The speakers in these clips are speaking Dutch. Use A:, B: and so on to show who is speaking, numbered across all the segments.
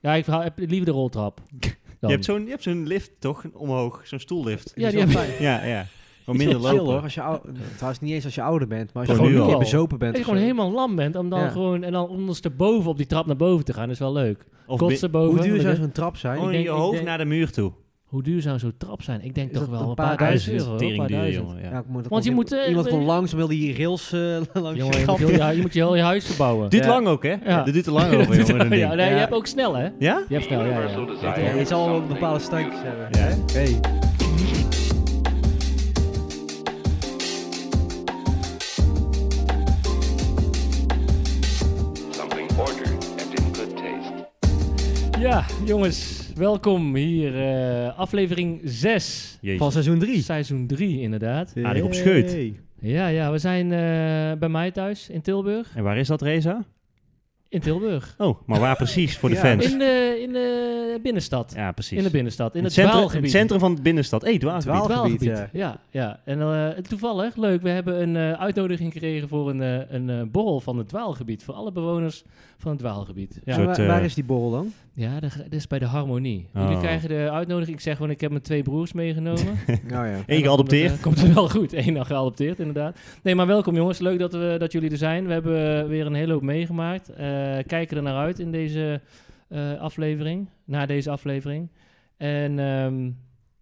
A: Ja, ik verhaal, heb liever de roltrap.
B: Je hebt zo'n je hebt zo'n lift toch omhoog, zo'n stoellift.
A: Ja, die
C: is wel
A: hebben-
C: fijn.
B: Ja, ja. Gewoon minder
C: Chill
B: lopen.
C: hoor, als je ou- trouwens niet eens als je ouder bent, maar als je
B: Gewoon
C: gewoon
B: nu
C: een keer
A: al.
C: bezopen bent.
A: Als je
C: of
A: gewoon
C: zo.
A: helemaal lam bent, om dan
C: Ja.
A: gewoon en dan ondersteboven op die trap naar boven te gaan, is wel leuk.
B: Of bi-
A: Kotsen boven.
C: Hoe duur
A: dan
C: zou
A: denk-
C: zo'n trap zijn?
A: Oh,
B: gewoon
A: denk-
B: je
A: ik
B: hoofd
A: denk-
B: naar de muur toe.
A: Hoe duur zou zo'n trap zijn? Ik denk
C: Is
A: toch
C: dat
A: wel een paar duizend euro. Een paar
B: tering duur,
A: duizend.
B: jongen. Ja.
C: Ja, ik moet-
A: Want je
C: iemand-
A: moet, eh,
C: iemand kon
A: eh,
C: langs, wilde hier rails eh,
A: Jongen,
C: langs je
A: je moet,
C: trap.
A: heel, ja, je moet je heel je huis verbouwen.
B: Dit
C: Ja.
B: lang ook, hè?
A: Ja.
B: Dit duurt te lang over, jongen. dat ding.
A: ja,
B: Ja?
A: nee, je
C: Ja.
A: hebt ook snel, hè? Je hebt snel, ja, ja.
C: Ja, je zal wel bepaalde standjes hebben.
B: Ja.
C: Oké.
D: Something ordered and in good taste.
A: Ja, jongens, welkom hier. eh, aflevering 6
B: Jezus.
C: Van seizoen 3.
A: seizoen 3, inderdaad.
B: Aardig op scheut.
A: Ja, ja, we zijn eh, bij mij thuis in Tilburg.
B: En waar is dat, Reza?
A: In Tilburg.
B: Oh, maar waar precies voor de
C: Ja.
B: fans?
A: In de, in de binnenstad.
B: ja, precies.
A: In de binnenstad. In het,
B: centrum, in
A: dwaalgebied.
B: het centrum van de binnenstad. Hé, hey, dwaalgebied.
C: Dwaal-
A: Dwaalgebied,
C: Dwaalgebied,
A: ja. ja. En eh, toevallig, leuk, we hebben een eh, uitnodiging gekregen voor een, eh, een eh, borrel van het dwaalgebied. Voor alle bewoners van het dwaalgebied. Ja,
B: Zo. soort,
C: waar,
B: eh,
C: waar is die borrel dan?
A: ja dat, dat is bij de harmonie.
B: Oh.
A: Jullie krijgen de uitnodiging. Ik zeg gewoon, ik heb mijn twee broers meegenomen.
C: Nou ja.
B: Eén geadopteerd.
A: Dat, eh, komt er wel goed. Eén al geadopteerd, inderdaad. Nee, maar welkom jongens. Leuk dat, we, dat jullie er zijn. We hebben eh, weer een hele hoop meegemaakt. Eh, kijken er naar uit in deze eh, aflevering. Na deze aflevering. En ehm,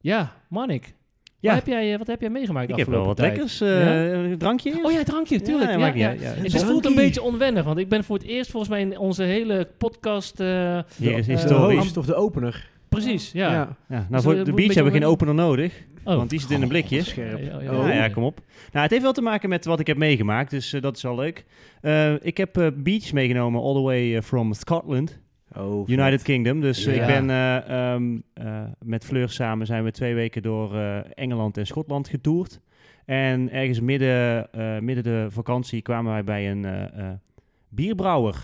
A: ja, Manik.
B: Ja.
A: Wat, heb jij, eh, wat heb jij meegemaakt de
B: ik heb wel wat
A: afgelopen tijd?
B: lekkers. eh, Een drankje?
A: Oh ja, drankje, tuurlijk.
B: Ja,
A: Ja,
B: maakt niet
A: ja.
B: uit, ja.
A: Het
B: Een
A: voelt een
B: drankje.
A: beetje onwennig, want ik ben voor het eerst volgens mij in onze hele podcast... eh,
B: Hier is
A: Eh,
C: De
B: historisch.
C: host of de opener.
A: precies, ja.
B: ja, nou,
A: Dus, eh,
B: voor de
A: een
B: beach
A: beetje
B: hebben we geen
A: on-
B: opener nodig,
A: Oh.
B: want die zit in een blikje.
C: Scherp.
A: Ja, ja, ja.
B: Nou ja, kom op. Nou, het heeft wel te maken met wat ik heb meegemaakt, dus eh, dat is wel leuk. Eh, ik heb eh, beach meegenomen all the way eh, from Scotland,
C: Oh,
B: United Kingdom. Dus eh,
A: Ja.
B: ik ben eh, ehm, eh, met Fleur samen zijn we twee weken door eh, Engeland en Schotland getoerd. En ergens midden, eh, midden de vakantie kwamen wij bij een eh, eh, bierbrouwer.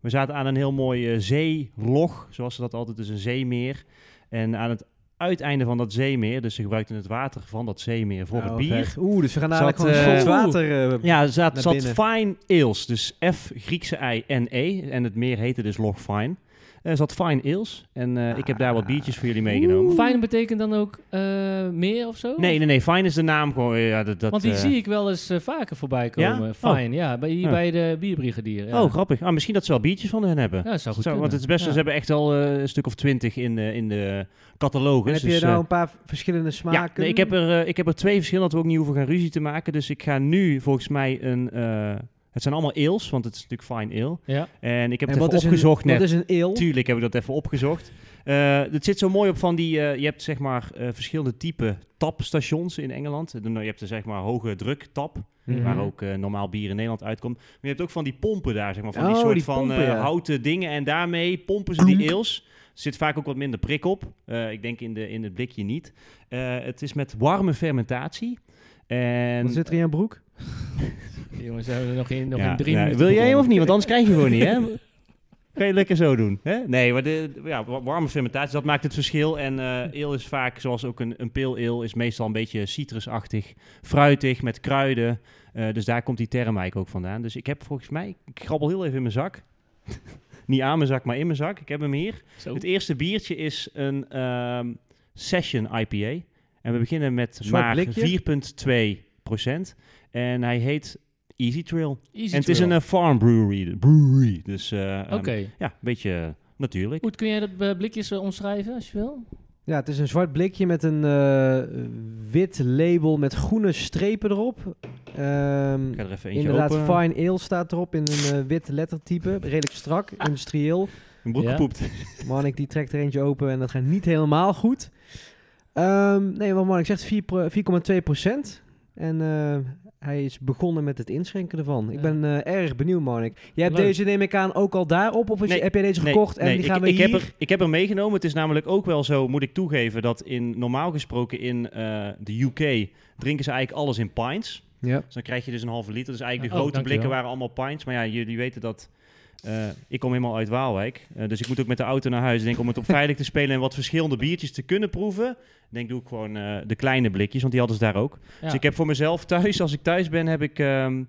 B: We zaten aan een heel mooi eh, zeelog, zoals ze dat altijd is, een zeemeer. En aan het uiteinde van dat zeemeer, dus ze gebruikten het water van dat zeemeer voor het
C: Oh,
B: bier.
C: vet. Oeh, dus we gaan dadelijk
B: Zat,
C: gewoon
B: eh,
C: een slot water... eh,
B: Ja, er zat,
C: Naar
B: zat
C: binnen.
B: Fine Ales. Dus F, Griekse I en E. En het meer heette dus Log Fine. Er zat Fine Ales. En eh, ik heb daar wat
A: Ah.
B: biertjes voor jullie meegenomen.
A: Fijn betekent dan ook eh, meer of zo?
B: Nee, nee, nee. Fine is de naam gewoon. Ja, dat, dat,
A: Want die
B: eh,
A: zie ik wel eens eh, vaker voorbij
B: Ja?
A: komen.
B: Oh.
A: Fijn, ja. Bij, hier
B: Ja.
A: bij de bierbrigadier. Ja.
B: Oh, grappig. Ah, misschien dat ze wel biertjes van hen hebben.
A: Ja, dat zou goed
B: Zo,
A: kunnen.
B: want het is best,
A: Ja.
B: ze hebben echt al eh, een stuk of twintig in, eh, in de catalogus.
C: en heb je
B: dus,
C: nou
B: eh,
C: een paar verschillende smaken?
B: ja, nee, ik, heb er, eh, ik heb er twee verschillen dat we ook niet hoeven gaan ruzie te maken. Dus ik ga nu volgens mij een... eh, het zijn allemaal ales, want het is natuurlijk fine ale.
A: Ja.
B: En ik heb
C: En
B: het
C: wat
B: even
C: is
B: opgezocht
C: een,
B: net.
C: Wat is een eel?
B: Tuurlijk heb ik dat even opgezocht. Eh het zit zo mooi op van die... eh, je hebt zeg maar eh, verschillende type tapstations in Engeland. En dan- Je hebt er zeg maar hoge druk tap,
A: Mhm.
B: waar ook eh, normaal bier in Nederland uitkomt. Maar je hebt ook van die pompen daar, zeg maar. Van die
C: Oh,
B: soort
C: die
B: van
C: pompen,
B: eh,
C: ja. Hm.
B: houten dingen. En daarmee pompen ze die eels. Er zit vaak ook wat minder prik op. Eh, ik denk in, de, in het blikje niet. Eh, het is met warme fermentatie. En
C: Wat zit er in jouw broek?
A: Jongens, we hebben er nog in, nog
B: ja,
A: in drie
B: ja.
A: minuten.
B: Wil jij hem
A: begonnen.
B: of niet? Want anders krijg je gewoon niet, hè? Kan je lekker zo doen. Hè? Nee, maar de, ja, wa- warme fermentatie, dat maakt het verschil. En eh eel is vaak, zoals ook een, een pale ale, is meestal een beetje citrusachtig, fruitig, met kruiden. Eh, dus daar komt die term eigenlijk ook vandaan. Dus ik heb volgens mij, ik grabbel heel even in mijn zak. niet aan mijn zak, maar in mijn zak. Ik heb hem hier.
A: Zo.
B: Het eerste biertje is een ehm, Session IPA. En we beginnen met
C: Zwart
B: maar
C: blikje.
B: 4,2 En hij heet Easy Trail.
A: Easy
B: En het is
A: trail.
B: een eh, farm brewery. brewery. Dus eh, ehm,
A: Oké.
B: ja, een beetje eh, natuurlijk.
A: Goed, kun jij dat eh, blikjes eh, omschrijven als je wil?
C: Ja, het is een zwart blikje met een eh, wit label met groene strepen erop. Ehm,
B: Ik ga er even eentje
C: inderdaad,
B: open.
C: Fine Ale staat erop in een eh, wit lettertype. Redelijk strak,
B: Ah.
C: industrieel.
B: Mijn broek
A: Ja.
B: gepoept.
C: Manik die trekt er eentje open en dat gaat niet helemaal goed. Ehm, nee, wat Manik zegt, 4 pro- 4,2 procent. En eh, hij is begonnen met het inschenken ervan.
A: Ja.
C: Ik ben eh, erg benieuwd, Manik. Jij hebt
A: Leuk.
C: deze, neem ik aan, ook al daarop? Of is-
B: Nee,
C: heb jij deze
B: Nee,
C: gekocht en
B: nee,
C: die
B: ik-
C: gaan we
B: ik,
C: hier...
B: Heb er, ik heb er meegenomen. Het is namelijk ook wel zo, moet ik toegeven, dat in, normaal gesproken in eh, de UK drinken ze eigenlijk alles in pints.
C: Ja.
B: Dus dan krijg je dus een halve liter. Dus eigenlijk de
A: Oh,
B: grote
A: dankjewel.
B: blikken waren allemaal pints. Maar ja, jullie weten dat... eh, ik kom helemaal uit Waalwijk. Eh, dus ik moet ook met de auto naar huis. Ik denk om het op veilig te spelen en wat verschillende biertjes te kunnen proeven. Ik denk doe ik gewoon eh, de kleine blikjes, want die hadden ze daar ook.
A: Ja.
B: Dus ik heb voor mezelf thuis, als ik thuis ben, heb ik ehm,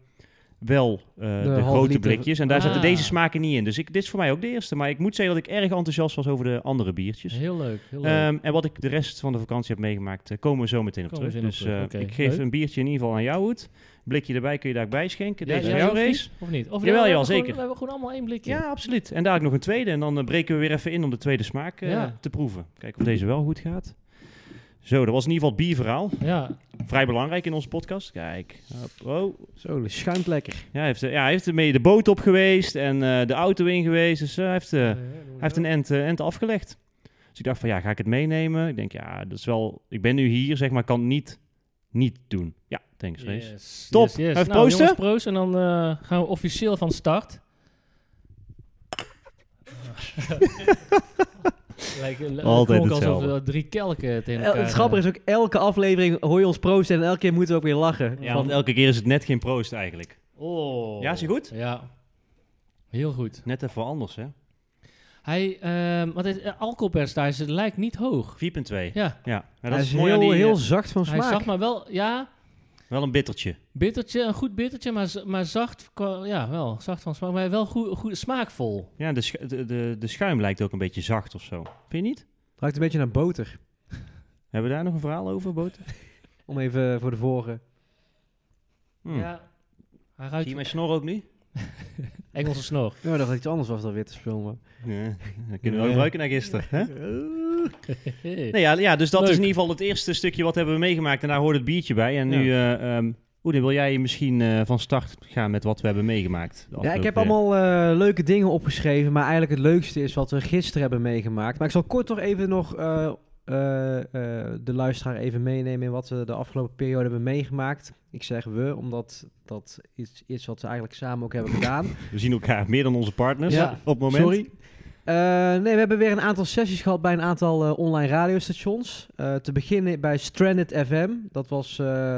B: wel eh, de,
C: halve
B: grote
C: liter.
B: blikjes. En daar zaten
A: Ah.
B: deze smaken niet in. Dus ik, dit is voor mij ook de eerste. Maar ik moet zeggen dat ik erg enthousiast was over de andere biertjes.
A: Heel leuk. Heel leuk.
B: Ehm, en wat ik de rest van de vakantie heb meegemaakt, eh, komen we zo meteen op
A: Komen we
B: terug.
A: zo nog
B: Dus
A: terug,
B: eh,
A: oké.
B: ik geef
A: Leuk.
B: een biertje in ieder geval aan jou, Hoed. Blikje erbij kun je daarbij schenken.
A: Ja,
B: Deze
A: ja,
B: is jouw
A: hoeft
B: race.
A: niet, Of niet? Of
B: Jawel,
A: we
B: jawel,
A: hebben gewoon-
B: zeker.
A: we hebben gewoon allemaal één blikje.
B: Ja, absoluut. En daar ook nog een tweede. En dan eh, breken we weer even in om de tweede smaak eh,
A: Ja.
B: te proeven. Kijken of deze wel goed gaat. Zo, dat was in ieder geval het bierverhaal.
A: Ja.
B: Vrij belangrijk in onze podcast. Kijk. Hop, Oh,
C: Zo, dat schuimt lekker.
B: Ja, hij heeft, eh, ja, hij heeft ermee de boot op geweest en eh, de auto in geweest. Dus eh, hij, heeft, eh, hij heeft een end, eh, end afgelegd. Dus ik dacht van, ja, ga ik het meenemen? Ik denk, ja, dat is wel... Ik ben nu hier, zeg maar, kan het niet niet doen. Ja, thanks, Rees.
A: Yes,
B: Top.
A: yes, yes.
B: Even
A: nou,
B: proosten?
A: jongens, proost. En dan eh, gaan we officieel van start. Lijkt, eh,
B: Altijd
A: klonk alsof
B: hetzelfde.
A: we drie kelken tegen
C: El-
A: elkaar...
C: Eh, het grappige
B: eh.
C: is ook, elke aflevering hoor je ons proosten en elke keer moeten we ook weer lachen.
B: Ja,
A: Van-
B: want elke keer is het net geen proost eigenlijk.
A: Oh.
B: Ja, is hij goed?
A: Ja. Heel goed.
B: Net even anders, hè? 4.2.
A: Hij, ehm want het eh, alcoholpercentage lijkt niet hoog.
B: Ja,
A: Ja,
B: ja. Maar
C: Hij
B: dat
C: is
B: is mooi aan
C: heel,
B: die, eh,
C: heel zacht van
A: hij zag
C: smaak.
A: maar wel... Ja,
B: Wel een bittertje.
A: bittertje, een goed bittertje, maar, z- maar zacht, qua- ja, wel, zacht van smaak. Maar wel goed, goed, smaakvol.
B: Ja, de, schu- de, de, de schuim lijkt ook een beetje zacht of zo. Vind je niet?
C: Ruikt een beetje naar boter.
B: Hebben we daar nog een verhaal over, Boot?
C: Om even voor de vorige.
B: Hm.
A: Ja. Hij
B: Zie je
A: ruikt
B: mijn snor ook nu?
A: Engelse snor.
C: Ja, maar dat het iets anders was dan weer te spelen. Maar.
B: Ja, dat kunnen we ook
A: Ja.
B: ruiken naar gisteren. Hè?
A: Hey.
B: Nee, ja, ja, dus dat
A: Leuk.
B: is in ieder geval het eerste stukje wat hebben we meegemaakt. En daar hoort het biertje bij. En nu, eh ehm Oede, wil jij misschien eh, van start gaan met wat we hebben meegemaakt? de
C: Ja, ik heb
B: afgelopen-
C: allemaal eh, leuke dingen opgeschreven, maar eigenlijk het leukste is wat we gisteren hebben meegemaakt. Maar ik zal kort toch even nog eh, eh, eh, de luisteraar even meenemen in wat we de afgelopen periode hebben meegemaakt. Ik zeg we, omdat dat iets is wat we eigenlijk samen ook hebben gedaan.
B: We zien elkaar meer dan onze partners
A: Ja.
B: op het moment.
C: Sorry. Eh, nee, we hebben weer een aantal sessies gehad bij een aantal eh, online radiostations. Eh, te beginnen bij Stranded FM. Dat was eh,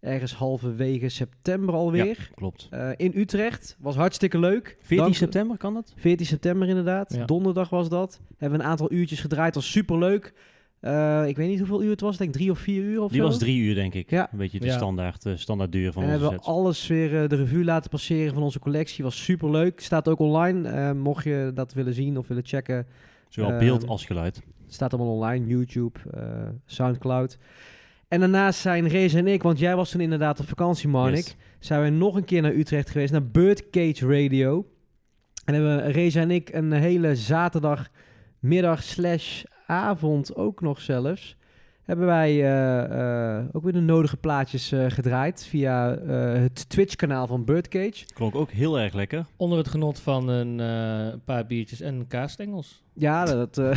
C: ergens halverwege september alweer.
B: Klopt.
C: Eh, in Utrecht. Was hartstikke leuk.
B: 14
C: Dank-
B: september kan dat?
C: 14 september inderdaad.
A: Ja.
C: Donderdag was dat. Hebben we een aantal uurtjes gedraaid. Was superleuk. Eh ik weet niet hoeveel uur het was. Ik denk drie of vier uur of
B: Die
C: zo.
B: was drie uur, denk ik.
C: Ja.
B: Een beetje de
A: Ja.
B: standaard, eh, standaard duur van
C: en
B: onze
C: hebben we
B: sets.
C: alles weer eh, de revue laten passeren van onze collectie. Was superleuk. Staat ook online. Eh, mocht je dat willen zien of willen checken.
B: Zowel
C: ehm,
B: beeld als geluid.
C: Staat allemaal online. YouTube, eh, Soundcloud. En daarnaast zijn Reza en ik, want jij was toen inderdaad op vakantie, Marnik.
B: Yes.
C: Zijn we nog een keer naar Utrecht geweest, naar Birdcage Radio. En hebben Reza en ik een hele zaterdagmiddag slash avond ook nog zelfs... hebben wij eh, eh, ook weer de nodige plaatjes eh, gedraaid... via eh, het Twitch-kanaal van Birdcage.
B: Klonk ook heel erg lekker.
A: Onder het genot van een eh, paar biertjes en kaasstengels.
C: Ja, dat eh,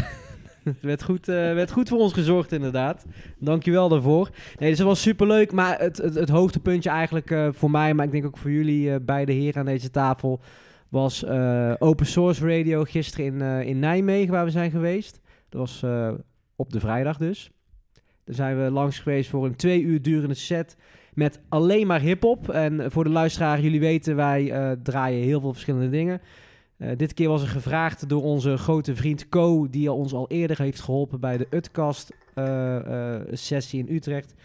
C: werd, goed, eh, werd goed voor ons gezorgd, inderdaad. Dankjewel daarvoor. Nee, dus dat was superleuk. Maar het, het, het hoogtepuntje eigenlijk eh, voor mij, maar ik denk ook voor jullie eh, beide heren aan deze tafel, was eh, Open Source Radio gisteren in, eh, in Nijmegen, waar we zijn geweest. Dat was eh, op de vrijdag dus. Daar zijn we langs geweest voor een twee uur durende set met alleen maar hip-hop. En voor de luisteraar, jullie weten, wij eh, draaien heel veel verschillende dingen. Eh, dit keer was er gevraagd door onze grote vriend Co, die al ons al eerder heeft geholpen bij de Utkast-sessie in Utrecht. Eh,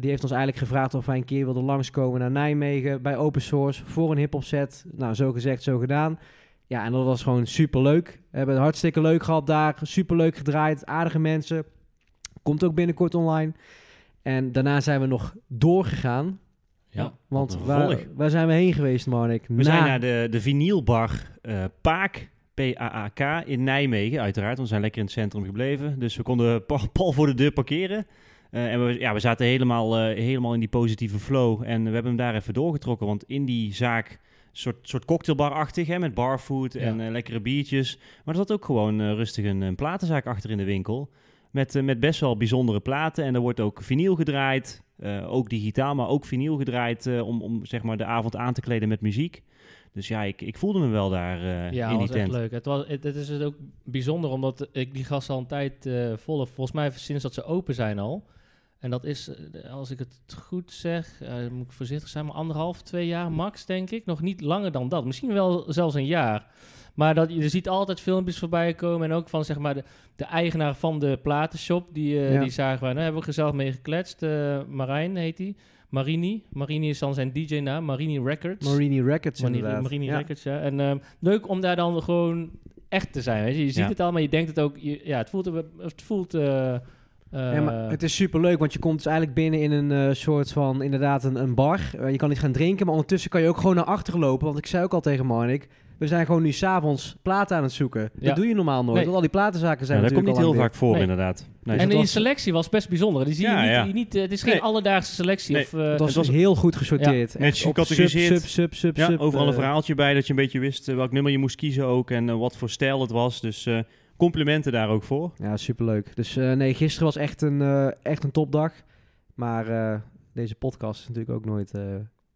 C: die heeft ons eigenlijk gevraagd of wij een keer wilden langskomen naar Nijmegen bij Open Source voor een hip-hop set. Nou, zo gezegd, zo gedaan. Ja, en dat was gewoon superleuk. We hebben het hartstikke leuk gehad daar. Superleuk gedraaid. Aardige mensen. Komt ook binnenkort online. En daarna zijn we nog doorgegaan.
B: Ja,
C: Want
B: wat een
C: waar,
B: vervolg.
C: waar zijn we heen geweest, Marnik?
B: We zijn naar de, de vinylbar eh, Paak, P-A-A-K, in Nijmegen uiteraard. want We zijn lekker in het centrum gebleven. Dus we konden pa- pal voor de deur parkeren. Eh, en we, ja, we zaten helemaal, eh, helemaal in die positieve flow. En we hebben hem daar even doorgetrokken. Want in die zaak, soort, soort cocktailbar-achtig, hè, met barfood en
A: Ja.
B: eh, lekkere biertjes. Maar er zat ook gewoon eh, rustig een, een platenzaak achter in de winkel. Met, eh, met best wel bijzondere platen. En er wordt ook vinyl gedraaid. eh, ook digitaal, maar ook vinyl gedraaid. eh, om om zeg maar, de avond aan te kleden met muziek. Dus ja, ik, ik voelde me wel daar eh,
A: ja,
B: in die
A: was echt
B: tent.
A: leuk. Het, was, het, het is dus ook bijzonder, omdat ik die gasten al een tijd eh volg. Volgens mij sinds dat ze open zijn al. En dat is, eh, als ik het goed zeg, eh, moet ik voorzichtig zijn, maar anderhalf, twee jaar max, denk ik. Nog niet langer dan dat. Misschien wel zelfs een jaar. Maar dat, je ziet altijd filmpjes voorbij komen. En ook van zeg maar de, de eigenaar van de platenshop. Die, eh,
C: Ja.
A: die zagen wij. Daar hebben we gezellig mee gekletst. eh, Marijn heet die. Marini. Marini is dan zijn DJ-naam, Marini Records.
C: Marini Records
A: Marini,
C: inderdaad.
A: Marini
C: ja.
A: Records, ja. En ehm, leuk om daar dan gewoon echt te zijn, weet je. Je ziet
B: Ja.
A: het al, maar je denkt het ook... je- ja, het voelt... eh, Het voelt eh, eh,
C: Ja, maar het is super leuk, want je komt dus eigenlijk binnen in een eh, soort van inderdaad een, een bar. Eh, je kan niet gaan drinken, maar ondertussen kan je ook gewoon naar achter lopen. Want ik zei ook al tegen Marnik, we zijn gewoon nu s'avonds platen aan het zoeken.
A: Ja.
C: Dat doe je normaal nooit,
A: Nee.
C: want al die platenzaken zijn
B: Ja, dat komt
C: natuurlijk
B: niet heel
C: al lang
B: vaak voor,
A: Nee.
B: inderdaad. Nee,
A: en eh,
B: het
A: die
B: was-
A: selectie was best bijzonder. Die zie je
B: Ja,
A: niet,
B: ja.
A: niet, eh, het is geen
B: Nee.
A: alledaagse selectie.
B: Nee,
A: Of, eh,
C: dicht. Het
B: Het
C: was
B: was-
C: heel goed gesorteerd. Echt
B: Netjes
C: op
B: gecategoriseerd.
C: Sub, sub, sub, sub,
B: Ja,
C: sub,
B: overal een
C: eh,
B: verhaaltje bij dat je een beetje wist eh, welk nummer je moest kiezen ook en eh, wat voor stijl het was. Dus eh, complimenten daar ook voor.
C: Ja, superleuk. Dus eh, nee, gisteren was echt een, eh, echt een topdag. Maar eh, deze podcast is natuurlijk ook nooit eh,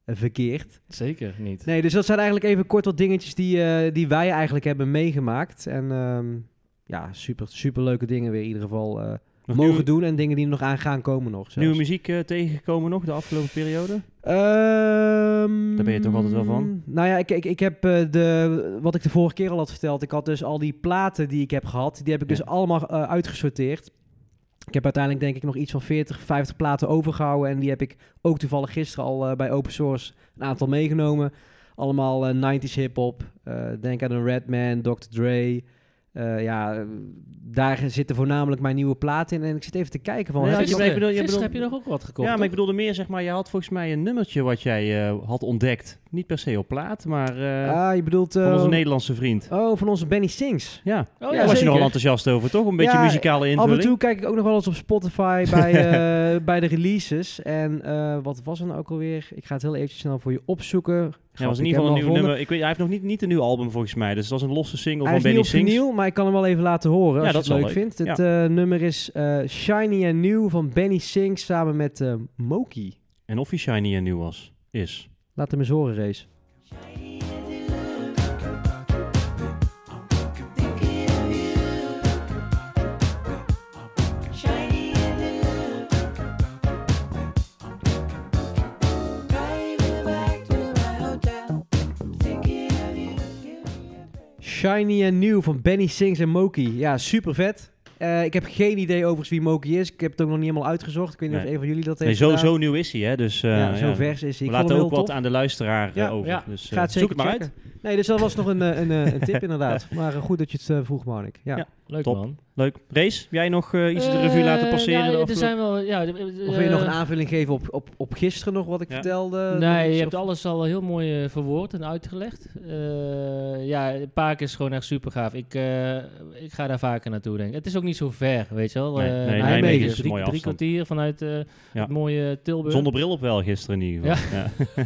C: verkeerd.
A: zeker niet.
C: Nee, dus dat zijn eigenlijk even kort wat dingetjes die, eh, die wij eigenlijk hebben meegemaakt. En ehm, ja, super, super leuke dingen weer in ieder geval eh,
B: Nog
C: mogen
B: nieuwe,
C: doen. En dingen die nog aan gaan komen nog. zelfs.
B: nieuwe muziek eh, tegengekomen nog de afgelopen periode?
C: Ehm,
B: Daar ben je toch altijd wel van?
C: Nou ja, ik, ik, ik heb eh, de, wat ik de vorige keer al had verteld. Ik had dus al die platen die ik heb gehad, die heb ik
B: Ja.
C: dus allemaal eh, uitgesorteerd. Ik heb uiteindelijk denk ik nog iets van 40, 50 platen overgehouden. En die heb ik ook toevallig gisteren al eh, bij Open Source een aantal meegenomen. Allemaal eh, 90s hip-hop. Eh, denk aan een Redman, Dr. Dre. Eh, ja, eh, daar zitten voornamelijk mijn nieuwe platen in. En ik zit even te kijken van...
B: Nee,
C: heb
B: had je-
C: ik-
A: Gisteren-
B: ik bedoel- je
A: gisteren heb
B: bedoelt-
A: je nog ook wat gekocht.
B: ja, maar
A: toch?
B: ik bedoelde meer, zeg maar, je had volgens mij een nummertje wat jij eh, had ontdekt. Niet per se op plaat, maar eh,
C: ah, je bedoelt... eh,
B: van onze Nederlandse vriend.
C: Oh, van onze Benny Sings.
B: Ja,
A: Oh,
C: Ja,
B: daar was je
C: zeker.
B: nogal enthousiast over, toch? Een beetje
C: Ja,
B: muzikale invulling.
C: Af en toe kijk ik ook nog wel eens op Spotify bij, eh, bij de releases. En eh, wat was er nou ook alweer? Ik ga het heel eventjes snel voor je opzoeken.
B: Ja, was
C: Grap,
B: in ieder
C: ik
B: geval
C: heb
B: een nieuw
C: hem al gevonden.
B: nummer. Ik weet, hij heeft nog niet, niet een nieuw album volgens mij, dus dat was een losse single
C: Hij
B: van
C: is niet
B: Benny
C: op
B: Sings.
C: vinyl, maar ik kan hem wel even laten horen
B: Ja,
C: als
B: dat
C: je het
B: is
C: leuk
B: wel
C: vindt. Het eh, nummer is eh, Shiny and New van Benny Sings samen met eh, Moki.
B: En of hij shiny en nieuw was, is.
C: Laat hem eens horen, Race. Shiny and New van Benny Sings en Moki. Ja, super vet. Eh, ik heb geen idee overigens wie Moki is. Ik heb het ook nog niet helemaal uitgezocht. Ik weet niet
B: Nee.
C: of een van jullie dat heeft
B: Nee, zo,
C: gedaan.
B: zo nieuw is hij, hè? Dus, eh,
C: ja, zo
B: ja.
C: vers is hij.
B: We
C: Ik vond
B: laten
C: hem
B: ook
C: heel
B: wat
C: tof.
B: aan de luisteraar eh,
C: Ja,
B: over.
A: ja.
B: Dus, eh,
C: Gaat zeker
B: zoek het maar
C: checken. Nee, dus dat was nog een, eh, een, eh, een tip inderdaad. Maar eh, goed dat je het eh, vroeg, Marnik. Ja.
B: Ja.
A: Leuk
B: Top.
A: man.
B: uit. Leuk. Race, heb jij nog eh, iets de revue
A: Eh,
B: laten passeren?
A: nou,
B: de
A: er
B: afgelopen-
A: zijn wel... Ja, eh,
C: Of wil je nog een aanvulling geven op, op, op gisteren nog wat ik
B: Ja.
C: vertelde?
A: Nee,
C: Iets
A: je
C: of-
A: hebt alles al heel mooi eh, verwoord en uitgelegd. Eh, ja, Paak is gewoon echt super gaaf. Ik, eh, ik ga daar vaker naartoe, denk ik. Het is ook niet zo ver, weet je wel.
B: Nee,
A: Eh,
B: nee,
A: Nijmegen
B: Nijmegen is een
A: drie,
B: mooie
A: drie
B: afstand.
A: kwartier vanuit eh,
B: Ja.
A: het mooie Tilburg.
B: Zonder bril op wel gisteren in ieder geval.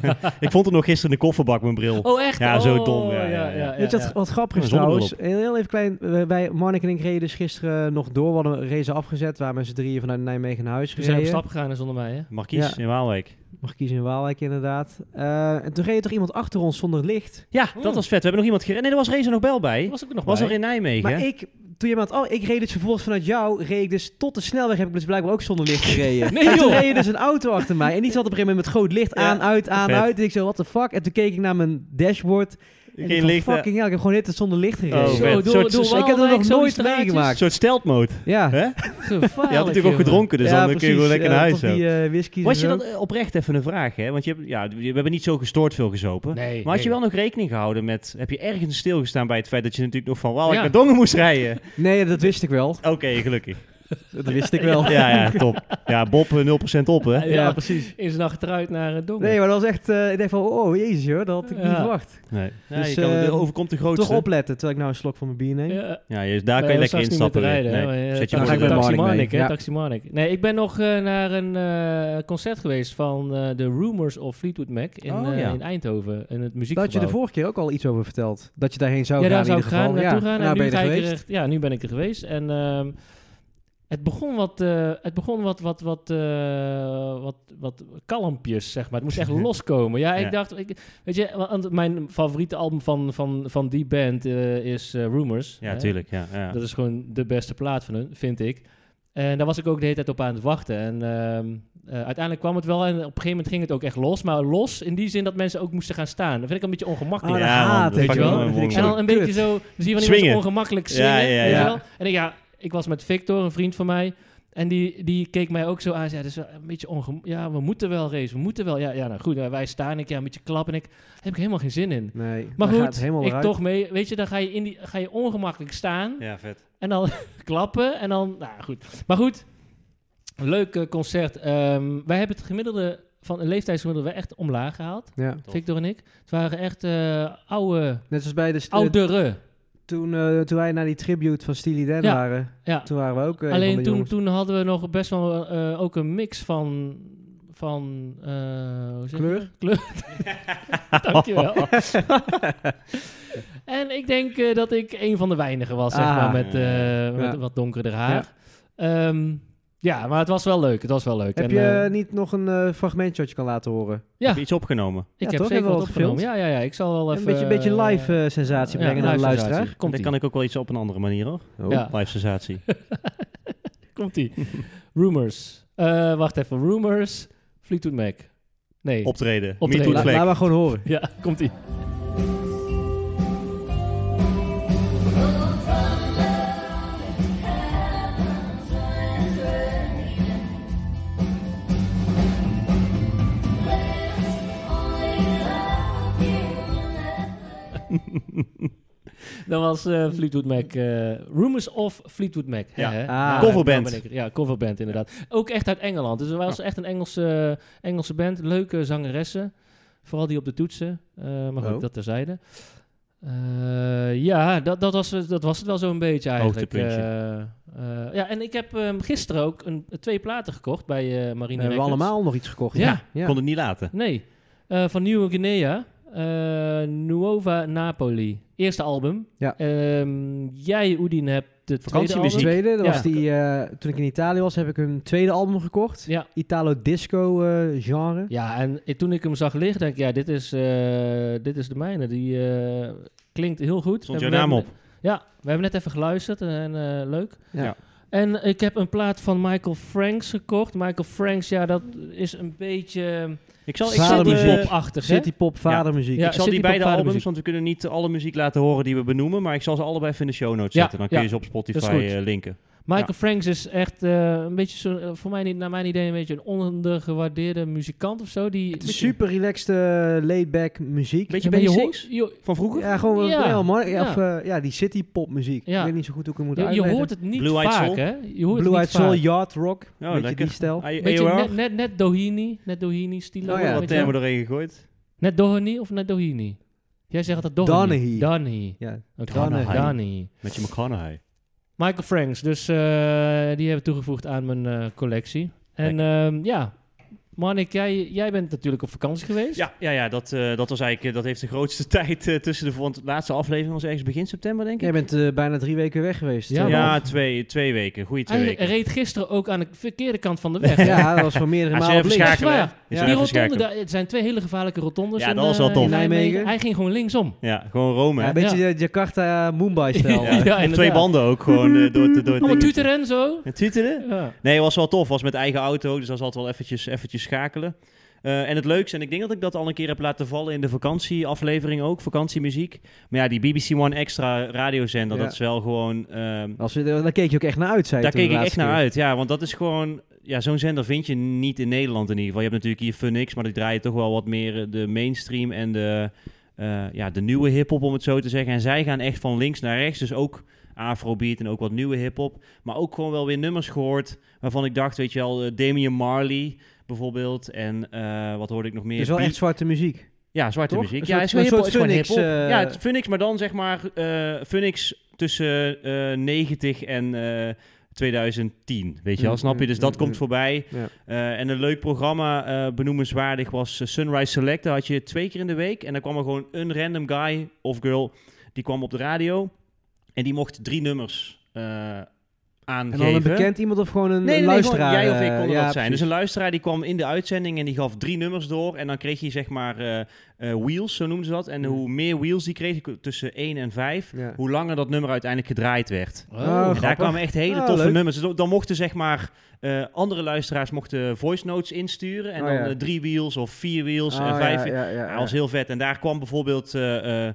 B: Ja. ik vond het nog gisteren in de kofferbak, mijn bril.
A: Oh, echt?
B: Ja, zo
A: Oh,
B: dom, ja, ja, ja.
C: Weet je wat, wat grappig is
B: Ja, zonder
C: trouwens? Heel, heel even klein. eh, Wij, Marnik en ik reden dus gisteren nog door. We hadden een race afgezet. Waar mensen drieën vanuit Nijmegen naar huis
A: We zijn op
C: gereden.
A: stap gegaan en zonder mij, hè?
B: Marquise
C: Ja.
B: in Waalwijk.
C: Mag kiezen in Waalwijk inderdaad. Eh, en toen reed toch iemand achter ons zonder licht.
B: Ja,
A: Hmm.
B: dat was vet. We hebben nog iemand gereden. Nee, er was Race nog wel bij.
A: Dat
B: Was,
A: was ik nog
B: was
A: bij.
B: er in Nijmegen.
C: Maar ik, toen je me had, oh, ik reed dus vervolgens vanuit jou, reed ik dus tot de snelweg, heb ik dus blijkbaar ook zonder licht gereden.
A: Nee,
C: en toen
A: joh.
C: reed dus een auto achter mij en die zat op een gegeven moment met groot licht aan, uit, aan,
B: vet.
C: uit. En ik zo, what the fuck? En toen keek ik naar mijn dashboard. En ik
B: Geen
C: dacht,
B: licht. eh,
C: fucking hell, ik heb gewoon net het zonder licht gereden.
B: Oh,
A: Zo,
B: vet.
A: door,
B: Soort-
A: door
C: ik heb dat
A: Waalwijk,
C: nog
A: zo die
C: nooit
A: straatjes.
B: Een
C: meegemaakt.
B: soort steltmode.
C: Ja.
B: Hè?
A: Gevaarlijk,
B: Je had natuurlijk ook
A: jongen.
B: gedronken, dus
C: ja,
B: dan kun je gewoon
C: precies.
B: lekker
C: Ja,
B: naar huis.
C: toch Die
B: zo.
C: eh, whiskies
B: Was je
C: en zo.
B: dan eh, oprecht even een vraag, hè? Want je hebt, ja, we hebben niet zo gestoord veel gezopen.
A: Nee.
B: Maar had je
A: nee.
B: wel nog rekening gehouden met... Heb je ergens stilgestaan bij het feit dat je natuurlijk nog van Waalwijk
A: Ja.
B: naar Dongen moest rijden?
C: Nee, dat wist ik wel.
B: Oké, gelukkig.
C: Dat wist ik wel.
B: Ja, ja, top. Ja, Bob eh, 0% op, hè?
A: Ja,
C: precies.
A: In zijn achteruit naar het donker.
C: Nee, maar dat was echt, eh, ik dacht van, oh jezus joh, dat had ik niet
A: Ja.
C: verwacht.
B: Nee. Ja,
C: Dus,
B: je kan,
C: eh,
B: de- overkomt de grootste.
C: Toch opletten, terwijl ik nou een slok van mijn bier neem.
A: Ja.
B: Ja,
A: Nee,
B: je, daar kan je
A: dat
B: lekker
A: straks niet
B: instappen.
A: meer te
B: weer.
A: rijden, hè,
B: Nee.
A: maar, eh,
B: Zet je
C: daar
A: taxi-
B: voor
C: ga ik
B: de
C: bij
B: deur.
C: Marnik
A: Taximanik,
C: mee,
A: hè,
C: ja.
A: Taximanik. Nee, ik ben nog eh, naar een eh, concert geweest van eh The Rumors of Fleetwood Mac in,
B: Oh,
A: eh,
B: ja.
A: in Eindhoven. In het muziekgebouw.
C: Dat had je de vorige keer ook al iets over verteld. Dat je daarheen zou
A: Ja,
C: gaan
A: daar
C: in
A: zou ik
C: ieder geval.
A: gaan, naartoe gaan. En
C: nou
A: nu
C: ben je er
A: ga ik er
C: geweest.
A: echt- ja, nu ben ik er geweest. En ehm, het begon wat, eh, het begon wat, wat, wat, eh, wat, wat kalmpjes, zeg maar. Het moest echt loskomen. Ja, ik
B: Ja.
A: dacht, ik, weet je, want mijn favoriete album van, van, van die band eh, is eh, Rumors.
B: Ja,
A: hè.
B: tuurlijk. Ja, ja.
A: Dat is gewoon de beste plaat van hun, vind ik. En daar was ik ook de hele tijd op aan het wachten. En ehm, eh, uiteindelijk kwam het wel en op een gegeven moment ging het ook echt los. Maar los in die zin dat mensen ook moesten gaan staan. Dat vind ik een beetje ongemakkelijk.
C: Ah, dat
B: Ja, man,
C: haat,
B: dat
C: weet je
A: fucking
C: wel.
A: man,
C: Dat vind ik
B: man.
C: zo
A: En dan een
C: kut.
A: beetje zo, zie je wanneer
B: Swingen.
A: mensen ongemakkelijk swingen,
B: Ja, ja,
A: weet je
C: ja.
A: wel? En ik, ja, ik was met Victor, een vriend van mij. En die, die keek mij ook zo aan. Zei, dat is wel een beetje ongem... Ja, we moeten wel race. We moeten wel. Ja, ja nou goed. Wij staan. Ik ja, een beetje klap. En ik heb ik helemaal geen zin in.
C: Nee.
A: Maar
C: dan gaat
A: goed,
C: het helemaal
A: ik
C: eruit.
A: toch mee. Weet je, dan ga je, in die, ga je ongemakkelijk staan.
B: Ja, vet.
A: En dan klappen en dan, nou goed. Maar goed, leuk eh, concert. Ehm, wij hebben het gemiddelde van een leeftijdsgemiddelde wel echt omlaag gehaald.
C: Ja.
B: Tof.
A: Victor en ik. Het waren echt eh oude,
C: Net zoals bij de st- eh,
A: oudere.
C: toen, eh, toen wij naar die tribute van Steely Dan
A: Ja.
C: waren.
A: Ja.
C: Toen waren we ook. eh, een van
A: Alleen
C: de
A: toen,
C: jongens.
A: toen hadden we nog best wel eh, ook een mix van... Van eh, hoe zeg je
C: Kleur?
A: dat? Kleur. Dankjewel. en ik denk eh, dat ik een van de weinigen was, zeg
C: Ah,
A: maar, met, eh, met
C: Ja.
A: wat donkerder haar. Ja. ja, maar het was wel leuk. Het was wel leuk.
C: Heb
A: En,
C: je
A: eh,
C: eh, niet nog een eh, fragmentje wat je kan laten horen?
A: Ja.
B: Heb je iets opgenomen?
A: ik
C: ja,
A: heb
C: toch?
A: zeker
C: Hebben we
A: wat
C: wat
A: opgenomen. Ja,
C: gefilmd?
A: ja, ja. Ik zal wel
C: een
A: even...
C: beetje, een beetje
A: eh,
C: live eh, sensatie
A: ja,
C: brengen naar de
A: live sensatie.
C: luisteraar.
A: Komt-ie.
B: Dan kan ik ook wel iets op een andere manier hoor.
C: Oh.
A: Ja.
B: Live sensatie.
A: Komt ie. rumors. Eh, wacht even. Rumors. Fleetwood Mac. Nee.
B: Optreden.
A: Optreden.
B: Meet Toet
C: La-
A: Laat-
B: Vlek.
C: laat maar gewoon horen.
A: Ja, komt ie. Dat was eh, Fleetwood Mac. eh, Rumors of Fleetwood Mac. hè,
B: Ja.
A: hè?
C: Ah.
B: Coverband.
A: nou ben ik er. Ja, coverband inderdaad. Ook echt uit Engeland. Dus er was echt een Engelse, Engelse band. Leuke zangeressen. Vooral die op de toetsen. Eh, maar goed,
C: Oh.
A: dat terzijde. Eh, ja, dat, dat, was, dat was het wel zo'n beetje eigenlijk.
B: Hoogtepuntje.
A: Eh, eh, ja, en ik heb ehm, gisteren ook een, twee platen gekocht bij eh Marine
C: We hebben
A: Records.
C: allemaal nog iets gekocht.
A: Ja.
B: Ik kon het niet laten.
A: Nee, Eh, van Nieuwe Guinea. eh, Nuova Napoli. Eerste album.
C: Ja.
A: Ehm, jij, Oedien, hebt het tweede album.
B: Vakantiemuziek.
C: Het tweede, dat
A: Ja.
C: was die, eh, toen ik in Italië was, heb ik een tweede album gekocht.
A: Ja.
C: Italo disco eh, genre.
A: Ja, en i- toen ik hem zag liggen, denk ik, ja, dit is, eh, dit is de mijne. Die eh, klinkt heel goed.
B: Stond
A: We
B: jouw
A: hebben
B: naam
A: net-
B: op.
A: Ja, we hebben net even geluisterd en eh, leuk.
C: Ja.
B: Ja.
A: En ik heb een plaat van Michael Franks gekocht. Michael Franks, ja, dat is een beetje eh,
B: Ik zal, ik
C: Vader
B: zal, die,
C: muziek.
B: ik
A: popachtig, hè?
C: City pop, vadermuziek.
A: Ja.
B: zal
A: zit
B: die
A: die
B: beide
A: popvadermuziek?
B: albums, want we kunnen niet alle muziek laten horen die we benoemen, maar ik zal ze allebei even in de show notes
A: Ja,
B: zetten. Dan kun je
A: ja.
B: ze op
A: Dat
B: Spotify
A: is goed.
B: eh, linken.
A: Michael
B: Ja.
A: Franks is echt eh, een beetje, zo, eh, voor mij, niet- naar mijn idee, een beetje een ondergewaardeerde muzikant of zo. Die,
C: Het is Super relaxed, eh, laid-back muziek.
B: Beetje
A: Ja,
B: Ben
A: maar
B: je
A: je
B: Sings?
A: ho- je-
B: Van vroeger?
C: Ja, gewoon
A: Ja.
C: ja. heel mooi. Ja,
A: Ja.
C: Of, eh, ja, die city pop muziek.
A: Ja.
C: Ik weet niet zo goed hoe ik het moet
A: je, je
C: uitleggen.
A: hoort het niet
B: Blue Eyed
A: vaak,
B: Soul?
A: hè? Je hoort
C: Blue
A: het
C: Eyed
A: niet vaak.
C: Soul, Yard Rock. weet je
B: Oh, lekker. Ah,
C: die stijl?
B: I-
A: Beetje
B: AOR?
A: net, net, net Doheny, net Doheny stilo.
C: Oh ja,
B: Wat eh,
A: Weet je
B: hebben
A: wel?
B: we doorheen gegooid?
A: Net Doheny of net Doheny? Jij zegt dat Doheny.
C: Donaghy.
A: Donaghy.
C: Ja.
A: Oké,
B: Donaghy.
A: Donaghy.
B: Met je McConaughey.
A: Michael Franks, dus eh, die hebben toegevoegd aan mijn eh, collectie. En ehm, ja, Manik, jij, jij bent natuurlijk op vakantie geweest.
B: Ja, ja, ja dat, eh, dat was eigenlijk, eh, dat heeft de grootste tijd eh, tussen de, want de laatste aflevering was ergens begin september, denk ik.
C: Jij bent eh, bijna drie weken weg geweest.
A: Ja,
B: Ja,
C: Eh,
A: man.
B: twee, twee weken. Goeie twee
A: Hij
B: weken.
A: reed gisteren ook aan de verkeerde kant van de weg.
C: ja, dat was voor meerdere
B: Hij is
C: malen op
B: even
C: links.
A: Echt
B: schakelen,
A: waar.
B: hè? Hij is
A: Die
B: even
A: rotonde,
B: schakelen.
A: daar- het zijn twee hele gevaarlijke rotondes.
B: Ja,
A: in,
B: dat was
A: eh,
B: wel tof.
A: in Nijmegen.
C: Nijmegen.
A: Hij ging gewoon linksom.
B: Ja, gewoon Rome.
C: Ja,
B: hè?
C: een beetje de Jakarta eh, Mumbai-stijl.
A: Ja.
B: Ja, op twee
A: inderdaad.
B: banden ook gewoon eh, door, door, door
A: Allemaal
B: dingetje.
A: tuteren en zo.
B: En tuteren?
A: Ja.
B: Nee, was wel tof. Was met eigen auto, dus dat was altijd wel eventjes, eventjes schakelen. Eh, en het leukste, en ik denk dat ik dat al een keer heb laten vallen in de vakantieaflevering ook, vakantiemuziek. Maar ja, die BBC One Extra radiozender,
C: Ja.
B: dat is wel gewoon... ehm,
C: Als we, daar keek je ook echt naar uit, zei je
B: daar
C: toen
B: keek
C: de
B: ik echt
C: laatste
B: naar
C: keer.
B: uit, ja. Want dat is gewoon... Ja, zo'n zender vind je niet in Nederland in ieder geval. Je hebt natuurlijk hier Funix, maar die draaien toch wel wat meer eh, de mainstream en de, eh, ja, de nieuwe hiphop, om het zo te zeggen. En zij gaan echt van links naar rechts, dus ook afrobeat en ook wat nieuwe hiphop. Maar ook gewoon wel weer nummers gehoord waarvan ik dacht, weet je wel, eh, Damian Marley bijvoorbeeld. En eh, wat hoorde ik nog meer?
C: Dus wel
B: Beat-
C: echt zwarte muziek.
B: ja, zwarte
C: Toch?
B: muziek.
C: Een
B: Ja,
C: soort-
B: het is gewoon
C: een
B: hiphop. het
C: soort
B: is gewoon
C: Phoenix,
B: hiphop.
C: eh,
B: ja, het is Phoenix, maar dan zeg maar eh Phoenix tussen eh 90 en eh 2010. Weet je wel,
C: Mm,
B: snap je?
C: mm,
B: Dus dat
C: mm,
B: komt
C: mm.
B: voorbij.
C: Ja.
B: Eh, en een leuk programma, eh, benoemenswaardig, was eh, Sunrise Select. Daar had je twee keer in de week. En dan kwam er gewoon een random guy of girl, die kwam op de radio. En die mocht drie nummers eh
C: En
B: aangeven.
C: dan een bekend iemand of gewoon
B: Nee,
C: een
B: nee, nee, gewoon
C: luisteraar?
B: jij of ik
C: eh,
B: kon
C: ja,
B: dat zijn. Dus
C: precies.
B: een luisteraar die kwam in de uitzending en die gaf drie nummers door. En dan kreeg je zeg maar eh, eh, wheels, zo noemden ze dat. En
C: Ja.
B: hoe meer wheels die kreeg, tussen 1 en 5,
C: Ja.
B: hoe langer dat nummer uiteindelijk gedraaid werd.
C: Oh,
B: en daar
C: grappig.
B: kwamen echt hele
C: Ah,
B: toffe
C: leuk.
B: nummers. Dus dan mochten zeg maar eh, andere luisteraars mochten voice notes insturen. En
C: Oh,
B: dan
C: ja.
B: eh, drie wheels of vier wheels
C: Ah,
B: en vijf.
C: ja, ja, ja,
B: Ja,
C: ja.
B: dat was heel vet. En daar kwam bijvoorbeeld eh, eh,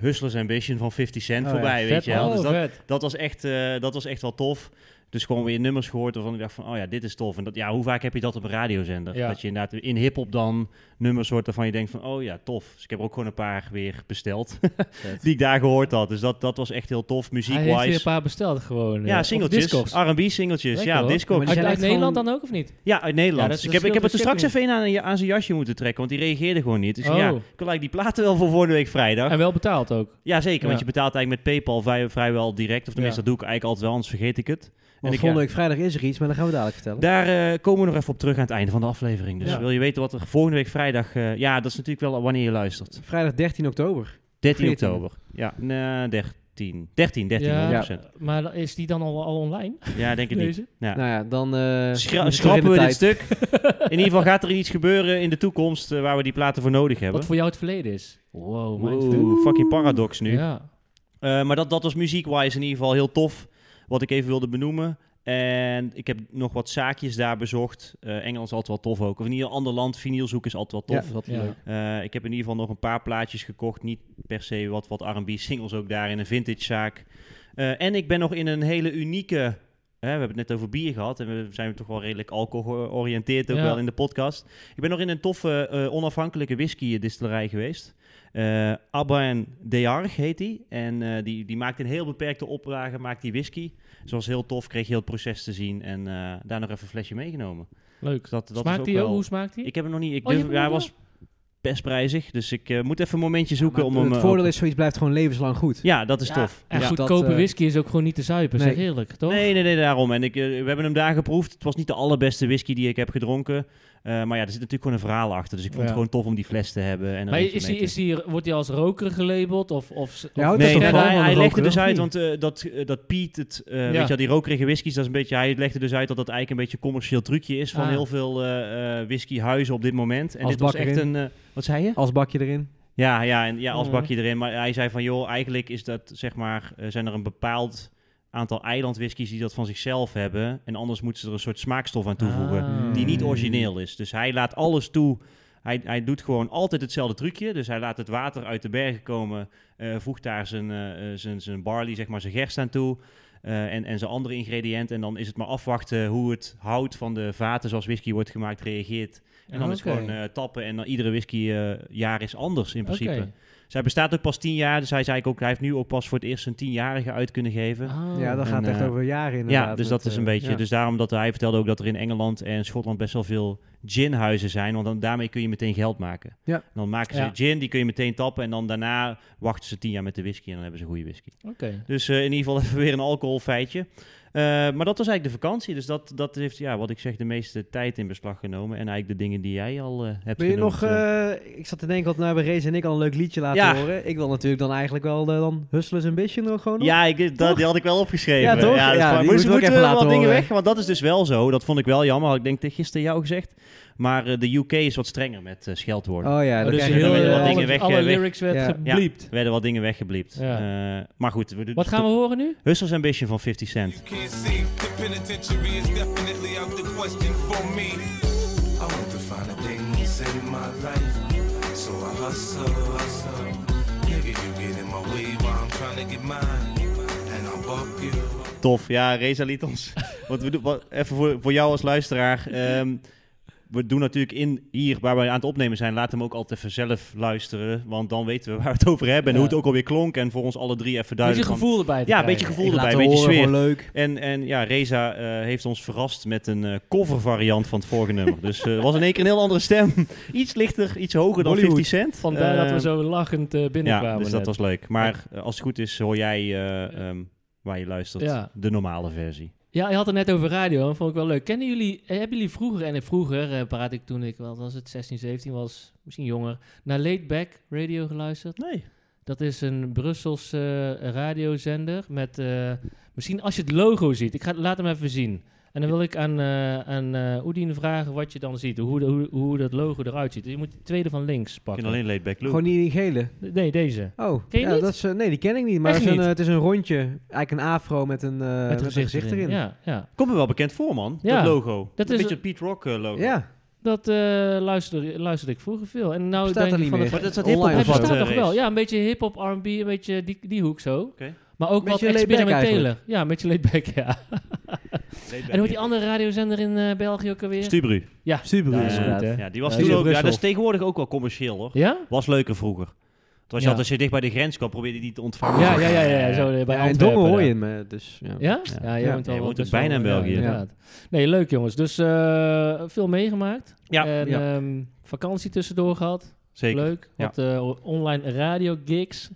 B: Hustlers Ambition van 50 Cent
C: Oh, ja, Oh,
B: voorbij, weet
A: Vet,
B: je wel.
A: man.
B: Dus dat,
A: Vet.
B: dat was echt, eh, dat was echt wel tof. Dus gewoon weer nummers gehoord waarvan ik dacht van, oh ja, dit is tof. En dat, ja, hoe vaak heb je dat op een radiozender?
A: Ja.
B: Dat je inderdaad in hiphop dan nummers hoort waarvan je denkt van, oh ja, tof. Dus ik heb er ook gewoon een paar weer besteld die ik daar gehoord had. Dus dat, dat was echt heel tof,
A: Hij heeft weer een
B: muziekwise.
A: paar besteld gewoon. eh,
B: Ja, Ah,
A: op
B: singeltjes,
A: Discogs.
B: R&B singeltjes,
A: Lekker,
B: ja,
A: hoor.
B: disco.
C: Maar die
A: Uit,
C: zijn
A: uit
C: echt
A: Nederland
C: gewoon-
A: dan ook of niet?
B: Ja, uit Nederland.
A: Ja, dat is
B: ik heb, ik heb het er
A: verschil
B: straks
A: tussen
B: even een aan, aan zijn jasje moeten trekken, want die reageerde gewoon niet. Dus
A: Oh.
B: ja, ik wil eigenlijk die platen wel voor volgende week vrijdag.
A: En wel betaald ook.
B: Ja, zeker,
A: Ja.
B: want je betaalt eigenlijk met PayPal vrij, vrijwel direct. Of tenminste,
A: Ja.
B: dat doe ik eigenlijk altijd wel, anders vergeet ik het.
C: Want
B: ik-
C: volgende week vrijdag is er iets, maar dan gaan we dadelijk vertellen.
B: Daar eh, komen we nog even op terug aan het einde van de aflevering. Dus
A: Ja.
B: wil je weten wat er volgende week vrijdag... eh, ja, dat is natuurlijk wel wanneer je luistert.
C: Vrijdag 13 oktober.
B: 13
C: 14.
B: oktober. Ja, nee, 13. 13, 13,
A: Ja.
B: 100%.
A: Maar is die dan al, al online?
B: Ja, denk ik niet.
A: Deze?
B: Ja.
C: Nou ja, dan... eh,
B: Schra-
C: moet je
B: schrappen
C: terug
B: we
C: in
B: dit
C: de tijd.
B: stuk. In ieder geval gaat er iets gebeuren in de toekomst eh, waar we die platen voor nodig hebben.
A: Wat voor jou het verleden is. Wow,
B: Wow, fucking paradox nu.
A: Ja.
B: Eh, maar dat, dat was muziekwise in ieder geval heel tof. Wat ik even wilde benoemen. En ik heb nog wat zaakjes daar bezocht. Eh, Engeland is altijd wel tof ook. Of in ieder ander land, vinyl zoeken is altijd wel tof.
C: Ja, dat
A: Ja.
C: leuk.
B: Eh, ik heb in ieder geval nog een paar plaatjes gekocht. Niet per se wat, wat R&B singles ook daar in een vintagezaak. Eh, en ik ben nog in een hele unieke... hè, we hebben het net over bier gehad. En we zijn toch wel redelijk alcohol georiënteerd ook
A: Ja.
B: wel in de podcast. Ik ben nog in een toffe eh, onafhankelijke whisky distillerij geweest. Eh Abba en Dearg heet die. En eh, die, die maakt in heel beperkte oplagen maakt die whisky. Dus dat was heel tof. Kreeg heel het proces te zien. En eh, daar nog even een flesje meegenomen.
A: Leuk.
B: Dus dat, dat is
A: smaakt
B: ook
A: die ook?
B: wel-
A: Hoe smaakt die?
B: ik heb hem nog niet. Ik
A: Oh, je
B: durf-
A: hebt
B: ja,
A: hem
B: hij
A: nog
B: was best prijzig, dus ik eh, moet even een momentje zoeken
C: Maar
B: om hem.
C: het
B: eh,
C: voordeel
B: open-
C: is, zoiets blijft gewoon levenslang goed.
B: Ja, dat is
A: Ja,
B: tof.
A: En
B: Ja.
A: goedkope
C: Dat, eh,
A: whisky is ook gewoon niet te zuipen. Zeg
C: Nee.
A: eerlijk, toch?
B: Nee, nee, nee, daarom. En ik, eh, we hebben hem daar geproefd. Het was niet de allerbeste whisky die ik heb gedronken. Eh, maar ja, er zit natuurlijk gewoon een verhaal achter. Dus ik vond
A: Ja.
B: het gewoon tof om die fles te hebben. En er
A: Maar
B: eentje
A: is
B: mee
A: die,
B: te-
A: is die, wordt hij als roker gelabeld? Of, of,
C: Ja,
A: of
C: houdt dat
B: Nee,
C: toch
B: nee,
C: wel
B: nee,
C: van
B: hij,
C: de
B: hij legde
C: roker,
B: dus
C: of
B: uit,
C: niet?
B: want eh, dat, eh, dat Piet, het, eh,
A: Ja.
B: weet je wel, die rokerige whiskies, dat is een beetje, hij legde dus uit dat dat eigenlijk een beetje een commercieel trucje is van
A: Ah.
B: heel veel eh, eh, whiskyhuizen op dit moment. En
C: Als
B: dit was
C: bakker
B: echt
C: in.
B: een, eh, wat zei je?
C: Als bakje erin.
B: Ja, ja, en ja, als
A: Ja.
B: bakje erin. Maar hij zei van, joh, eigenlijk is dat, zeg maar, eh, zijn er een bepaald aantal eilandwhiskies die dat van zichzelf hebben. En anders moeten ze er een soort smaakstof aan toevoegen
A: Ah.
B: die niet origineel is. Dus hij laat alles toe. Hij, hij doet gewoon altijd hetzelfde trucje. Dus hij laat het water uit de bergen komen, eh, voegt daar zijn, eh, eh, zijn, zijn barley, zeg maar, zijn gerst aan toe. eh, en, en zijn andere ingrediënten. En dan is het maar afwachten hoe het hout van de vaten zoals whisky wordt gemaakt reageert. En dan is het
A: Oké.
B: gewoon eh, tappen. En dan iedere whisky eh, jaar is anders in principe.
A: Oké.
B: Dus hij bestaat ook pas tien jaar. Dus hij, is eigenlijk ook, hij heeft nu ook pas voor het eerst zijn tienjarige uit kunnen geven.
A: Ah.
C: Ja, dat
B: En,
C: gaat echt
B: eh,
C: over jaren inderdaad.
B: Ja, dus
C: met,
B: dat is
C: eh,
B: een beetje.
C: ja.
B: Dus daarom dat hij vertelde ook dat er in Engeland en Schotland best wel veel ginhuizen zijn. Want dan, daarmee kun je meteen geld maken.
C: Ja.
B: En dan maken ze
A: Ja.
B: gin, die kun je meteen tappen. En dan daarna wachten ze tien jaar met de whisky en dan hebben ze goede whisky.
A: Oké.
B: Dus eh, in ieder geval even weer een alcoholfeitje. Eh, maar dat was eigenlijk de vakantie. Dus dat, dat heeft, ja, wat ik zeg, de meeste tijd in beslag genomen. En eigenlijk de dingen die jij al eh, hebt
C: Wil je
B: genoemd,
C: nog,
B: eh.
C: eh, ik zat te denken, want nou hebben Reza en ik al een leuk liedje laten
B: Ja.
C: horen. Ik wil natuurlijk dan eigenlijk wel eh, dan Hustlers Ambition nog gewoon Oh, nog.
B: Ja, ik, dat, die had ik wel opgeschreven.
C: Ja, toch?
B: dat is
C: Ja,
B: waar.
C: die
B: Moest-
C: moeten we ook
B: moeten
C: even
B: we
C: laten
B: eh, wat dingen
C: horen.
B: weg? Want dat is dus wel zo. Dat vond ik wel jammer. Had ik denk ik gisteren jou gezegd. Maar eh, de UK is wat strenger met eh, scheldwoorden.
C: Oh ja,
A: Oh,
C: dan
A: dus
C: krijg
B: je
C: je
A: heel,
B: weer
A: eh,
B: wat
A: alle,
B: dingen weg,
A: alle
B: eh, weg.
A: lyrics werd
C: Ja.
A: gebliept.
B: Er werden wat dingen weggebliept.
A: Ja.
B: Eh, maar goed. We, doen-
A: Wat gaan we horen nu?
B: Hustlers Ambition van 50 Cent.
E: Can't see the penitentiary is definitely out the question for me. I want to find a day to save my life, so I hustle, hustle. Nigga, you get in my way while I'm trying to get mine, and I'll bump you.
B: Tof. Ja, Reza liet ons. Want we doen, wat, even voor, voor jou als luisteraar. ehm, we doen natuurlijk in hier waar we aan het opnemen zijn. Laat hem ook altijd even zelf luisteren. Want dan weten we waar we het over hebben. En
A: Ja.
B: hoe het ook alweer klonk. En voor ons alle drie even
A: Een
B: duidelijk.
A: beetje
B: van-
A: gevoel erbij te
B: Ja, een
A: krijgen.
B: beetje gevoel
C: Ik laat
B: erbij, een
C: het
B: beetje
C: horen,
B: sfeer.
C: gewoon leuk.
B: En, en ja, Reza eh, heeft ons verrast met een eh cover variant van het vorige nummer. Dus eh, het was in één keer een heel andere stem. iets lichter, iets hoger dan
A: Bollywood.
B: 50 cent.
A: Vandaar dat we
B: Eh,
A: zo lachend eh,
B: Ja,
A: binnenkwamen.
B: dus
A: net.
B: dat was leuk. Maar eh, als het goed is, hoor jij eh, ehm, waar je luistert
A: Ja.
B: de normale versie.
A: Ja, je had het net over radio, dat vond ik wel leuk. Kennen jullie, eh, hebben jullie vroeger, en vroeger eh, praat ik toen ik, wat was het, 16, 17 was, misschien jonger, naar Late Back Radio geluisterd?
B: Nee.
A: Dat is een Brusselse eh, radiozender met, eh, misschien als je het logo ziet, ik ga, laat hem even zien. En dan wil ik aan, eh aan eh, Oedien vragen wat je dan ziet, hoe, hoe, hoe dat logo eruit ziet. Dus je moet de tweede van links
B: Ik
A: pakken.
B: kan alleen Late Back Luke.
C: Gewoon niet die gele.
A: Nee, deze.
C: Oh,
A: Ken je
C: ja,
A: niet?
C: dat is, eh, nee, die ken ik niet. Maar
A: Echt
C: het is, een,
A: niet?
C: eh, het is een rondje. Eigenlijk een afro met een, eh, met een gezicht erin. Ja.
A: Ja, ja.
B: Komt me wel bekend voor, man.
A: Ja.
B: Dat logo.
A: Dat
B: een
A: is-
B: beetje het Pete Rock eh, logo.
A: Dat eh luisterde, luisterde ik vroeger veel. En nou
C: Bestaat
A: denk Oh,
C: er
A: ik
C: niet
A: van
C: meer.
A: het-
B: Maar dat is dat
C: Online
B: hiphop
A: Hij
C: of zo.
A: bestaat
B: eh,
A: nog
B: race.
A: wel. Ja, een beetje hip-hop, R&B, een beetje die, die hoek zo.
B: Oké.
A: Maar ook
C: Beetje
A: wat
C: laid back
A: experimenteler.
C: eigenlijk.
A: Ja, een beetje laidback, ja. En hoe heet die andere radiozender in eh, België ook alweer?
B: Stubru.
C: Super
A: Ja,
B: is
A: goed, hè?
B: Ja, die was
A: Ja,
B: toen
A: die
B: ook, ja,
C: Brussel.
B: dat is tegenwoordig ook wel commercieel hoor.
A: Ja?
B: Was leuker vroeger. Toen was je
A: Ja.
B: altijd, als je dicht bij de grens kwam, probeerde je die te ontvangen.
A: Ja, ja, ja, ja, ja, zo eh, bij
C: Ja, in
A: Antwerpen.
C: Dongen hoor
A: daar.
C: je hem, eh, dus ja.
A: Ja? Ja, je
C: Ja.
A: woont, al
B: Je woont
A: dus
B: ook bijna
A: wel-
B: in België.
A: ja, inderdaad. Nee, leuk jongens. Dus eh, veel meegemaakt.
B: Ja,
A: en
C: ja.
A: ehm, vakantie tussendoor gehad.
B: Zeker.
A: Leuk.
B: ja.
A: Wat eh, online radio gigs.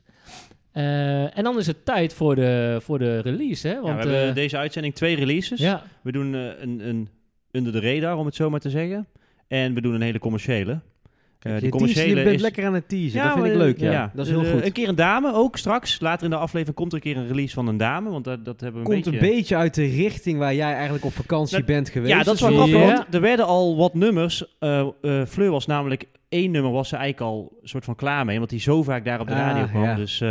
A: Eh, en dan is het tijd voor de, voor de release, hè?
B: Ja,
A: Want,
B: we hebben dus.
A: eh,
B: deze uitzending twee releases.
A: ja,
B: We doen eh, een, een under the radar, om het zo maar te zeggen. En we doen een hele commerciële. Eh,
C: je,
B: die
C: teaser,
B: commerciële
C: je bent
B: is...
C: lekker aan het teasen, dat
B: maar,
C: vind ik
B: eh,
C: leuk. Ja. Dat is heel
B: Eh,
C: goed.
B: Een keer een dame ook straks. Later in de aflevering komt er een keer een release van een dame. Want dat, dat hebben we een
C: Komt
B: beetje...
C: een beetje uit de richting waar jij eigenlijk op vakantie
B: Dat-
C: bent geweest.
B: Ja, dat is wel
A: dus-
B: grappig,
A: Ja.
B: want er werden al wat nummers. eh eh, Fleur was namelijk één nummer was ze eigenlijk al soort van klaar mee, want die zo vaak daar op de
C: Ah,
B: radio kwam.
C: ja.
B: Dus eh,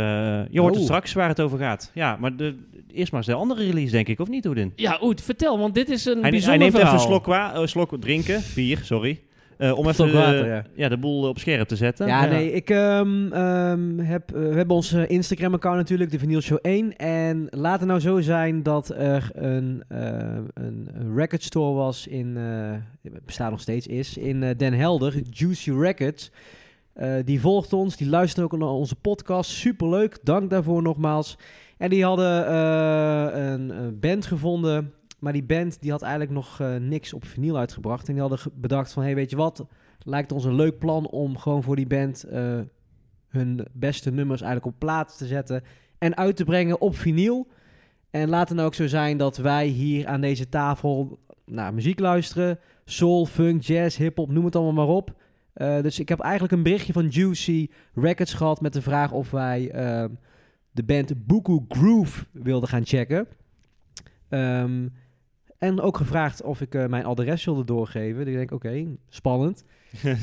B: je hoort het
C: Oh.
B: straks waar het over gaat. Ja, maar de, eerst maar eens de andere release, denk ik, of niet, Hoedin?
A: ja Oet, vertel, want dit is een
B: Hij,
A: bijzonder
B: hij neemt even
A: verhaal.
B: een slok, wa- eh, slok drinken, bier, sorry. eh, om even
C: Slok
B: de-
C: water,
B: ja.
C: ja.
B: de boel op scherp te zetten.
C: Ja, nee, ik ehm, ehm, heb, eh, we hebben onze Instagram-account natuurlijk, de Vinyl Show 1. En laat het nou zo zijn dat er een, eh, een record store was in, eh het bestaat nog steeds, is in eh, Den Helder, Juicy Records. Eh, die volgt ons, die luistert ook naar onze podcast. Superleuk, dank daarvoor nogmaals. En die hadden eh, een, eh, band gevonden, maar die band die had eigenlijk nog eh, niks op vinyl uitgebracht. En die hadden ge- bedacht van, hey, weet je wat, lijkt ons een leuk plan om gewoon voor die band eh, hun beste nummers eigenlijk op plaats te zetten en uit te brengen op vinyl. En laat het nou ook zo zijn dat wij hier aan deze tafel naar muziek luisteren. Soul, funk, jazz, hip-hop, noem het allemaal maar op. Eh, dus ik heb eigenlijk een berichtje van Juicy Records gehad met de vraag of wij ehm, de band Buku Groove wilden gaan checken. Ehm, en ook gevraagd of ik eh, mijn adres wilde doorgeven. Dus ik denk, oké, spannend.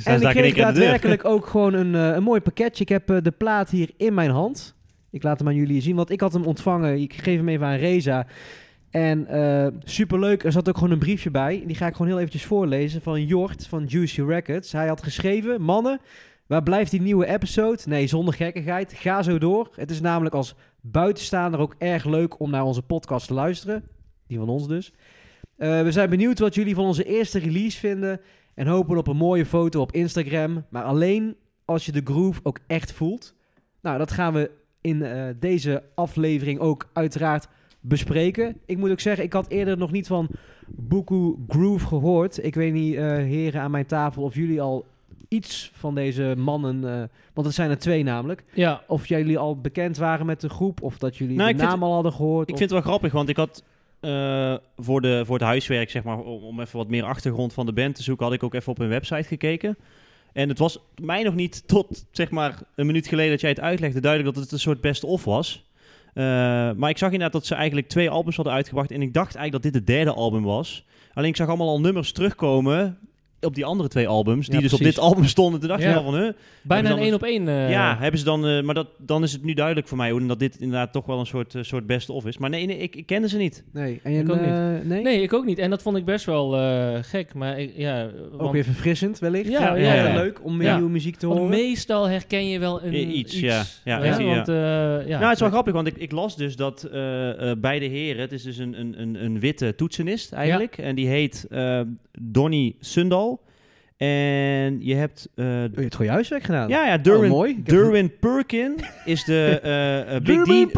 C: En ik kreeg daadwerkelijk ook gewoon een, eh, een mooi pakketje. Ik heb eh, de plaat hier in mijn hand. Ik laat hem aan jullie zien, want ik had hem ontvangen. Ik geef hem even aan Reza. En eh superleuk, er zat ook gewoon een briefje bij. Die ga ik gewoon heel eventjes voorlezen van Jort van Juicy Records. Hij had geschreven, mannen, waar blijft die nieuwe episode? Nee, zonder gekkigheid, ga zo door. Het is namelijk als buitenstaander ook erg leuk om naar onze podcast te luisteren. Die van ons dus. Eh, we zijn benieuwd wat jullie van onze eerste release vinden. En hopen op een mooie foto op Instagram. Maar alleen als je de groove ook echt voelt. Nou, dat gaan we in eh, deze aflevering ook uiteraard bespreken. Ik moet ook zeggen, ik had eerder nog niet van Buku Groove gehoord. Ik weet niet, eh, heren aan mijn tafel, of jullie al iets van deze mannen... eh, want het zijn er twee namelijk.
A: Ja,
C: Of jullie al bekend waren met de groep, of dat jullie
B: Nou,
C: de
B: ik
C: naam
B: vind-
C: al hadden gehoord.
B: Ik
C: of-
B: vind het wel grappig, want ik had eh, voor, de, voor het huiswerk, zeg maar, om, om even wat meer achtergrond van de band te zoeken, had ik ook even op hun website gekeken. En het was mij nog niet tot, zeg maar, een minuut geleden dat jij het uitlegde, duidelijk dat het een soort best-of was. Eh, maar ik zag inderdaad dat ze eigenlijk twee albums hadden uitgebracht. En ik dacht eigenlijk dat dit het derde album was. Alleen ik zag allemaal al nummers terugkomen op die andere twee albums. Die
C: Ja,
B: dus op
C: precies.
B: dit album stonden. Toen dacht
A: Ja.
B: ik al van, huh,
A: bijna een
B: Hebben ze
A: één op één. eh,
B: ja, hebben ze dan, eh, maar dat, dan is het nu duidelijk voor mij hoe dat dit inderdaad toch wel een soort, eh, soort best-of is. Maar nee, nee, ik, ik kende ze niet.
C: Nee, en
A: Ik ook niet.
C: eh, nee?
A: Nee, ik ook niet. En dat vond ik best wel eh, gek. Maar ik, ja, want-
C: Ook weer verfrissend wellicht.
A: Ja,
C: Ja,
A: ja,
C: altijd
A: ja.
C: leuk om weer
A: Ja.
C: nieuwe muziek te
A: want
C: horen.
A: meestal herken je wel een,
B: I- iets, ja. Ja,
A: hè?
B: ik zie, ja.
A: Want, eh, ja.
B: nou, het is wel grappig, want ik, ik las dus dat eh, eh, beide heren, het is dus een, een, een, een witte toetsenist eigenlijk. En die heet eh, Donny Sundal. En je hebt... eh,
C: je hebt gewoon je huiswerk gedaan.
B: ja, ja,
C: Oh,
B: Derwin,
C: mooi. Ik heb-
B: Derwin Perkin is de eh, eh, Big
C: Derwin
B: D.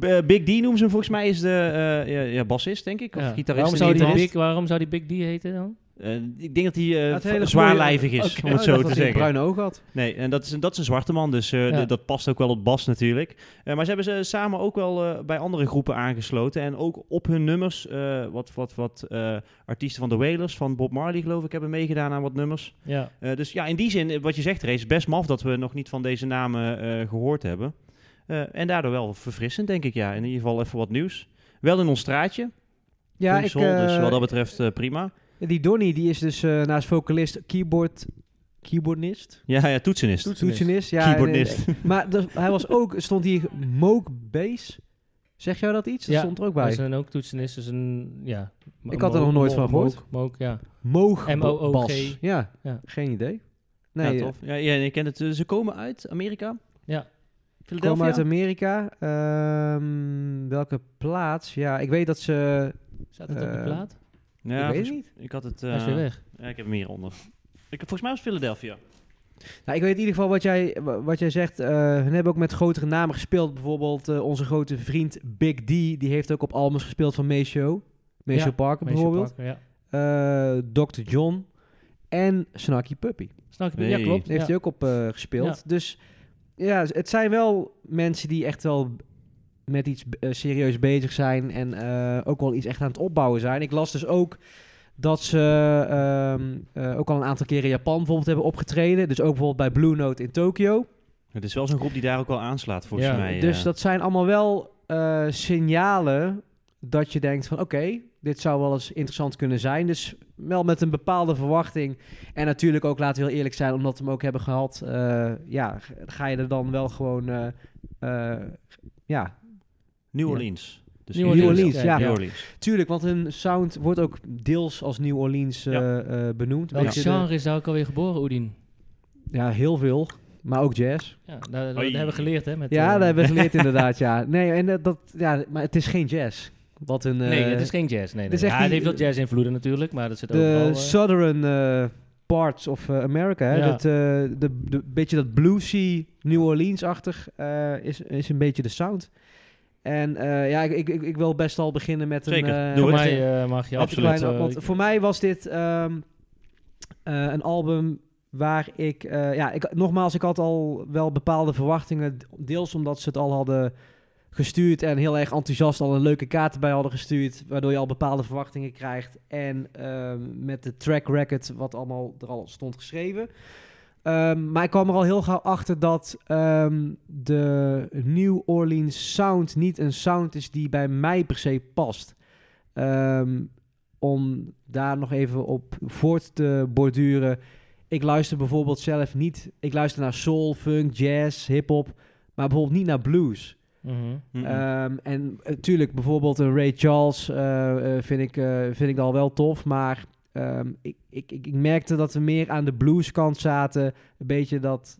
B: Eh, Big D noemen ze hem volgens mij, is de eh, ja, ja, bassist, denk ik. Of
A: Ja.
B: gitarist.
A: waarom
B: en
A: zou, die
B: gitarist.
A: Big, waarom zou die Big D heten dan?
B: Eh, ik denk dat hij
C: Had
B: eh,
C: hele
B: zwaarlijvig is,
C: Oké.
B: om het
C: Oh,
B: zo
C: dat
B: te
C: hij een
B: zeggen.
C: bruine oog had.
B: Nee, en dat is, een- dat is een zwarte man, dus eh,
A: Ja.
B: d- dat past ook wel op Bas natuurlijk. Eh, maar ze hebben ze samen ook wel eh, bij andere groepen aangesloten. En ook op hun nummers, eh, wat, wat, wat eh, artiesten van de Wailers, van Bob Marley geloof ik, hebben meegedaan aan wat nummers.
A: Ja.
B: Eh, dus ja, in die zin, eh, wat je zegt Rees, best maf dat we nog niet van deze namen eh, gehoord hebben. Eh, en daardoor wel verfrissend, denk ik, ja. In ieder geval even wat nieuws. Wel in ons straatje,
C: Ja, ik,
B: Funksel, dus
C: eh,
B: wat dat betreft eh, prima.
C: die Donny die is dus eh, naast vocalist, keyboard, keyboardist,
B: Ja, ja, toetsenist.
C: toetsenist. Ja, en-
B: Keyboardist.
C: en- maar er- hij was ook, stond hier Moog Bass. Zeg jou dat iets? Dat
A: Ja,
C: stond er ook
A: Dat
C: bij.
A: is een ook toetsenist. Is een, ja, mo-
C: Ik had er
A: mo-
C: nog nooit
A: mo-
C: van gehoord.
A: Moog, Moog, ja.
C: Moog
A: M-O-O-G.
C: Bas. Ja,
A: Ja.
C: geen idee.
B: Nee,
C: Nee,
B: ja, tof. Ja, ja, ik ken het. Eh, Ze komen uit Amerika.
A: Ja.
C: eh,
B: Philadelphia.
C: komen uit Amerika. Ehm, welke plaats? Ja, ik weet dat ze
A: Staat het op de
C: Eh,
A: plaat?
B: Ja,
C: ik weet
B: volgens-
C: het niet.
B: ik had het...
A: Hij is
B: eh,
A: weer weg.
B: ja, ik heb hem hieronder. Ik, volgens mij was het Philadelphia.
C: Nou, ik weet in ieder geval wat jij, wa- wat jij zegt. eh hun hebben ook met grotere namen gespeeld. Bijvoorbeeld eh, onze grote vriend Big D. Die heeft ook op albums gespeeld van Maceo. Maceo
A: Ja,
C: Parker
A: Meisje
C: bijvoorbeeld.
A: Parker, Ja.
C: Eh, Dr. John. En Snarky Puppy.
A: Snap je? Ja,
B: Nee.
A: klopt.
C: Heeft
A: ja.
C: hij ook op eh, gespeeld. Dus ja, z- het zijn wel mensen die echt wel met iets eh, serieus bezig zijn en eh, ook wel iets echt aan het opbouwen zijn. Ik las dus ook dat ze ehm, eh, ook al een aantal keren in Japan bijvoorbeeld hebben opgetreden. Dus ook bijvoorbeeld bij Blue Note in Tokio.
B: Het is wel zo'n groep die daar ook wel aanslaat, volgens
A: Ja,
B: mij.
C: Dus
B: eh.
C: dat zijn allemaal wel eh, signalen dat je denkt van oké, dit zou wel eens interessant kunnen zijn. Dus wel met een bepaalde verwachting. En natuurlijk ook, laten we heel eerlijk zijn, omdat we hem ook hebben gehad. eh, ja, g- ga je er dan wel gewoon... eh, eh, ja,
B: New
C: Ja.
B: Orleans. Dus
A: New
C: New
A: Orleans,
C: Orleans,
A: oké.
C: ja.
B: New Orleans.
C: Tuurlijk, want hun sound wordt ook deels als New Orleans eh,
B: Ja.
C: eh, benoemd. Een
A: Welk
C: beetje de-
A: genre is daar ook alweer geboren, Oedien?
C: ja, heel veel. Maar ook jazz.
A: Ja, dat, dat, dat
B: Oei.
A: hebben we geleerd, hè? Met,
C: Ja,
A: eh,
C: dat hebben we geleerd inderdaad, ja. Nee, en eh, dat, dat, ja, maar het is geen jazz. Wat een,
A: Nee,
C: eh,
A: het is geen jazz. Nee,
C: het
A: nee.
C: is
A: Ja,
C: echt
A: het
C: die-
A: heeft wel jazz-invloeden natuurlijk, maar dat zit ook
C: de
A: overal... eh,
C: Southern eh, parts of eh, America. Hè?
A: Ja.
C: Dat, eh, de, de, beetje dat bluesy New Orleans-achtig eh, is, is een beetje de sound. En eh, ja, ik, ik, ik- ik wil best al beginnen met
B: Zeker,
C: een... eh,
B: doe
A: voor
B: het.
A: mij eh, mag je
C: een
A: absoluut...
C: kleine-
A: eh,
C: want voor mij was dit ehm, eh, een album waar ik... eh, ja, ik, nogmaals, ik had al wel bepaalde verwachtingen. Deels omdat ze het al hadden gestuurd en heel erg enthousiast al een leuke kaart erbij hadden gestuurd, waardoor je al bepaalde verwachtingen krijgt. En ehm, met de track record, wat allemaal er al stond geschreven. Ehm, maar ik kwam er al heel gauw achter dat ehm, de New Orleans sound niet een sound is die bij mij per se past. Ehm, om daar nog even op voort te borduren. Ik luister bijvoorbeeld zelf niet. Ik luister naar soul, funk, jazz, hip-hop. Maar bijvoorbeeld niet naar blues.
A: mhm.
B: Mm-mm.
C: Ehm, en natuurlijk, bijvoorbeeld een Ray Charles eh, eh, vind, ik, eh vind ik al wel tof. Maar ehm, ik, ik, ik, ik merkte dat we meer aan de blueskant zaten. Een beetje dat,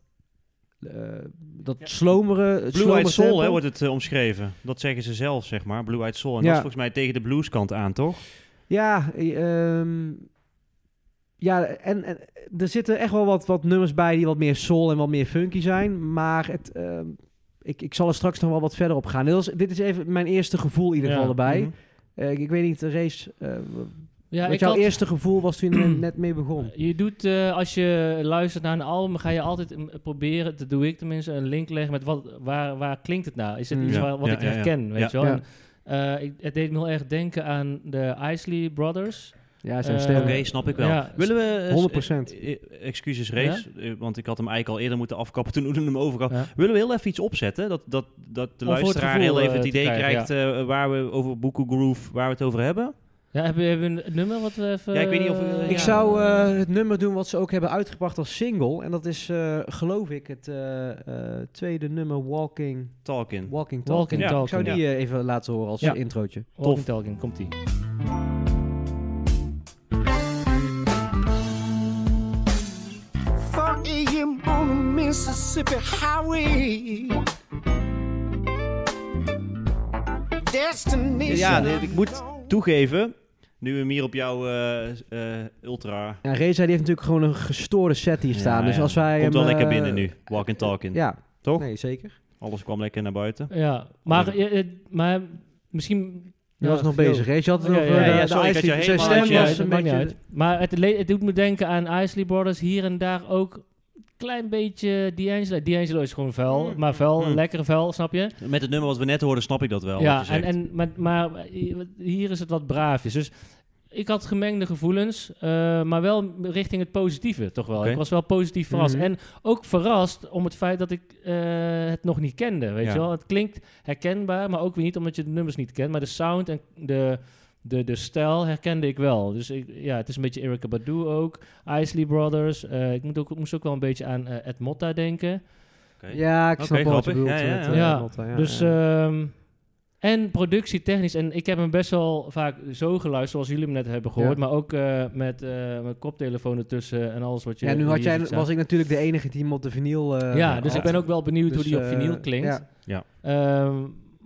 C: eh dat slomeren. het
B: Blue Eyed
C: slomere
B: Soul
C: tempo.
B: hè, wordt het eh, omschreven. Dat zeggen ze zelf, zeg maar. Blue Eyed Soul. En
C: Ja.
B: dat is volgens mij tegen de blueskant aan, toch?
C: Ja, eh, ehm, ja en, en er zitten echt wel wat, wat nummers bij die wat meer soul en wat meer funky zijn. Maar het, ehm, ik, ik zal er straks nog wel wat verder op gaan. Dit, was- dit is even mijn eerste gevoel in ieder
A: Ja,
C: geval erbij.
B: Mhm.
C: Eh, ik, ik weet niet, de race. eh, wat
A: Ja, ik
C: jouw
A: had-
C: eerste gevoel was toen je er net mee begon?
A: Je doet, eh, als je luistert naar een album, ga je altijd mm, proberen, dat doe ik tenminste, een link leggen met wat, waar, waar klinkt het nou? Is het
C: Mm.
A: iets
B: Ja,
A: waar, wat
B: ja,
A: ik
B: ja, ja.
A: herken, weet je
B: Ja.
A: wel?
C: Ja.
A: En, eh, ik, het deed me heel erg denken aan de Isley Brothers.
C: Ja,
A: zijn Eh,
B: Oké,
A: sterren.
B: snap ik wel.
A: ja.
B: Willen we... eh,
C: 100%.
B: eh, eh, Excuses, Race. eh, Want ik had hem eigenlijk al eerder moeten afkappen toen Oeden hem overgaf.
A: Ja.
B: Willen we heel even iets opzetten? Dat, dat, dat
A: Om
B: de
A: voor het
B: luisteraar
A: gevoel,
B: heel even
A: eh,
B: het
A: te
B: idee
A: krijgen,
B: krijgt eh, waar we over Boekoe Groove, waar we het over hebben?
A: Ja, hebben we hebben we een nummer wat we even...
B: Ja, ik weet niet of, eh,
A: eh,
C: Ik
A: ja.
C: zou eh, het nummer doen wat ze ook hebben uitgebracht als single. En dat is, eh, geloof ik, het eh, eh, tweede nummer Walking,
B: Talking.
C: Walking Talk.
A: Walking
B: Ja, ik
C: Ik zou
A: Talking.
C: die eh, even laten horen als
A: Ja.
C: introotje.
A: Walking Talking, komt-ie.
F: four a.m. on the Mississippi highway. Destination.
B: Ja, nee, ik moet toegeven, nu we hem hier op jouw eh, eh, ultra...
C: Ja, Reza die heeft natuurlijk gewoon een gestoorde set hier staan.
B: Ja,
C: dus
B: ja.
C: als wij
B: Komt wel
C: hem,
B: lekker
C: eh,
B: binnen nu, Walking Talking.
C: Ja,
B: Toch?
C: Nee, zeker.
B: Alles kwam lekker naar buiten.
A: Ja, maar, eh, eh, maar misschien...
C: Je was nog
A: Yo.
C: bezig. Reza had het
A: Ja,
C: over
A: ja,
C: de-
A: ja,
C: de
B: sorry, ik had je
C: ijslied.
B: helemaal
C: Zijn
B: uit
C: stem
B: je-
C: was
A: dat
C: een
A: maakt niet
C: beetje...
A: uit. Maar het, le- het doet me denken aan Isley Brothers hier en daar ook een klein beetje D'Angelo. D'Angelo is gewoon vuil, maar vuil,
B: Mm.
A: lekker vuil, snap je?
B: Met het nummer wat we net hoorden snap ik dat wel. wat
A: ja,
B: je
A: en,
B: zegt.
A: en, maar, maar hier is het wat braafjes. Dus ik had gemengde gevoelens, eh, maar wel richting het positieve toch wel.
B: Oké.
A: Ik was wel positief verrast.
C: Mhm.
A: En ook verrast om het feit dat ik eh, het nog niet kende, weet
B: Ja.
A: je wel. Het klinkt herkenbaar, maar ook weer niet omdat je de nummers niet kent. Maar de sound en de, de, de stijl herkende ik wel. Dus ik, ja, het is een beetje Erykah Badu ook, Isley Brothers. Eh, ik moet ook, moest ook wel een beetje aan eh, Ed Motta denken.
B: Oké.
C: Ja, ik
B: Oké,
C: snap wel wat je
B: grappig.
C: bedoelt.
B: Ja, ja,
C: met,
B: ja.
C: eh,
A: Ja,
C: Lotte,
A: dus, ehm, en productietechnisch. En ik heb hem best wel vaak zo geluisterd, zoals jullie hem net hebben gehoord.
C: Ja.
A: Maar ook eh, met eh, mijn koptelefoon ertussen en alles wat je...
C: Ja, nu had
A: hier
C: jij,
A: ziet staan.
C: was ik natuurlijk de enige die hem op de vinyl... eh,
A: ja, dus
C: had.
A: ik ben ook wel benieuwd hoe
C: Dus,
A: die op
C: eh,
A: vinyl klinkt.
C: ja.
B: Ja.
A: Ehm,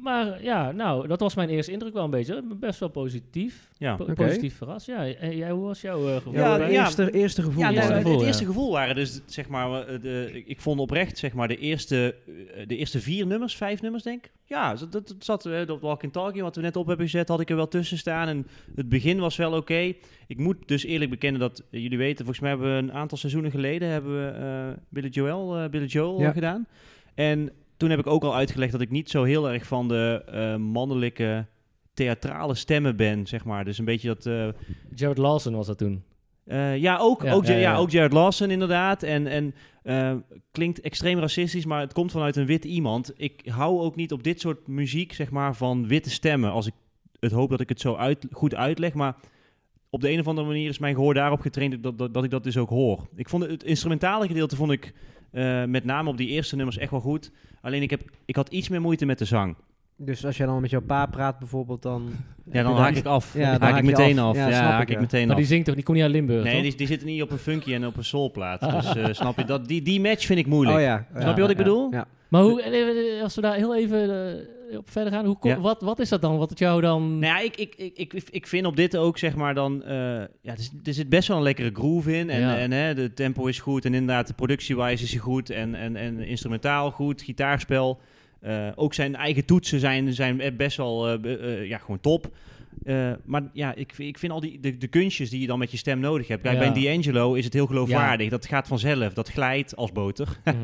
A: Maar ja, nou, dat was mijn eerste indruk wel een beetje. Best wel positief.
B: Ja.
A: Po-
C: Oké.
A: Positief verrast. Ja, en jij, hoe was jouw eh, gevoel?
B: Ja,
A: bij?
C: het
B: ja.
C: Eerste, eerste gevoel.
B: Ja,
A: Eerste
B: nou, het-
A: gevoel,
B: het
A: ja.
B: eerste gevoel waren dus, zeg maar, eh, de, ik- ik vond oprecht, zeg maar, de eerste, eh, de eerste vier nummers, vijf nummers, denk ik. Ja, dat, dat, dat zat, eh, dat Walk in Talking, wat we net op hebben gezet, had ik er wel tussen staan. En het begin was wel oké. Ik moet dus eerlijk bekennen dat, eh, jullie weten, volgens mij hebben we een aantal seizoenen geleden hebben we eh Billy Joel, eh, Billy Joel
C: Ja.
B: gedaan. En toen heb ik ook al uitgelegd dat ik niet zo heel erg van de eh, mannelijke theatrale stemmen ben, zeg maar. Dus een beetje dat... eh,
A: Jared Lawson was dat toen.
B: eh, ja, ook,
A: Ja,
B: ook, Ja,
A: ja, ja.
B: ook Jared Lawson inderdaad. En, en eh, klinkt extreem racistisch, maar het komt vanuit een wit iemand. Ik hou ook niet op dit soort muziek, zeg maar, van witte stemmen. Als ik het hoop dat ik het zo uit, goed uitleg, maar op de een of andere manier is mijn gehoor daarop getraind dat, dat, dat ik dat dus ook hoor. Ik vond het, het instrumentale gedeelte vond ik eh, met name op die eerste nummers echt wel goed. Alleen ik, heb, ik had iets meer moeite met de zang.
C: Dus als jij dan met jouw pa praat bijvoorbeeld, dan...
B: Ja, dan haak ik af.
C: Ja, dan
B: haak ik
C: haak je
B: meteen
C: af.
B: af.
C: Ja,
B: Ja,
C: snap
B: haak
C: ik,
B: ik,
C: ja.
B: meteen
A: Maar
B: af.
A: die zingt toch, die kon niet uit Limburg,
B: Nee,
A: toch? Ah.
B: die, die zitten niet op een funky en op een soulplaat. Dus eh, snap je, dat, die, die match vind ik moeilijk.
C: Oh ja.
B: Snap je wat ik
A: ja.
B: bedoel?
C: Ja.
A: Maar hoe, eh, eh, als we daar heel even eh, op verder gaan, hoe, kom-
B: Ja.
A: wat, wat is dat dan? Wat het jou dan...
B: Nou ja, ik, ik, ik, ik, ik vind op dit ook, zeg maar, dan... eh, ja, er, zit- er zit best wel een lekkere groove in. En,
A: Ja.
B: en hè, de tempo is goed. En inderdaad, de productie-wise is hij goed. En, en, en instrumentaal goed. Gitaarspel. Eh, ook zijn eigen toetsen zijn, zijn best wel, eh, be- eh, ja, gewoon top. Eh, maar ja, ik, ik vind al die de, de kunstjes die je dan met je stem nodig hebt. Kijk,
A: Ja.
B: bij D'Angelo is het heel geloofwaardig. Dat gaat vanzelf. Dat glijdt als boter.
A: Mhm.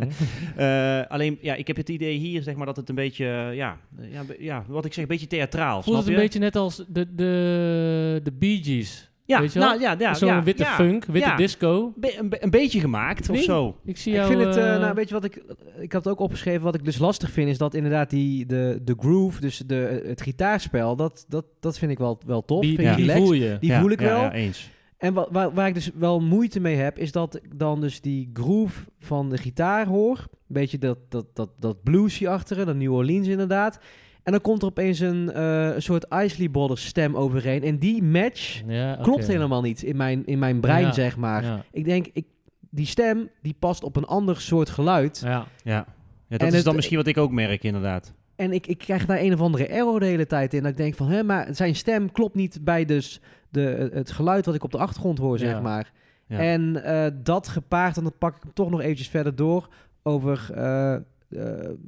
B: Eh, alleen, ja, ik heb het idee hier, zeg maar, dat het een beetje, eh, ja, eh, ja, be- ja, wat ik zeg, een beetje theatraal,
A: Voelt
B: snap
A: het een
B: je?
A: beetje net als de, de, de Bee Gees.
B: ja,
A: weet je wel?
B: nou, ja, ja,
A: Zo'n
B: ja,
A: witte
B: ja,
A: funk, witte
B: ja.
A: disco.
B: Be- een, be- een beetje gemaakt, of
A: Nee.
B: zo.
A: Ik zie
C: Ik
A: jou...
C: vind het, eh,
A: eh,
C: nou, weet je wat ik, ik had het ook opgeschreven, wat ik dus lastig vind, is dat inderdaad die, de, de groove, dus de, het gitaarspel, dat, dat, dat vind ik wel, wel tof.
A: die,
C: vind ik
A: die
C: relaxed.
A: voel je.
C: Die
B: Ja,
C: voel ik
B: ja,
C: wel.
B: Ja, eens.
C: En wa- waar, waar ik dus wel moeite mee heb, is dat ik dan dus die groove van de gitaar hoor. Een beetje dat, dat, dat, dat bluesy achteren, dat New Orleans inderdaad. En dan komt er opeens een eh, een soort Isley Brothers stem overheen. En die match
A: Ja, oké.
C: klopt helemaal niet in mijn, in mijn brein,
A: Ja,
C: zeg maar.
A: Ja.
C: Ik denk, ik, die stem die past op een ander soort geluid.
A: Ja.
B: Ja. ja dat
C: En
B: is
C: het-
B: dan misschien wat ik ook merk, inderdaad.
C: En ik, ik krijg daar een of andere error de hele tijd in. Dat ik denk van, hè, maar zijn stem klopt niet bij dus de, het geluid wat ik op de achtergrond hoor,
A: Ja.
C: zeg maar.
B: Ja.
C: En eh, dat gepaard, en dan pak ik hem toch nog eventjes verder door over... eh, eh,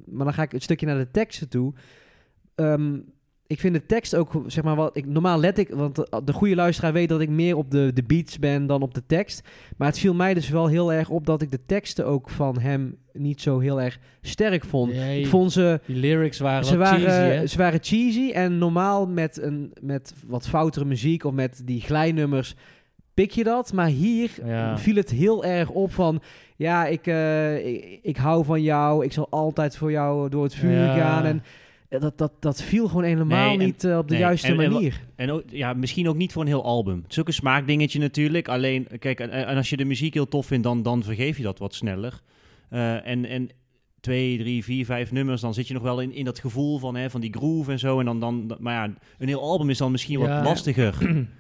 C: maar dan ga ik een stukje naar de teksten toe. Ehm, ik vind de tekst ook, zeg maar, wat ik normaal let ik, want de, de goede luisteraar weet dat ik meer op de, de beats ben dan op de tekst. Maar het viel mij dus wel heel erg op dat ik de teksten ook van hem niet zo heel erg sterk vond.
A: Nee.
C: Ik vond ze
A: Die lyrics waren
C: ze
A: wel
C: waren, eh,
A: cheesy, hè?
C: ze waren cheesy en normaal met, een, met wat foutere muziek of met die glijnummers pik je dat. Maar hier
A: Ja.
C: viel het heel erg op van, ja, ik, eh, ik, ik hou van jou, ik zal altijd voor jou door het vuur
A: Ja.
C: gaan. En eh, dat, dat, dat viel gewoon helemaal
B: Nee, en-
C: niet eh, op de
B: nee,
C: juiste
B: en- en wa-
C: manier.
B: En ook, ja, misschien ook niet voor een heel album. Het is ook een smaakdingetje natuurlijk. Alleen, kijk, en, en als je de muziek heel tof vindt, dan, dan vergeef je dat wat sneller. Eh, en, en twee, drie, vier, vijf nummers, dan zit je nog wel in, in dat gevoel van, hè, van die groove en zo. En dan, dan, maar ja, een heel album is dan misschien
A: Ja.
B: wat lastiger.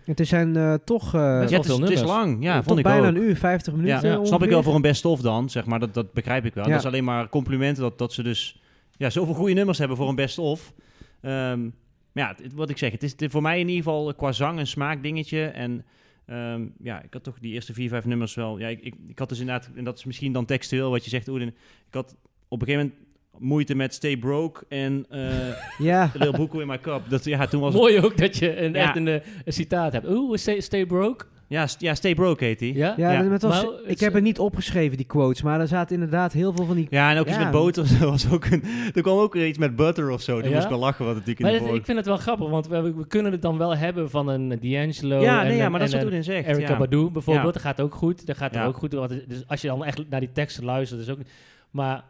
C: Het zijn eh, toch, eh,
A: Best wel
B: Ja, het, is,
A: veel
B: het is
A: nummers.
B: lang. Ja,
C: toch
B: vond ik
C: bijna
B: ook.
C: een uur, 50
B: Ja,
C: minuten
B: ja, snap ik wel
C: ongeveer.
B: voor een best-of dan, zeg maar. Dat, dat begrijp ik wel.
C: Ja.
B: Dat is alleen maar complimenten dat, dat ze dus ja, zoveel goede nummers hebben voor een best-of. Ehm, maar ja, het- wat ik zeg, het is het- voor mij in ieder geval qua zang een smaakdingetje. En ehm, ja, ik had toch die eerste vier, vijf nummers wel. Ja, ik, ik, ik had dus inderdaad, en dat is misschien dan textueel wat je zegt, Oedin. Ik had op een gegeven moment moeite met Stay Broke en eh
C: Ja,
B: Lil Boeko in My Cup. Dat, ja, toen was het-
A: Mooi ook dat je een,
B: Ja.
A: echt een, eh, een citaat hebt. Oeh, stay, stay broke.
B: ja, st- ja, Stay Broke heet die.
A: Ja?
C: ja,
B: Ja.
C: maar het was-
A: Maar het-
C: ik heb het niet opgeschreven, die quotes, maar er zaten inderdaad heel veel van die...
B: Ja, en ook iets
C: Ja.
B: met boter. Er, was ook een, er kwam ook weer iets met butter of zo. Toen
A: Ja?
B: moest ik wel lachen wat het natuurlijk
A: Maar
B: in de
A: dit-
B: vorige-
A: ik vind het wel grappig, want we, we kunnen het dan wel hebben van een D'Angelo
B: Ja,
A: en,
B: nee, ja,
A: een-
B: maar dat is
A: en
B: wat
A: een
B: Oedin zegt.
A: Erykah
B: ja.
A: Badu bijvoorbeeld.
B: Ja.
A: Dat gaat ook goed. Dat gaat er
B: Ja.
A: ook goed. Want het- dus als je dan echt naar die teksten luistert, is ook... Maar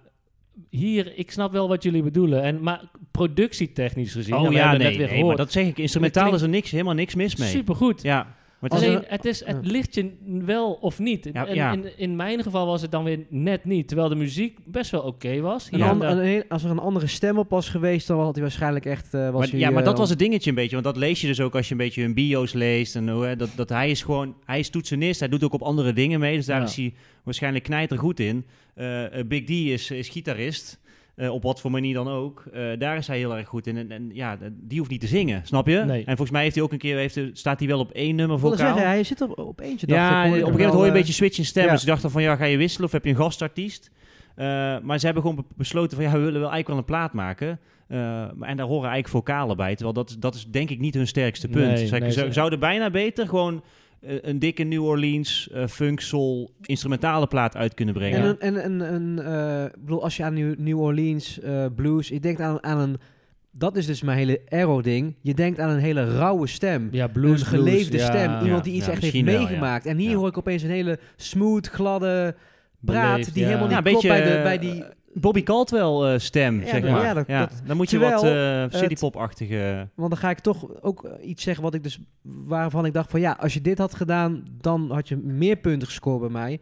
A: hier, ik snap wel wat jullie bedoelen. En, maar productietechnisch gezien,
B: Oh
A: nou, we
B: ja,
A: hebben
B: nee,
A: het net weer
B: nee, maar
A: gehoord,
B: dat zeg ik. Instrumentaal is er niks, helemaal niks mis mee.
A: supergoed.
B: Ja, maar het is,
A: Alleen,
C: een-
A: het, is, het
C: ja.
A: ligt je wel of niet.
B: Ja,
A: En
B: ja.
A: In, in mijn geval was het dan weer net niet. Terwijl de muziek best wel oké was.
C: Een
A: Hier en
C: ander-
A: daar.
C: een heel- als er een andere stem op was geweest, dan had hij waarschijnlijk echt... eh, was
B: maar,
C: hij,
B: ja, maar
C: eh,
B: dat was het dingetje een beetje. Want dat lees je dus ook als je een beetje hun bio's leest. En hoe, hè, dat, dat hij is gewoon, hij is toetsenist. Hij doet ook op andere dingen mee. Dus daar
A: Ja.
B: is hij waarschijnlijk knijter goed in. Eh, eh, Big D is, is gitarist. eh, op wat voor manier dan ook. eh, daar is hij heel erg goed in. En, en ja, die hoeft niet te zingen, snap je?
A: Nee.
B: En volgens mij heeft hij ook een keer, heeft, hij- staat hij wel op één nummer
C: Ik wilde
B: voor
C: zeggen, hij zit op, op eentje. dacht ik,
B: Ja,
C: hoor
B: en
C: ik
B: op een
C: hem
B: gegeven moment
C: wel,
B: hoor je een
C: eh,
B: beetje switch in stem.
C: ja.
B: Dus ik dacht dan van, ja, ga je wisselen of heb je een gastartiest? Eh, maar ze hebben gewoon be- besloten van, ja, we willen wel eigenlijk wel een plaat maken. Eh, maar en daar horen eigenlijk vocalen bij. Terwijl dat, is- dat is denk ik niet hun sterkste punt.
A: Nee,
B: Zij- ze
A: nee, ze-
B: zouden bijna beter gewoon eh, een dikke New Orleans eh, funk soul instrumentale plaat uit kunnen brengen.
C: En, een, en een, een, eh, ik bedoel, als je aan New, New Orleans eh, blues, je denkt aan, aan een, dat is dus mijn hele aero-ding, je denkt aan een hele rauwe stem.
A: Ja, blues,
C: een geleefde
A: blues, ja.
C: stem, iemand die
B: ja,
C: iets echt heeft
B: misschien wel, ja.
C: meegemaakt. En hier
B: Ja.
C: hoor ik opeens een hele smooth, gladde praat
A: Beleefd,
C: die
A: ja.
C: helemaal niet
B: Ja, een
C: klopt
B: beetje,
C: bij, de,
B: eh,
C: bij die...
B: Bobby Caldwell eh, stem,
C: Ja,
B: zeg
A: dat-
B: maar.
C: ja,
B: Ja,
C: dat- dat-
B: dan moet je
C: terwijl
B: wat eh
C: het-
B: citypop-achtige...
C: Want dan ga ik toch ook eh, iets zeggen wat ik dus, waarvan ik dacht van ja, als je dit had gedaan, dan had je meer punten gescoord bij mij.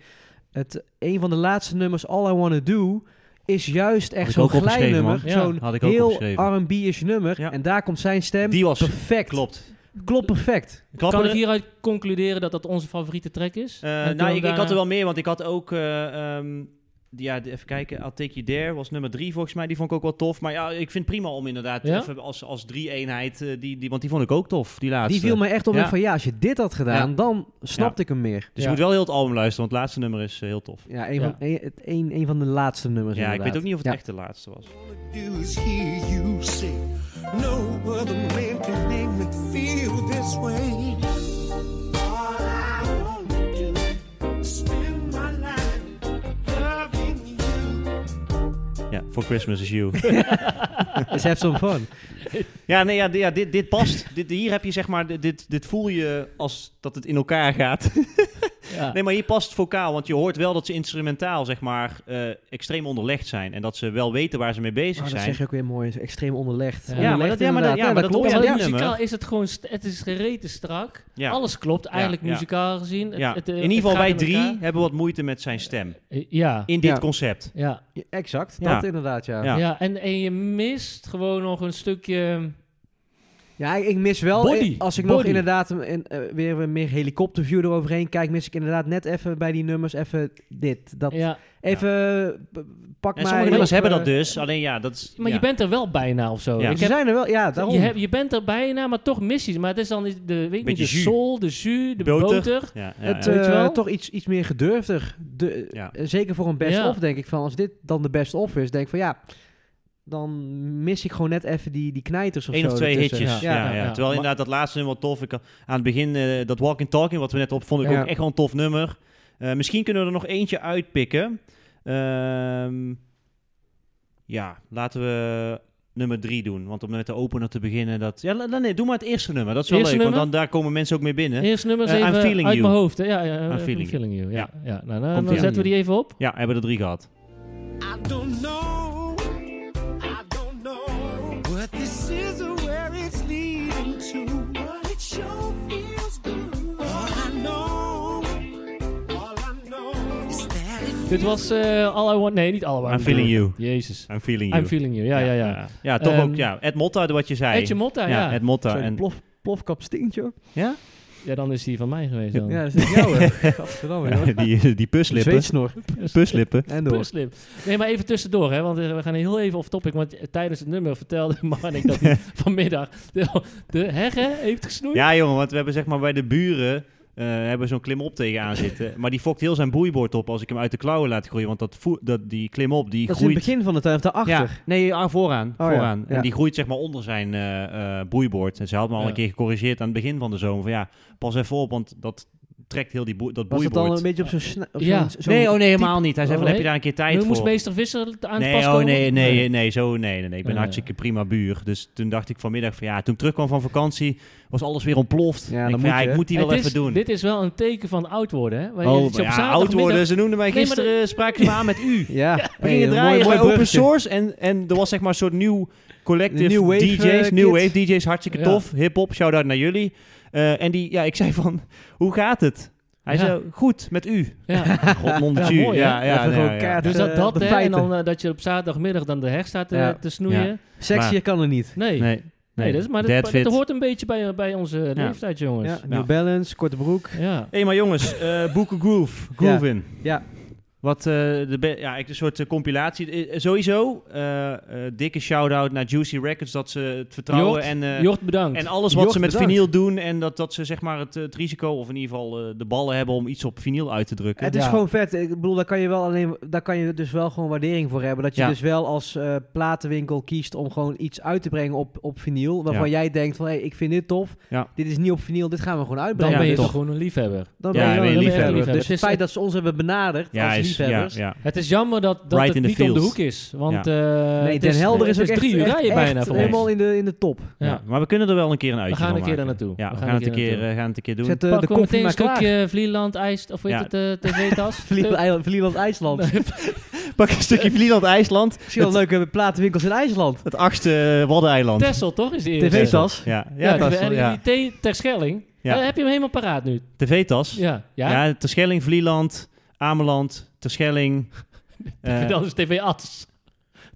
C: Het, een van de laatste nummers, All I Wanna Do, is juist
B: ik
C: echt zo'n
B: ook opgeschreven,
C: glijnummer.
A: man. Ja.
C: Zo'n
B: Had ik ook
C: heel
B: opgeschreven.
C: R&B-ish nummer.
B: Ja.
C: En daar komt zijn stem.
B: Die was...
C: perfect.
B: Klopt.
C: Klopt perfect.
A: Nou, Kan
B: Klapperde-
A: ik hieruit concluderen dat dat onze favoriete track is?
B: Eh,
A: En kunnen
B: nou,
A: we
B: ik,
A: hem
B: ik had
A: daarna-
B: er wel meer, want ik had ook... eh, ehm, die- ja, de- even kijken. I'll Take You There was nummer drie volgens mij. Die vond ik ook wel tof. Maar ja, ik vind prima om inderdaad
A: Ja?
B: even als, als drie-eenheid... eh, die, die, want die vond ik ook tof, die laatste.
C: Die viel me echt op.
B: Ja.
C: En Van ja, als je dit had gedaan,
B: Ja.
C: dan snapte ik hem meer.
B: Dus
A: Ja.
B: je moet wel heel het album luisteren, want het laatste nummer is eh, heel tof.
C: Ja, een,
A: Ja.
C: Van, een, het- een, een van de laatste nummers
B: Ja, ik
C: inderdaad.
B: weet ook niet of het
C: Ja.
B: echt de laatste was.
E: do is hear you say, No other man can name it feel this way. All I want to do is spend my life loving you.
B: Ja, For Christmas Is You.
C: Let's dus have some fun.
B: ja, nee, ja, di- ja dit, dit past. dit, hier heb je zeg maar... dit- Dit, dit voel je als dat het in elkaar gaat.
A: Ja.
B: Nee, maar hier past het vocaal, want je hoort wel dat ze instrumentaal, zeg maar, eh, extreem onderlegd zijn. En dat ze wel weten waar ze mee bezig
C: Oh, dat
B: zijn.
C: zeg je ook weer mooi. is Extreem onderlegd.
A: Ja,
B: maar dat- ja, maar dat-
C: inderdaad.
B: ja, maar dat
C: klopt.
A: Ja,
B: hoor
A: maar
B: dit
A: muzikaal
B: nummer.
A: is het gewoon, st- het is gereten strak.
B: Ja.
A: Alles klopt eigenlijk
B: ja.
A: muzikaal gezien. Het-
B: Ja.
A: het, eh, het
B: in ieder geval,
A: gaat
B: wij
A: in
B: drie
A: elkaar.
B: hebben wat moeite met zijn stem.
A: Eh, Ja,
B: In dit
C: Ja.
B: concept.
A: ja.
C: Ja, Exact,
B: Ja.
C: dat inderdaad, ja.
B: Ja.
C: Ja,
A: Ja, en, en je mist gewoon nog een stukje...
C: ik, ik mis wel...
A: Body.
C: eh, Als ik nog
A: Body.
C: inderdaad een- een, eh, weer een meer helikopterview eroverheen kijk... mis ik inderdaad net even bij die nummers even dit. Dat,
A: Ja.
C: Even eh, pak
B: En
C: mij...
B: sommige nummers
C: of,
B: hebben
C: eh,
B: dat dus, alleen ja, dat is...
A: Maar
B: ja.
A: je bent er wel bijna of zo.
B: Ja.
A: Ik
C: Ze
A: heb,
C: zijn er wel, ja, daarom.
A: je, heb, je bent er bijna, maar toch mis je ze. Maar het is dan de, de, weet ik niet,
B: Beetje
A: de
B: jus.
A: sol, de jus, de boter.
B: Boter. Ja, ja,
C: het,
B: ja.
A: Weet je
C: eh,
A: wel?
C: toch iets, iets meer gedurfder. De,
B: Ja.
C: eh, Zeker voor een
A: Ja.
C: best-of, denk ik. Van als dit dan de best-of is, denk ik van ja, dan mis ik gewoon net even die, die knijters of
B: Eén
C: zo. dus, eh,
B: of twee
C: ertussen.
B: hitjes. Ja,
A: Ja,
B: ja,
A: ja, ja.
B: Terwijl inderdaad dat laatste nummer wel tof. Ik, had- aan het begin, eh, dat Walking Talking, wat we net op vonden, ik
C: Ja.
B: ook echt wel een tof nummer. Eh, misschien kunnen we er nog eentje uitpikken. Ehm, ja, laten we nummer drie doen. Want om met de opener te beginnen, dat... Ja, la- la- nee, doe maar het eerste nummer. Dat is wel
A: Eerste
B: leuk, want
A: nummer?
B: dan, daar komen mensen ook mee binnen.
A: Eerst nummers
B: Eh, I'm
A: even uit
B: feeling
A: mijn
B: you.
A: hoofd. hè. Ja, ja, eh, I'm
B: feeling
A: feeling, you. Ja, ja. Nou, dan,
B: Komt-ie
A: dan
B: aan.
A: zetten we die even op.
B: Ja, hebben we er drie gehad.
E: I don't know, I don't know what this is or where it's leading to. But it sure feels good. All I know, all I know is that it
A: Dit was eh All I Want... Nee, niet All I Want.
B: I'm Feeling You.
A: Jezus.
B: I'm feeling you.
A: I'm Feeling You. Ja, ja, ja.
B: Ja, toch
A: Ehm,
B: ook, ja. Ed Motta, wat je zei.
A: Edje Motta,
B: Ja,
A: ja.
B: Ed Motta.
C: Zo, die
B: En,
C: plof, plofkap stinkt, joh.
B: ja?
A: Ja, dan is die van mij geweest dan.
C: Ja, dat is jouw, hè. Gadverdamme, joh.
B: die, die puslippen.
C: Zweetsnor.
B: Puslippen.
C: En door.
A: Slim. Dus- Nee, maar even tussendoor, hè, want eh, we gaan heel even off topic. Want eh, tijdens het nummer vertelde Marnik dat hij vanmiddag de, de heggen heeft gesnoeid.
B: Ja, jongen, want we hebben zeg maar bij de buren eh, hebben we zo'n klimop tegenaan zitten. Maar die fokt heel zijn boeiboord op als ik hem uit de klauwen laat groeien. Want dat voe- dat, die klimop, die
C: Dat is in
B: groeit...
C: het begin van de tuin, of daarachter.
B: Ja, nee, ah, vooraan.
C: ja,
B: vooraan.
C: ja.
B: En die groeit zeg maar onder zijn eh, eh, boeiboord. En ze had me al
A: Ja.
B: een keer gecorrigeerd aan het begin van de zomer. Van ja, pas even op, want dat trekt heel die boe- dat
C: Was het
B: boeiboord.
C: dan een beetje op zo'n... sna- op
A: Ja.
C: zo'n- zo'n-
B: nee, oh nee, helemaal niet. Hij zei
A: Oh,
B: van, heb je
A: nee?
B: daar een keer tijd
A: Nu
B: voor?
A: moest meester Visser aan de
B: Nee,
A: pas
B: oh,
A: komen.
B: nee, nee, nee, zo, nee, nee, nee. Ik ben
A: Nee.
B: hartstikke prima buur. Dus toen dacht ik vanmiddag van ja, toen ik terugkwam van vakantie, was alles weer ontploft.
C: Ja,
B: En ik,
C: dan
B: van,
C: moet
B: ja,
C: je.
B: ik moet die wel
A: Het
B: even
A: is-
B: doen.
A: Dit is wel een teken van oud worden, hè? Want je-
B: Oh,
A: als je
B: maar
A: op
B: ja, oud
A: zaterdagmiddag-
B: worden. Ze noemden mij
A: Nee, maar
B: gisteren, spraken ze me aan met u.
C: Ja.
B: We
C: Hey,
B: gingen
C: een mooi-
B: draaien
C: mooi
B: bij open
C: bruggetje.
B: source en, en er was zeg maar een soort nieuw collective
C: New wave,
B: DJ's.
C: eh,
B: new
C: kid.
B: wave DJ's, hartstikke
A: Ja.
B: tof. Hip-hop, shout-out naar jullie. Eh, en die, ja, ik zei van, hoe gaat het? Hij
A: Ja.
B: zei, goed, met u.
A: Ja.
B: God, non
A: Ja,
B: met u.
A: mooi, hè?
B: ja, ja,
C: Even
B: ja,
C: gewoon
B: ja.
C: kaart.
A: Dus dat,
C: Eh,
A: dat
C: de
A: hè, en
C: feiten.
A: dan eh, dat je op zaterdagmiddag dan de heg staat te,
C: Ja.
A: te snoeien.
B: Ja.
C: Sexier kan er niet.
A: Nee. nee.
B: Nee, nee.
A: dat is, maar
B: That
A: dat,
B: fit.
A: dat hoort een beetje bij, eh, bij onze leeftijd, jongens.
C: Ja,
A: Ja.
C: New Balance, korte broek.
B: Hé, maar jongens, eh boeken Groove. Groove in.
C: Ja.
B: Wat Wat eh, de be- ja, ik- een soort eh, compilatie. Eh, sowieso, eh, eh, dikke shout-out naar Juicy Records dat ze het vertrouwen
A: Jort,
B: en, eh,
A: Jort, bedankt.
B: en alles wat
C: Jort,
B: ze met
C: bedankt.
B: vinyl doen. En dat, dat ze zeg maar het, eh, het risico, of in ieder geval eh, de ballen hebben om iets op vinyl uit te drukken.
C: Het is
A: Ja.
C: gewoon vet. Ik bedoel, daar kan je wel alleen, daar kan je dus wel gewoon waardering voor hebben. Dat je
B: Ja.
C: dus wel als eh, platenwinkel kiest om gewoon iets uit te brengen op, op vinyl. Waarvan
B: Ja.
C: jij denkt van, hé, ik vind dit tof.
B: Ja.
C: Dit is niet op vinyl, dit gaan we gewoon
A: dan
C: uitbrengen. Dus
B: Ja,
A: ben je
B: toch.
A: toch gewoon een liefhebber.
C: Dan
B: Ja,
C: wel
B: ben je
C: een
B: liefhebber.
C: Dus
A: Het
C: het
A: is-
C: feit dat ze ons hebben benaderd als
B: is-
C: liefhebbers.
B: ja, ja.
A: Het is jammer dat, dat
B: Right
A: het
B: in the
A: niet om de
B: fields.
A: hoek is. Want eh,
C: Nee,
A: het
C: Den Helder is,
A: het
C: ook echt,
A: drie uur
C: echt-
A: rijden
C: echt
A: bijna voor
C: helemaal
A: ons.
C: in de, in de top.
A: Ja.
B: Ja, Maar we kunnen er wel een keer een uitje
A: We gaan
B: van
A: een keer daar
B: maken.
A: naartoe.
B: Ja, we gaan het een keer, eh, gaan het een keer doen.
C: Zet eh, de
A: Pakken we
C: koffie
A: meteen een
C: maar klaar.
A: stukje Vlieland IJs, of hoe heet het, eh, tv-tas?
C: Vlieland, eiland- Vlieland IJsland.
A: Nee.
B: Pak een stukje Vlieland IJsland.
C: Misschien wel leuke platenwinkels in IJsland.
B: Het achtste eh, Waddeneiland.
A: Tessel, toch? Is de eerste.
C: TV-tas.
B: Ja, ja,
A: Ja,
B: dat is
A: TV
B: wel- ja.
A: die T- Terschelling.
B: Ja.
A: Eh, heb je hem helemaal paraat nu?
B: TV-tas. Ja,
A: Ja. Ja?
B: ja. Terschelling, Vlieland, Ameland, Terschelling. eh,
A: Dat is TV-Ats.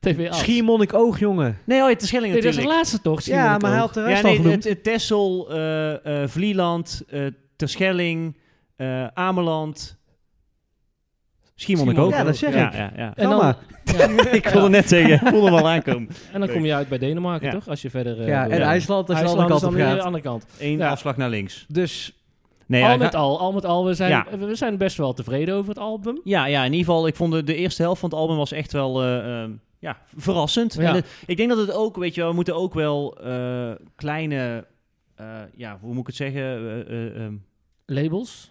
A: TV-Ats.
C: Schiermonnik Oog, jongen.
B: nee, oh, ja, Terschelling
A: Nee, dat is de
B: natuurlijk.
A: laatste toch?
C: Ja, maar hij
A: hij
C: had de
B: ja,
C: rest al
B: nee,
C: genoemd.
B: het, het Texel, eh, eh, Vlieland, eh, Terschelling, eh, Ameland. Schiermonnik ook.
A: Schiermonnik.
C: Ja, dat zeg
B: ja,
C: ik.
B: ja, ja.
A: En dan,
C: Gamma.
A: ja,
B: ik wilde net zeggen, ik voelde hem al aankomen.
A: en dan kom je uit bij Denemarken,
B: Ja.
A: toch? Als je verder... eh,
C: Ja,
A: door-
C: en IJsland, als je de
A: IJsland
C: andere
A: is
C: kant
A: dan
C: op
A: weer de
C: gaat.
A: andere kant.
B: Eén
A: Ja.
B: afslag naar links.
C: Dus
B: Nee,
A: al
B: ja,
A: met
B: ga-
A: al, al met al, we zijn,
B: Ja.
A: we- we zijn best wel tevreden over het album.
B: ja, ja, in ieder geval, ik vond de, de eerste helft van het album was echt wel... eh, ehm, ja, verrassend.
A: Ja.
B: En het- ik denk dat het ook, weet je wel, we moeten ook wel eh, kleine, eh, ja, hoe moet ik het zeggen? Eh, eh, ehm,
A: Labels.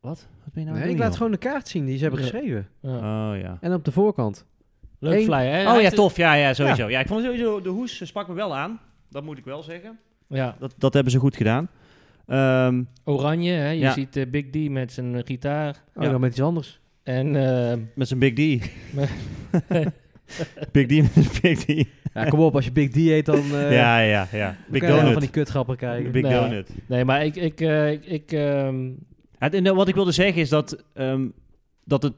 B: wat ben je nou aan
C: nee,
B: het
C: ik
B: doen,
C: laat gewoon de kaart zien die ze hebben
A: Ja.
C: geschreven.
A: Ja.
B: joh? Oh ja.
C: En op de voorkant.
A: Eh, Leuk
C: Eén-
A: flyer. hè? Hij
B: Oh ja,
A: heeft-
B: tof. Ja, ja, sowieso. Ja. ik vond sowieso de hoes eh, sprak me wel aan. Dat moet ik wel zeggen.
A: Ja,
B: Dat, dat hebben ze goed gedaan. Ehm,
A: oranje. Hè? Je
B: Ja.
A: ziet eh, Big D met zijn eh, gitaar.
C: Oh,
B: Ja.
C: dan met iets anders.
A: En eh,
B: met zijn Big D. Big D met zijn Big D.
C: Ja, kom op, als je Big D heet, dan, eh
B: ja, ja, ja.
C: dan
B: Big
C: kan je wel van
B: Donut.
C: die kutgrappen krijgen.
B: Big
A: Nou.
B: Donut.
A: nee, maar ik... ik, eh, ik, ik, ehm,
B: Het- en, eh, wat ik wilde zeggen is dat, ehm, dat het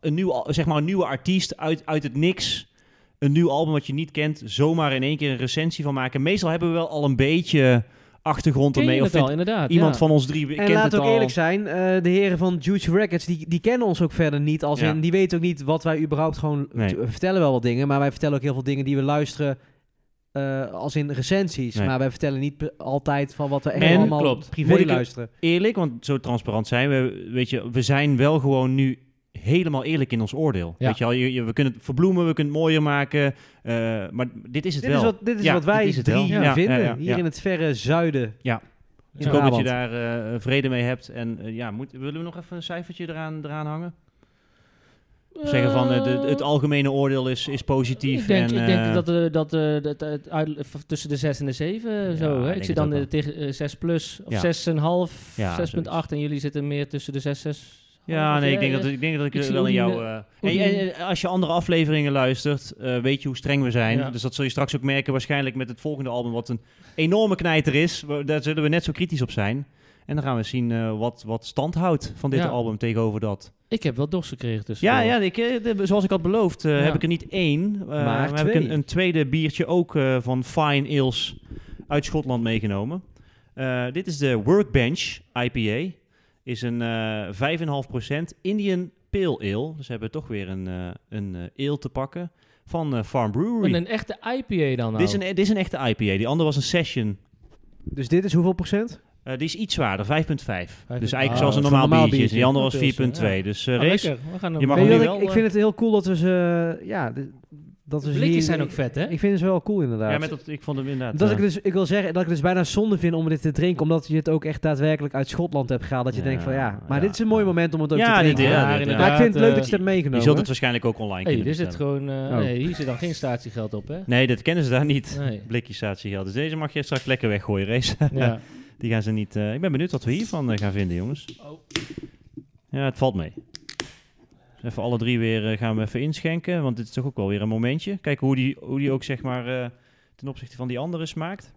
B: een, nieuw, al- zeg maar een nieuwe artiest uit, uit het niks, een nieuw album wat je niet kent, zomaar in één keer een recensie van maken. Meestal hebben we wel al een beetje achtergrond
A: ken je
B: ermee. Of
A: het al,
B: vindt
A: inderdaad.
B: iemand
A: ja.
B: van ons drie kent
C: En laat
B: het
C: ook
B: al.
C: eerlijk zijn, eh, de heren van Juice Records, die, die kennen ons ook verder niet. Als
B: Ja.
C: in, die weten ook niet wat wij überhaupt gewoon...
B: Nee.
C: We vertellen wel wat dingen, maar wij vertellen ook heel veel dingen die we luisteren... eh, als in recensies,
B: Nee.
C: maar wij vertellen niet pe- altijd van wat we echt
B: En-
C: allemaal
A: Klopt.
C: privé
B: Moet ik-
C: luisteren.
B: eerlijk, want zo transparant zijn we. Weet je, we zijn wel gewoon nu helemaal eerlijk in ons oordeel.
A: Ja.
B: Weet je, wel, je, je- we kunnen het verbloemen, we kunnen het mooier maken. eh, maar dit is het
C: Dit
B: wel.
C: is wat, dit is
B: Ja,
C: wat wij
B: dit is het wel.
C: drie
B: Ja,
C: vinden,
B: ja, ja,
C: hier
B: ja.
C: in het verre zuiden.
B: Ja.
C: in
B: Ik hoop dat je
C: Brabant.
B: daar eh, vrede mee hebt. En eh, ja, moet, willen we nog even een cijfertje eraan, eraan hangen? Of zeggen van eh, de- het algemene oordeel is, is positief.
A: Oh. Ik denk,
B: en,
A: ik denk
B: eh,
A: dat, eh, dat, eh, dat eh, het uit- v- tussen de 6 en de 7
B: Ja,
A: zo.
B: ik
A: Hè? Ik
B: denk
A: zit
B: het
A: dan
B: ook
A: eh,
B: wel.
A: tegen eh, 6 plus of
B: Ja.
A: 6,5,
B: Ja,
A: 6,8 en jullie zitten meer tussen de 6, 6.
B: Ja,
A: eh,
B: nee, ik denk dat ik, denk dat ik,
A: ik zie
B: wel in
A: Oedien,
B: jou... eh, en-
A: Oedien-
B: en, en als je andere afleveringen luistert, eh, weet je hoe streng we zijn.
A: Ja.
B: Dus dat zul je straks ook merken waarschijnlijk met het volgende album, wat een enorme knijter is. We- Daar zullen we net zo kritisch op zijn. En dan gaan we zien eh, wat, wat stand houdt van dit
A: Ja.
B: album tegenover dat.
A: Ik heb wel dorst gekregen tussen.
B: Ja, ja ik, eh, de- zoals ik had beloofd, eh,
A: Ja.
B: heb ik er niet één. eh, maar heb ik
C: twee.
B: een, een tweede biertje ook eh, van Fine Ales uit Schotland meegenomen. Eh, dit is de Workbench IPA. Is een eh 5,5% Indian Pale Ale. Dus we hebben toch weer een, eh een eh, ale te pakken van eh, Farm Brewery.
A: En een echte IPA dan nou.
B: Dit, is een, eh, dit is een echte IPA. Die andere was een Session.
C: Dus dit is hoeveel procent?
B: Eh, die is iets zwaarder, 5,5. Dus eigenlijk
A: Ah,
B: zoals een
C: zo'n
B: normaal,
C: normaal
B: biertje. is. En Die
C: biertje.
B: andere was
A: Pilsen, ja.
B: 4,2. Dus eh
A: Ah,
B: Rees,
A: lekker. We gaan hem-
B: je mag
C: Weet
B: hem
C: je
B: nu wel,
C: wat,
B: eh,
C: ik, ik
A: eh?
C: vind het heel cool dat we ze... eh, Ja, dit- dat we
A: De
C: ze
A: blikjes
C: hier-
A: zijn ook vet, hè?
C: Ik vind het wel cool inderdaad.
B: ja, met dat, ik vond hem inderdaad...
C: dat
B: eh,
C: ik, dus, ik wil zeggen dat ik het dus bijna zonde vind om dit te drinken, omdat je het ook echt daadwerkelijk uit Schotland hebt gehaald. Dat je
B: Ja,
C: denkt van ja, maar
B: ja.
C: dit is een mooi moment om het ook
B: Ja,
C: te
B: dit-
C: drinken.
B: ja, dit-
C: maar
B: ja.
C: ik vind het leuk dat je het hebt
B: Je
C: meegenomen.
B: zult het waarschijnlijk ook online
A: Hey,
B: kunnen
A: dit zit
B: bestellen.
A: gewoon. eh,
C: Oh.
A: Nee, hier zit dan geen statiegeld op, hè?
B: Nee, dat kennen ze daar niet.
A: Nee.
B: Blikjes statiegeld. Dus deze mag je straks lekker weggooien, race.
A: Ja.
B: Die gaan ze niet... eh, ik ben benieuwd wat we hiervan eh, gaan vinden, jongens.
A: Oh.
B: Ja, het valt mee. Dus Even alle drie weer eh, gaan we even inschenken, want dit is toch ook wel weer een momentje. Kijken hoe die, hoe die ook, zeg maar, eh, ten opzichte van die andere smaakt.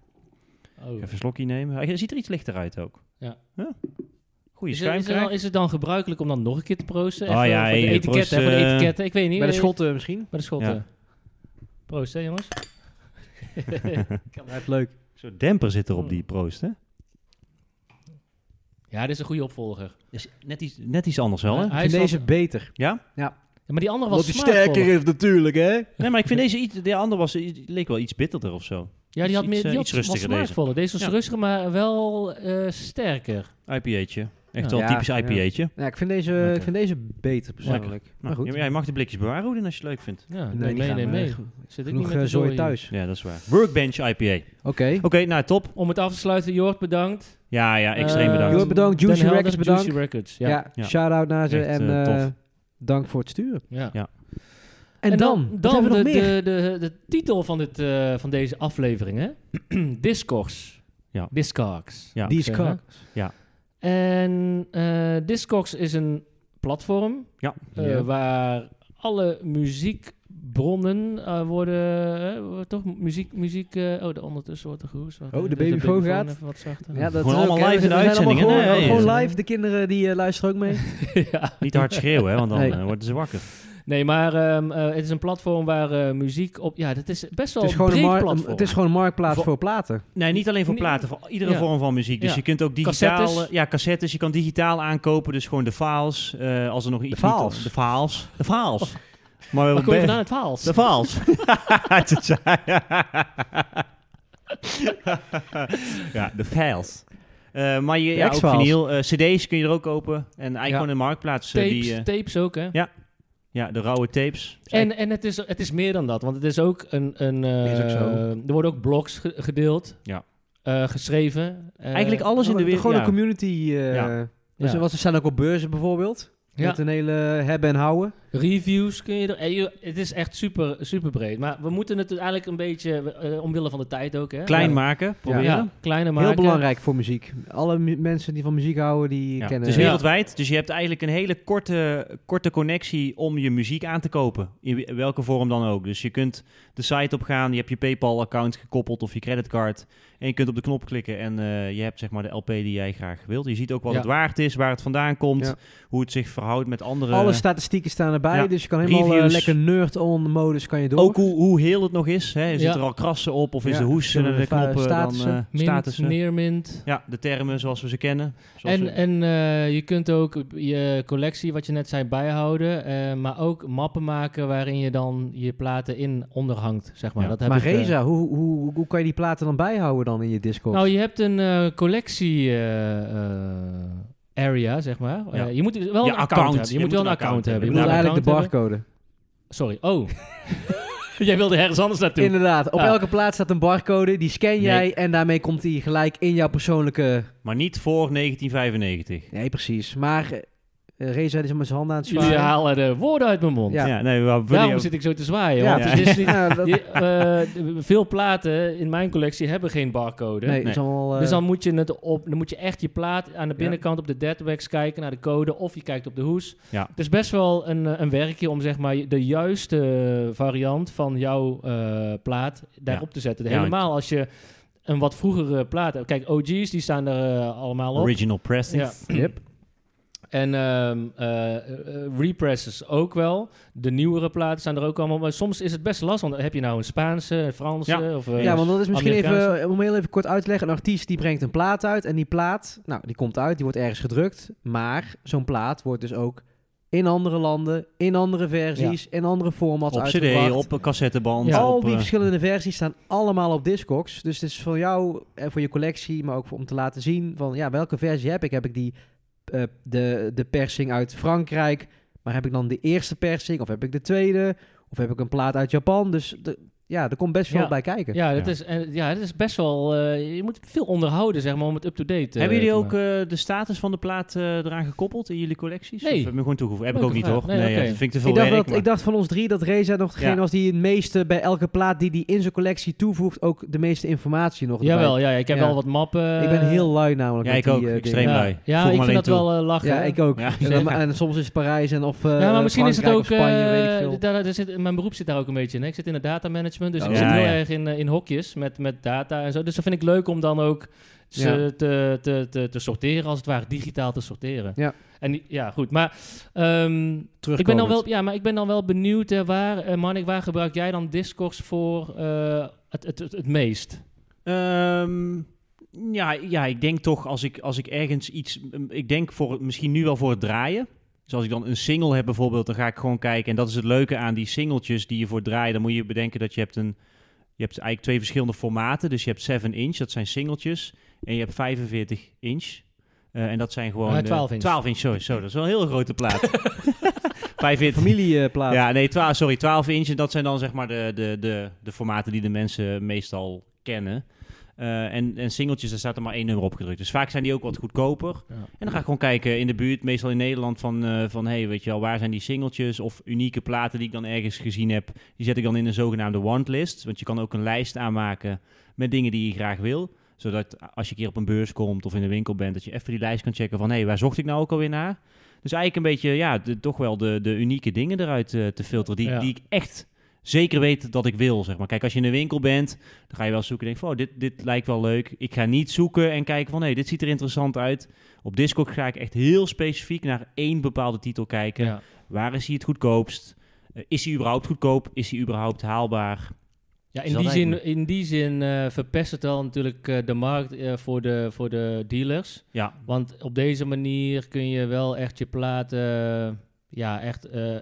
A: Oh.
B: Even een slokje nemen. Hij ziet er iets lichter uit ook.
A: Ja.
B: Goeie
A: Is, het, is, het
B: schuimkraag.
A: dan, is het dan gebruikelijk om dan nog een keer te proosten?
B: Ah,
A: Even
B: ja,
A: voor de
B: hey,
A: etiketten,
B: proost,
A: hè, voor de
B: eh,
A: etiketten. Ik weet niet.
C: Bij de
A: eh,
C: schotten misschien.
A: Bij de schotten.
B: Ja.
A: Proost, hè, jongens?
C: Blijft leuk.
B: Een soort demper zit er op die proost, hè?
A: Ja, dit is een goede opvolger.
B: Is net, iets, net iets anders wel, Oh, hè?
A: Hij
C: Ik
A: is
C: vind deze
A: wat-
C: beter.
B: Ja?
A: Ja, maar die andere was smaakvoller.
C: is natuurlijk, hè?
B: Nee, maar ik vind deze iets... De andere was, leek wel iets bitterder of zo.
A: Ja, die
B: Iets-
A: had meer
B: iets, eh,
A: die
B: iets
A: had- was
B: rustiger deze.
A: smaakvoller. Deze was
B: Ja.
A: rustiger, maar wel eh, sterker.
B: IPA'tje.
A: Nou
B: Echt
A: Ja.
B: wel
C: Ja,
B: typisch
C: ja.
B: IPA'tje.
C: Ja, ik vind deze,
B: Lekker. Nou,
C: ik vind deze beter persoonlijk. Maar goed.
B: Ja, jij mag de blikjes bewaren, Roedin, als je het leuk vindt.
A: Ja,
C: die
A: nee, nee,
C: gaan,
A: nee,
C: eh,
A: nee.
C: goed.
A: Zit ik niet
C: Genoeg
A: met
C: eh,
A: de zooi
C: zooi
A: hier.
C: thuis.
B: Ja, dat is waar. Workbench IPA.
C: Oké.
B: Oké, nou top.
A: Om het af te sluiten, Jort, bedankt.
B: Ja, ja, extreem
A: Eh,
B: bedankt.
C: Jort, bedankt. Juicy
A: Den Helder,
C: Records, bedankt.
A: Juicy Records, ja.
C: Ja,
A: ja.
B: Ja.
C: shout-out naar ze
B: Echt,
C: en
B: eh, tof.
C: eh, dank voor het sturen.
B: Ja.
C: En, dan,
A: dan,
C: wat hebben we
A: de,
C: nog
B: Nou,
C: meer?
A: de, de, de titel van, dit, eh, van deze aflevering, hè? Discogs.
B: Ja.
A: Discogs.
B: Ja.
C: Die is
A: zeggen.
C: kak.
A: En eh Discogs is een platform
B: Ja.
A: eh,
C: Ja.
A: waar alle muziekbronnen eh, worden... eh, wordt toch muziek... muziek eh, oh, de ondertussen wordt er gehoest. Wacht,
C: Oh, de
A: eh,
C: babyfoon
A: babyfoon
C: gaat.
A: even wat zachter.
C: Ja, dat
B: Gewoon
C: is ook,
B: allemaal
C: hè.
B: live in de
C: We zijn allemaal
B: uitzending, hè?
C: Gewoon,
B: Nee,
C: gewoon
A: ja.
C: live, de kinderen die eh, luisteren ook mee.
A: ja.
B: Niet te hard schreeuwen, hè, want dan
C: Nee.
B: eh, worden ze wakker.
A: Nee, maar ehm, eh, het is een platform waar eh, muziek op... Ja, dat is best wel
C: het, is
A: een
C: gewoon een
A: breed
C: mar-
A: platform.
C: het is gewoon een marktplaats
A: Voor-
C: voor, platen.
B: Nee, niet alleen voor
A: Nee.
B: platen, voor iedere
A: Ja.
B: vorm van muziek. Dus
A: Ja.
B: je kunt ook digitaal...
A: Cassettes.
B: eh, Ja, cassettes. Je kan digitaal aankopen, dus gewoon de files. eh, als er nog iets... niet-
C: files.
B: De files. De files. Maar
A: Oh. Waar kom je
B: be-
A: vandaan? Het Waals?
B: de files. Te saai. ja, de files. Eh, maar je, ja, ook
C: X-Files.
B: vinyl. eh, cd's kun je er ook kopen. En eigenlijk
C: Ja.
B: gewoon een marktplaats. eh,
A: tapes,
B: die, eh,
A: tapes ook, hè?
B: ja, de rauwe tapes.
A: En, en het, is, het is meer dan dat, want het is ook een... een eh,
C: Is ook zo.
A: Er worden ook blogs ge- gedeeld.
B: Ja.
A: eh, geschreven. eh,
B: Eigenlijk alles in de wereld.
C: Gewoon
B: ja.
C: een community. eh,
B: Ja.
C: Dus
A: Ja.
C: wat, ze staan ook op beurzen bijvoorbeeld.
A: Ja.
C: Met een hele hebben en houden.
A: Reviews kun je er... eh, je- Het is echt super, super breed. Maar we moeten het eigenlijk een beetje... eh, omwille van de tijd ook, hè?
B: Klein
A: Ja.
B: maken, proberen.
A: Ja, kleiner maken.
C: Heel belangrijk voor muziek. Alle mu- mensen die van muziek houden, die
B: Ja,
C: kennen
B: het is
A: Ja.
B: wereldwijd, dus je hebt eigenlijk een hele korte, korte connectie om je muziek aan te kopen. In welke vorm dan ook. Dus je kunt de site op gaan, je hebt je PayPal-account gekoppeld of je creditcard. En je kunt op de knop klikken en eh, je hebt zeg maar de LP die jij graag wilt. Je ziet ook wat
A: Ja.
B: het waard is, waar het vandaan komt,
C: Ja.
B: hoe het zich verhoudt met andere...
C: Alle statistieken staan erbij,
B: Ja.
C: dus je kan helemaal eh,
B: Reviews.
C: lekker nerd-on-modus kan je door.
B: ook hoe, hoe heel het nog is. Hè? Zit
A: Ja.
B: er al krassen op of is
C: Ja,
B: de hoes en de
C: verschillende va-
B: knoppen
C: statussen.
B: dan eh
A: Mint,
B: statussen?
A: neermint.
B: Ja, de termen zoals we ze kennen. Zoals
A: En,
B: we-
A: en eh, je kunt ook je collectie, wat je net zei, bijhouden. eh, maar ook mappen maken waarin je dan je platen in onderhangt, zeg maar.
B: Ja.
A: Dat heb
C: maar
A: ik, eh,
C: Reza, hoe, hoe, hoe kan je die platen dan bijhouden dan in je Discord?
A: Nou, je hebt een eh, collectie eh, eh, area, zeg maar.
B: Ja.
A: Eh, je moet wel
B: Ja,
A: een account,
B: account.
A: hebben. Je, moet wel een account hebben.
C: je
A: Je
C: bedoelt
A: moet een
C: eigenlijk de
A: account
C: barcode.
A: hebben. Sorry. Oh. Jij wilde ergens anders naartoe.
C: Inderdaad, op
A: Ja.
C: elke plaat staat een barcode, die scan jij en daarmee komt die gelijk in jouw persoonlijke...
B: Maar niet voor 1995.
C: Nee, precies. Maar eh, Reza die is met zijn handen aan het
A: Jullie
C: zwaaien.
A: halen de woorden uit mijn mond.
C: Ja.
B: Ja, nee, we- we-
A: Daarom zit ik zo te zwaaien.
C: Ja,
A: want het is niet,
C: Ja, dat-
A: je- eh, veel platen in mijn collectie hebben geen barcode.
C: nee, dat is allemaal... eh,
A: Dus dan moet, je het op, dan moet je echt je plaat aan de binnenkant op de deadwax kijken naar de code. Of je kijkt op de hoes.
B: Ja.
A: Het is best wel een, eh, een werkje om zeg maar de juiste variant van jouw eh, plaat daarop te zetten.
B: Ja, want-
A: Helemaal als je een wat vroegere plaat hebt. Kijk, OG's die staan er eh, allemaal op.
B: Original pressing.
A: Ja. En ehm, eh, eh, represses ook wel. De nieuwere platen staan er ook allemaal. Maar soms is het best lastig. Want heb je nou een Spaanse, een Franse?
B: Ja.
A: Of, eh,
C: Ja, want dat is misschien
A: Amerikaanse.
C: even, eh, om heel even kort uit te leggen, een artiest die brengt een plaat uit en die plaat, nou, die komt uit, die wordt ergens gedrukt, maar zo'n plaat wordt dus ook in andere landen, in andere versies, in andere formats
B: Op
C: uitgebracht.
B: cd, op een cassetteband.
A: Ja.
B: op,
C: Al die
B: eh,
C: verschillende versies staan allemaal op Discogs, dus het is voor jou en voor je collectie, maar ook voor- om te laten zien van, ja, welke versie heb ik? Heb ik die, eh, de, de persing uit Frankrijk, maar heb ik dan de eerste persing of heb ik de tweede? Of heb ik een plaat uit Japan? Dus de- ja, er komt best veel
A: Ja.
C: bij kijken.
A: Ja, dat,
B: Ja.
A: Is, en, ja, dat is best wel... eh, je moet veel onderhouden, zeg maar, om het up-to-date te
B: Hebben jullie ook eh, de status van de plaat eh, eraan gekoppeld in jullie collecties?
A: Nee.
B: Of heb je hem gewoon toegevoegd? Heb ik
A: Leuke
B: ook niet,
A: vraag.
B: hoor.
A: Nee,
B: Nee,
A: oké.
B: ja, dat vind ik te veel
C: Ik dacht,
B: werk.
C: dat,
B: maar-
C: ik dacht van ons drie dat Reza nog degene
B: Ja.
C: was die het meeste bij elke plaat die die in zijn collectie toevoegt, ook de meeste informatie eh, nog. erbij.
A: Jawel, eh, ja, ja, ik heb
C: Ja.
A: wel wat mappen.
C: Ik ben heel lui namelijk.
B: Ja,
C: met
B: ik
C: die,
B: ook.
C: eh, dingen.
B: Extreem.
A: ja.
B: lui.
A: Ja,
B: Voeg
A: ik
B: me
A: vind
B: alleen
A: dat wel eh, lachen.
C: Ja,
A: hoor.
C: ik ook.
B: Ja.
C: En, dan- en soms is het Parijs en of. eh,
A: Ja, maar misschien is het ook...
C: Frankrijk of Spanje,
A: eh,
C: weet ik veel.
A: daar- daar zit, mijn beroep zit daar ook een beetje in. Hè? Ik zit in het datamanagement, dus
B: Ja,
A: ik zit
B: ja,
A: heel
B: ja.
A: erg in, eh, in hokjes met, met data en zo. Dus dat vind ik leuk om dan ook ze
C: Ja.
A: te, te, te, te sorteren, als het ware, digitaal te sorteren.
C: Ja.
A: En die- ja, goed. Maar ehm, ik ben dan wel, ja, maar ik ben dan wel benieuwd, hè, waar, eh, Manik, waar gebruik jij dan Discourse voor eh, het, het, het, het meest?
B: Ehm, Ja, ja ik denk toch als ik, als ik ergens iets... Ik denk voor, het- misschien nu wel voor het draaien. Dus als ik dan een single heb bijvoorbeeld, dan ga ik gewoon kijken. En dat is het leuke aan die singeltjes die je voor het draaien. Dan moet je bedenken dat je hebt een... Je hebt eigenlijk twee verschillende formaten. Dus je hebt 7 inch, dat zijn singeltjes. En je hebt 45 inch. Eh, en dat zijn gewoon...
A: Eh,
B: de-
A: 12 inch.
B: 12 inch, sorry. Zo, dat is wel een heel grote plaat. 45
C: Familieplaat.
B: ja, nee, 12, sorry, 12 inch. En dat zijn dan zeg maar de, de, de, de formaten die de mensen meestal kennen. Eh, en, en singeltjes, daar staat er maar één nummer op gedrukt. Dus vaak zijn die ook wat goedkoper.
A: Ja.
B: En dan ga ik gewoon kijken in de buurt, meestal in Nederland, van, eh, van hey, weet je wel, waar zijn die singeltjes of unieke platen die ik dan ergens gezien heb. Die zet ik dan in een zogenaamde wantlist. Want je kan ook een lijst aanmaken met dingen die je graag wil. Zodat als je een keer op een beurs komt of in de winkel bent, dat je even die lijst kan checken van hé, hey, waar zocht ik nou ook alweer naar? Dus eigenlijk een beetje, ja, de- toch wel de, de unieke dingen eruit eh, te filteren. Die,
A: Ja.
B: die ik echt zeker weet dat ik wil, zeg maar. Kijk, als je in de winkel bent, dan ga je wel zoeken en denk van, oh, dit, dit lijkt wel leuk. Ik ga niet zoeken en kijken van, hé, dit ziet er interessant uit. Op Discord ga ik echt heel specifiek naar één bepaalde titel kijken.
A: Ja.
B: Waar is hij het goedkoopst? Eh, is hij überhaupt goedkoop? Is hij überhaupt haalbaar?
A: Ja,
B: Is
A: in
B: dat
A: die, zin,
B: eigenlijk-
A: in die zin eh, verpest het al natuurlijk eh, de markt eh, voor, de, voor de dealers.
B: Ja.
A: Want op deze manier kun je wel echt je platen eh, ja, echt eh,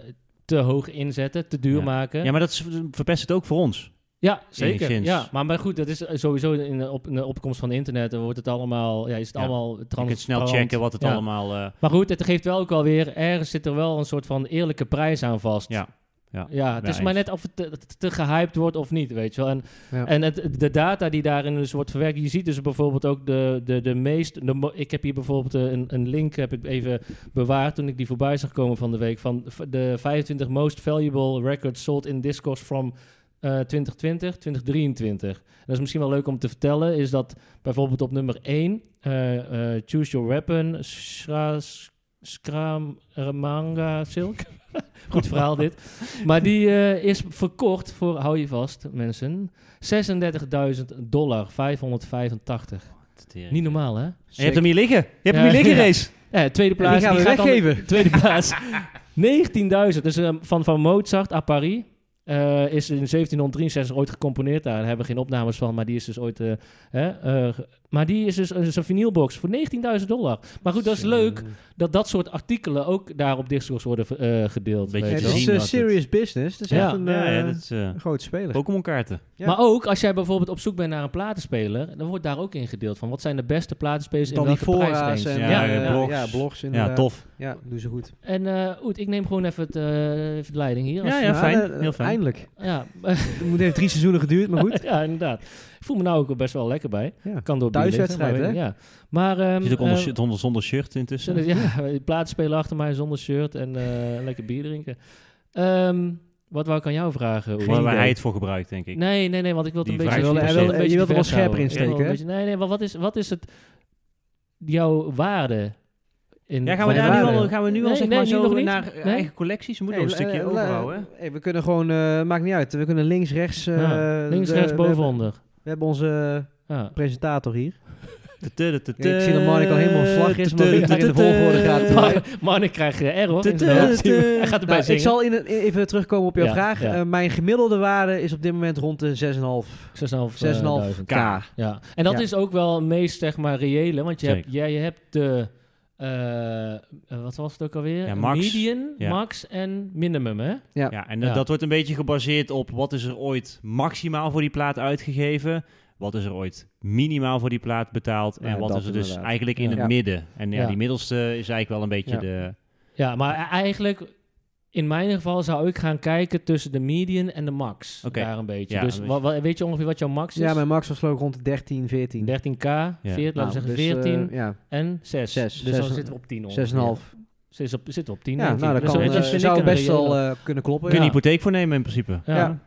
A: te hoog inzetten, te duur
B: Ja.
A: maken.
B: Ja, maar dat is, verpest het ook voor ons.
A: Ja, zeker.
B: Enigszins.
A: Ja, maar, maar goed, dat is eh, sowieso in de, op, in de opkomst van internet. Dan wordt het allemaal, ja, is het
B: Ja.
A: allemaal
B: Je
A: transparant.
B: kunt snel checken wat het
A: Ja.
B: allemaal... eh,
A: Maar goed, het geeft wel ook alweer, ergens zit er wel een soort van eerlijke prijs aan vast.
B: Ja. Ja.
A: ja het
B: Ja,
A: is maar
B: eens.
A: net of het te, te- te gehyped wordt of niet, weet je wel. En,
C: Ja.
A: en het, de data die daarin dus wordt verwerkt, je ziet dus bijvoorbeeld ook de, de, de meest... De, mo- ik heb hier bijvoorbeeld eh, een, een link, heb ik even bewaard toen ik die voorbij zag komen van de week, van v- de 25 most valuable records sold in Discogs from eh, 2020, 2023. En dat is misschien wel leuk om te vertellen, is dat bijvoorbeeld op nummer 1, eh, eh, Choose Your Weapon, Shra- Skram Manga Silk. Goed verhaal dit. Maar die eh, is verkocht voor, hou je vast mensen, 36.000 dollar, 585. Niet normaal hè?
B: Je hebt hem hier liggen. Je hebt
A: Ja.
B: hem hier liggen,
A: Ja.
B: Race.
A: Ja, tweede
C: En
A: plaats.
C: die gaan we
A: gaat dan-
C: weggeven.
A: tweede plaats. 19.000. Dus eh, van, van Mozart à Paris. eh, is in 1763 ooit gecomponeerd. Daar hebben we geen opnames van, maar die is dus ooit. eh, hè, eh, ge- maar die is dus een, is een vinylbox voor 19.000 dollar. Maar goed, dat is leuk dat dat soort artikelen ook daar op Discogs worden eh, gedeeld.
B: Beetje
A: weet
C: Het
A: je
B: te
A: wel.
B: zien.
C: is
B: dat
C: eh,
B: het-
C: serious business. Het is
A: Ja.
C: echt een,
B: Ja, ja,
C: eh,
B: dat is... eh,
C: een grote speler.
B: Pokémon kaarten.
C: Ja.
A: Maar ook als jij bijvoorbeeld op zoek bent naar een platenspeler, dan wordt daar ook in gedeeld van wat zijn de beste platenspelers in
C: Dan die
A: welke
C: fora's
A: prijsrange.
C: en
B: Ja,
C: eh,
B: ja, blogs.
C: ja, blogs
B: Ja,
C: inderdaad.
B: tof.
C: Ja, doen ze goed.
A: En eh, Oet, ik neem gewoon even, het, eh, even de leiding hier. als
B: Ja,
A: je-
B: ja,
C: Nou,
B: fijn.
C: eh,
B: Heel fijn.
C: Eindelijk.
A: ja.
C: Het moet- heeft drie seizoenen geduurd, maar goed.
A: ja, inderdaad. Ik voel me nou ook best wel lekker bij.
C: Ja.
A: Kan door
C: Thuiswedstrijd,
A: bier liggen, maar weet ik- Ja. Maar... ehm,
B: Zit ook onder,
A: ehm,
B: shirt- onder- zonder shirt intussen.
A: zonder- ja, platen spelen achter mij zonder shirt en eh, lekker bier drinken. Ehm, wat wou ik aan jou vragen? Oeh?
B: Waar, waar hij het voor gebruikt, denk ik.
A: Nee, nee, nee, want ik wil het
B: Die
A: een beetje...
B: vraag
A: ik
B: is
A: wil
B: niet per
A: het
B: se.
A: een beetje
C: Je wilt er wel
A: divers
C: scherper
A: houden.
C: in
A: Ik wil
C: steken,
A: een beetje- Nee, nee, maar wat is, wat is het... Jouw waarde in...
B: Ja, gaan we,
A: van je
B: daar nu
A: waarde?
B: al, gaan we nu al
A: Nee,
B: zeg
A: nee,
B: maar
A: nu
B: zo
A: nog niet.
B: naar
A: Nee.
B: eigen collecties? We moeten nog
C: Nee,
B: een stukje
C: eh, eh,
B: overhouden. hè?
C: eh, we kunnen gewoon, eh, maakt niet uit. We kunnen links, rechts. eh,
A: Ja, links,
C: de-
A: rechts,
C: we
A: boven,
C: hebben-
A: onder.
C: We hebben onze
A: Ja.
C: presentator hier.
B: Tudu, tudu,
C: Ja, ik zie dat Marnik al helemaal vlag is, maar weer in de volgorde gaat.
A: Maar, maar ik krijg eh, R, hoor.
B: Tudu,
A: in zijn hoofd.
B: tudu.
A: Hij gaat erbij
C: Nou, ik
A: zingen.
C: zal in, het- in- even terugkomen op jouw
A: Ja,
C: vraag.
A: ja.
C: Eh, mijn gemiddelde waarde is op dit moment rond de 6,5
A: 6,5 eh,
C: 6,5
A: duizend.
C: k.
A: Ja, en dat
C: Ja.
A: is ook wel het meest, zeg maar, reële. Want je, hebt,
B: Zeker.
A: ja, je hebt de... eh, eh, wat was het ook alweer?
B: Ja, max.
A: Median,
B: Ja.
A: max en minimum, hè?
B: Ja, en dat-
A: Ja.
B: dat wordt een beetje gebaseerd op wat is er ooit maximaal voor die plaat uitgegeven. Wat is er ooit minimaal voor die plaat betaald. En
C: Ja,
B: wat
C: dat
B: is er dus
C: inderdaad.
B: eigenlijk in
A: Ja.
B: het midden. En ja,
A: Ja.
B: die middelste is eigenlijk wel een beetje
C: Ja.
B: de...
A: Ja, maar e- eigenlijk... In mijn geval zou ik gaan kijken tussen de median en de max.
B: Oké.
A: Daar een beetje.
B: Ja,
A: dus
B: een
A: wa- wa- weet je ongeveer wat jouw max is?
C: Ja, mijn max was geloof ik rond de 13, 14.
A: 13k, 14, laten we
C: Nou, dus, eh,
A: zeggen 14
C: ja, 6,5.
A: en 6.
C: zes.
A: Dus
C: Zes-
A: dan zitten we op 10 ongeveer. Zit op, zitten we op 10.
C: Ja,
A: denk ik.
C: nou, dat
A: Dus
C: kan,
A: dat
C: eh,
A: vind ik
C: zou
A: een
C: best wel
A: reële-
C: eh, kunnen kloppen.
B: Kun je
C: ja.
B: een hypotheek voor nemen in principe.
A: ja.
C: ja.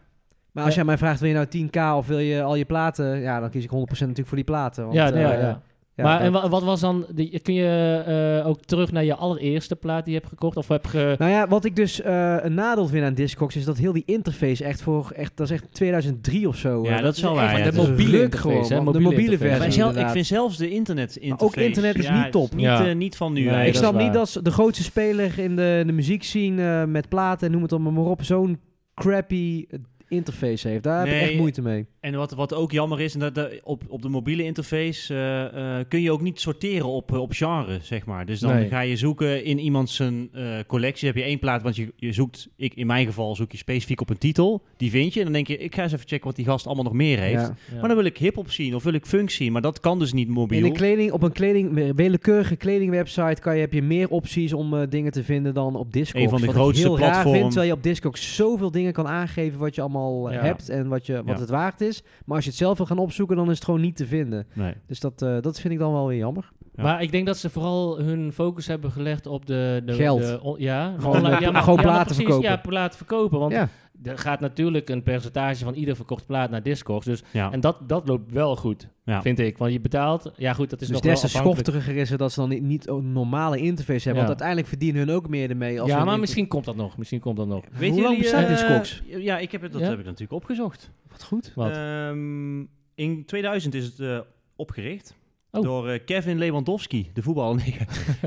C: Maar als
A: Ja.
C: jij mij vraagt, wil je nou 10k of wil je al je platen? Ja, dan kies ik 100% natuurlijk voor die platen. Want,
A: ja, nee,
C: eh,
A: ja, ja.
C: ja,
A: maar
C: dat-
A: en wa- wat was dan... de- kun je eh, ook terug naar je allereerste plaat die je hebt gekocht? Of heb ge...
C: Nou ja, wat ik dus eh, een nadeel vind aan Discogs is dat heel die interface echt voor echt dat is echt 2003 of zo.
B: Ja,
C: eh,
B: dat is wel waar.
A: echt
B: Ah, ja.
A: de
B: Dat is-
A: mobiele
C: ruk
A: interface,
C: gewoon,
A: hè,
C: man. de
A: mobiele
C: mobiele
A: interface.
B: Maar
C: versie.
B: zelf, ik
C: inderdaad.
B: vind zelfs de internet interface.
C: ook internet is niet
B: het
C: top.
B: Niet,
A: Ja.
B: eh, niet van nu.
A: Nee,
B: eigenlijk.
C: ik snap
A: waar.
C: niet dat ze- de grootste speler in de, de muziekscene eh, met platen en noem het allemaal maar op zo'n crappy eh, interface heeft. Daar heb
B: Nee.
C: ik echt moeite mee.
B: En wat, wat ook jammer is, en dat, dat- op, op de mobiele interface eh, eh, kun je ook niet sorteren op, eh, op genre, zeg maar. Dus dan
A: Nee.
B: ga je zoeken in iemands zijn, eh, collectie. heb je één plaat, want je, je zoekt, ik, in mijn geval zoek je specifiek op een titel. Die vind je en dan denk je, ik ga eens even checken wat die gast allemaal nog meer heeft.
C: Ja.
A: Ja.
B: Maar dan wil ik hip-hop zien of wil ik funk zien, maar dat kan dus niet mobiel.
C: In een kleding, op een kleding, willekeurige kledingwebsite kan je, heb je meer opties om eh, dingen te vinden dan op Discogs.
B: Een van de
C: wat
B: grootste
C: ik heel raar
B: platformen.
C: vind, terwijl je op Discogs zoveel dingen kan aangeven wat je allemaal eh,
A: Ja.
C: hebt en wat, je, wat
B: Ja.
C: het waard is. Maar als je het zelf wil gaan opzoeken, dan is het gewoon niet te vinden.
B: Nee.
C: Dus dat, eh, dat vind ik dan wel weer jammer.
B: Ja.
A: Maar ik denk dat ze vooral hun focus hebben gelegd op de... de
C: Geld.
A: de on- ja,
C: Gewoon, eh,
A: ja,
C: gewoon
A: ja,
C: platen
A: precies,
C: verkopen.
A: Ja, platen verkopen. Want
C: ja.
A: er gaat natuurlijk een percentage van ieder verkocht plaat naar Discogs. Dus,
B: Ja.
A: En dat, dat loopt wel goed,
B: Ja.
A: vind ik. Want je betaalt... Ja goed, dat is
C: dus
A: nog wel
C: des te
A: afhankelijk.
C: schofteriger is het dat ze dan niet, niet een normale interface hebben.
A: Ja.
C: Want uiteindelijk verdienen hun ook meer ermee. Als
A: Ja,
C: hun
A: maar
C: inter-
A: misschien komt dat nog. Misschien komt dat nog.
B: Weet
C: Hoe lang
B: jullie,
C: bestaat
B: eh,
C: Discogs?
B: Ja, ik heb het, dat
A: Ja?
B: heb ik natuurlijk opgezocht.
C: Wat goed.
A: Wat?
B: Ehm, in 2000 is het eh, opgericht
A: Oh.
B: door eh, Kevin Lewandowski, de voetballer. Nee,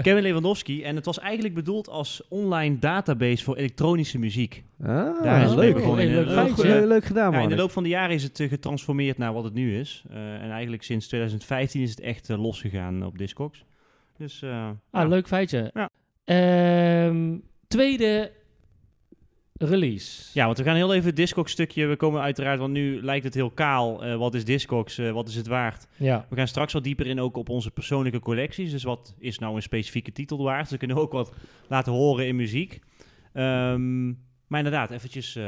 B: Kevin Lewandowski. En het was eigenlijk bedoeld als online database voor elektronische muziek.
C: Ah,
B: Daar is het mee
C: leuk.
B: begonnen.
A: Hey, leuk
B: Eh,
A: feitje.
C: Goed, leuk, leuk
B: Ja,
C: gedaan, man.
B: in de loop van de jaren is het eh, getransformeerd naar wat het nu is. Eh, en eigenlijk sinds 2015 is het echt eh, losgegaan op Discogs. Dus, eh,
A: Ah,
B: ja.
A: leuk feitje.
B: Ja.
A: Ehm, tweede release.
B: Ja, want we gaan heel even het Discogs stukje. We komen uiteraard, want nu lijkt het heel kaal. Eh, wat is Discogs? Eh, wat is het waard?
A: Ja.
B: We gaan straks wat dieper in ook op onze persoonlijke collecties. Dus wat is nou een specifieke titel waard? Ze kunnen we ook wat laten horen in muziek. Ehm, maar inderdaad, eventjes eh,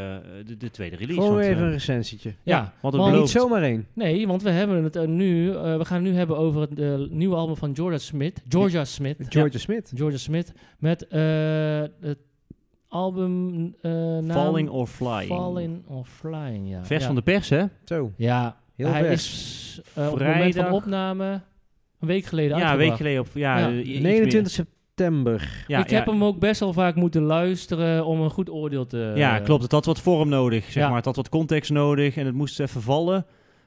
B: de, de tweede release.
C: Gewoon
B: want,
C: weer even
B: eh,
C: een recensietje.
A: Ja,
B: wat
A: want-
B: het
C: Maar
B: belooft.
C: niet zomaar één.
A: Nee, want we hebben het eh, nu. eh, we gaan het nu hebben over het eh, nieuwe album van Georgia Smith. Georgia Smith.
C: Georgia Smith.
A: Ja, Georgia Smith. Met eh, het album. eh, naam-
B: Falling or Flying.
A: Falling or Flying, ja.
B: Vers
A: ja.
B: van de pers, hè?
C: Zo,
A: Ja,
C: heel
A: hij
C: vers.
A: is eh, op het moment van
B: Vrijdag.
A: opname. Een week geleden.
B: Ja, een week
A: uitgebracht.
B: geleden. Op, ja,
A: Ja.
B: eh, iets meer.
C: 29 september.
B: Ja,
A: ik
B: ja,
A: heb hem ook best wel vaak moeten luisteren om een goed oordeel te...
B: Ja, klopt. Het had wat vorm nodig, zeg
A: eh, ja.
B: maar. Het had wat context nodig en het moest even vallen.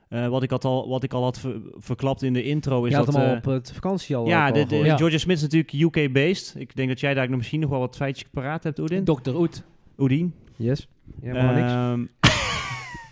B: Eh, wat, ik had al, wat ik al had ver- verklapt in de intro is
C: Je had
B: dat...
C: hem al
B: eh,
C: op het vakantie al. eh,
B: ja,
C: ook al
B: de, de,
C: gehoord.
A: Ja.
B: Georgia Smith is natuurlijk UK-based. Ik denk dat jij daar nog misschien nog wel wat feitjes paraat hebt, Oedin.
A: Dr. Oet.
B: Oedien.
C: Yes. Ja, maar niks.
B: Ehm,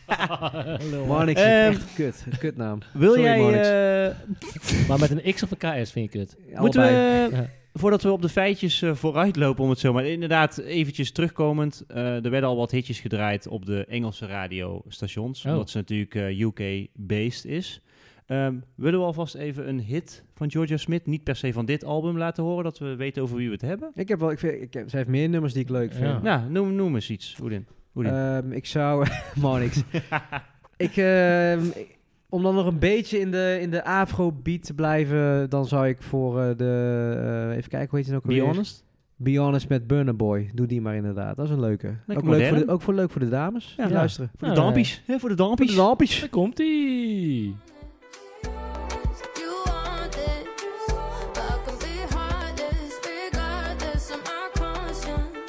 A: Lul.
C: Maar niks.
B: Ehm,
C: echt kut. Een Kutnaam.
B: wil
C: Sorry,
B: jij...
C: Marnix.
B: eh,
A: maar met een X of een KS vind ik het.
B: moeten
C: Allebei.
B: we... eh,
A: Ja.
B: Voordat we op de feitjes eh, vooruit lopen, om het zo maar... Inderdaad, eventjes terugkomend. eh, er werden al wat hitjes gedraaid op de Engelse radiostations.
A: Oh.
B: Omdat ze natuurlijk eh, UK-based is. Ehm, willen we alvast even een hit van Georgia Smith, niet per se van dit album, laten horen? Dat we weten over wie we het hebben?
C: Ik heb wel, ik vind, ik heb, ze heeft meer nummers die ik leuk vind.
A: Ja.
B: Nou, noem, noem eens iets, Oedin. Oedin.
C: Ehm, ik zou... maar niks. ik, ehm, ik- om dan nog een beetje in de, in de afrobeat te blijven, dan zou ik voor eh, de... eh, even kijken, hoe heet het ook
B: Be
C: alweer?
B: honest.
C: Be Honest met Burner Boy. Doe die maar inderdaad. Dat is een leuke. ook, leuk
B: modern.
C: voor de, ook voor leuk voor de dames.
B: Ja.
C: die
A: Ja.
C: luisteren.
B: Voor de
A: Nou,
B: dampies. hè, voor de dampies.
C: eh, Voor de dames.
A: Daar komt ie.
G: You want this, but I can be heartless. Regardless of my conscience,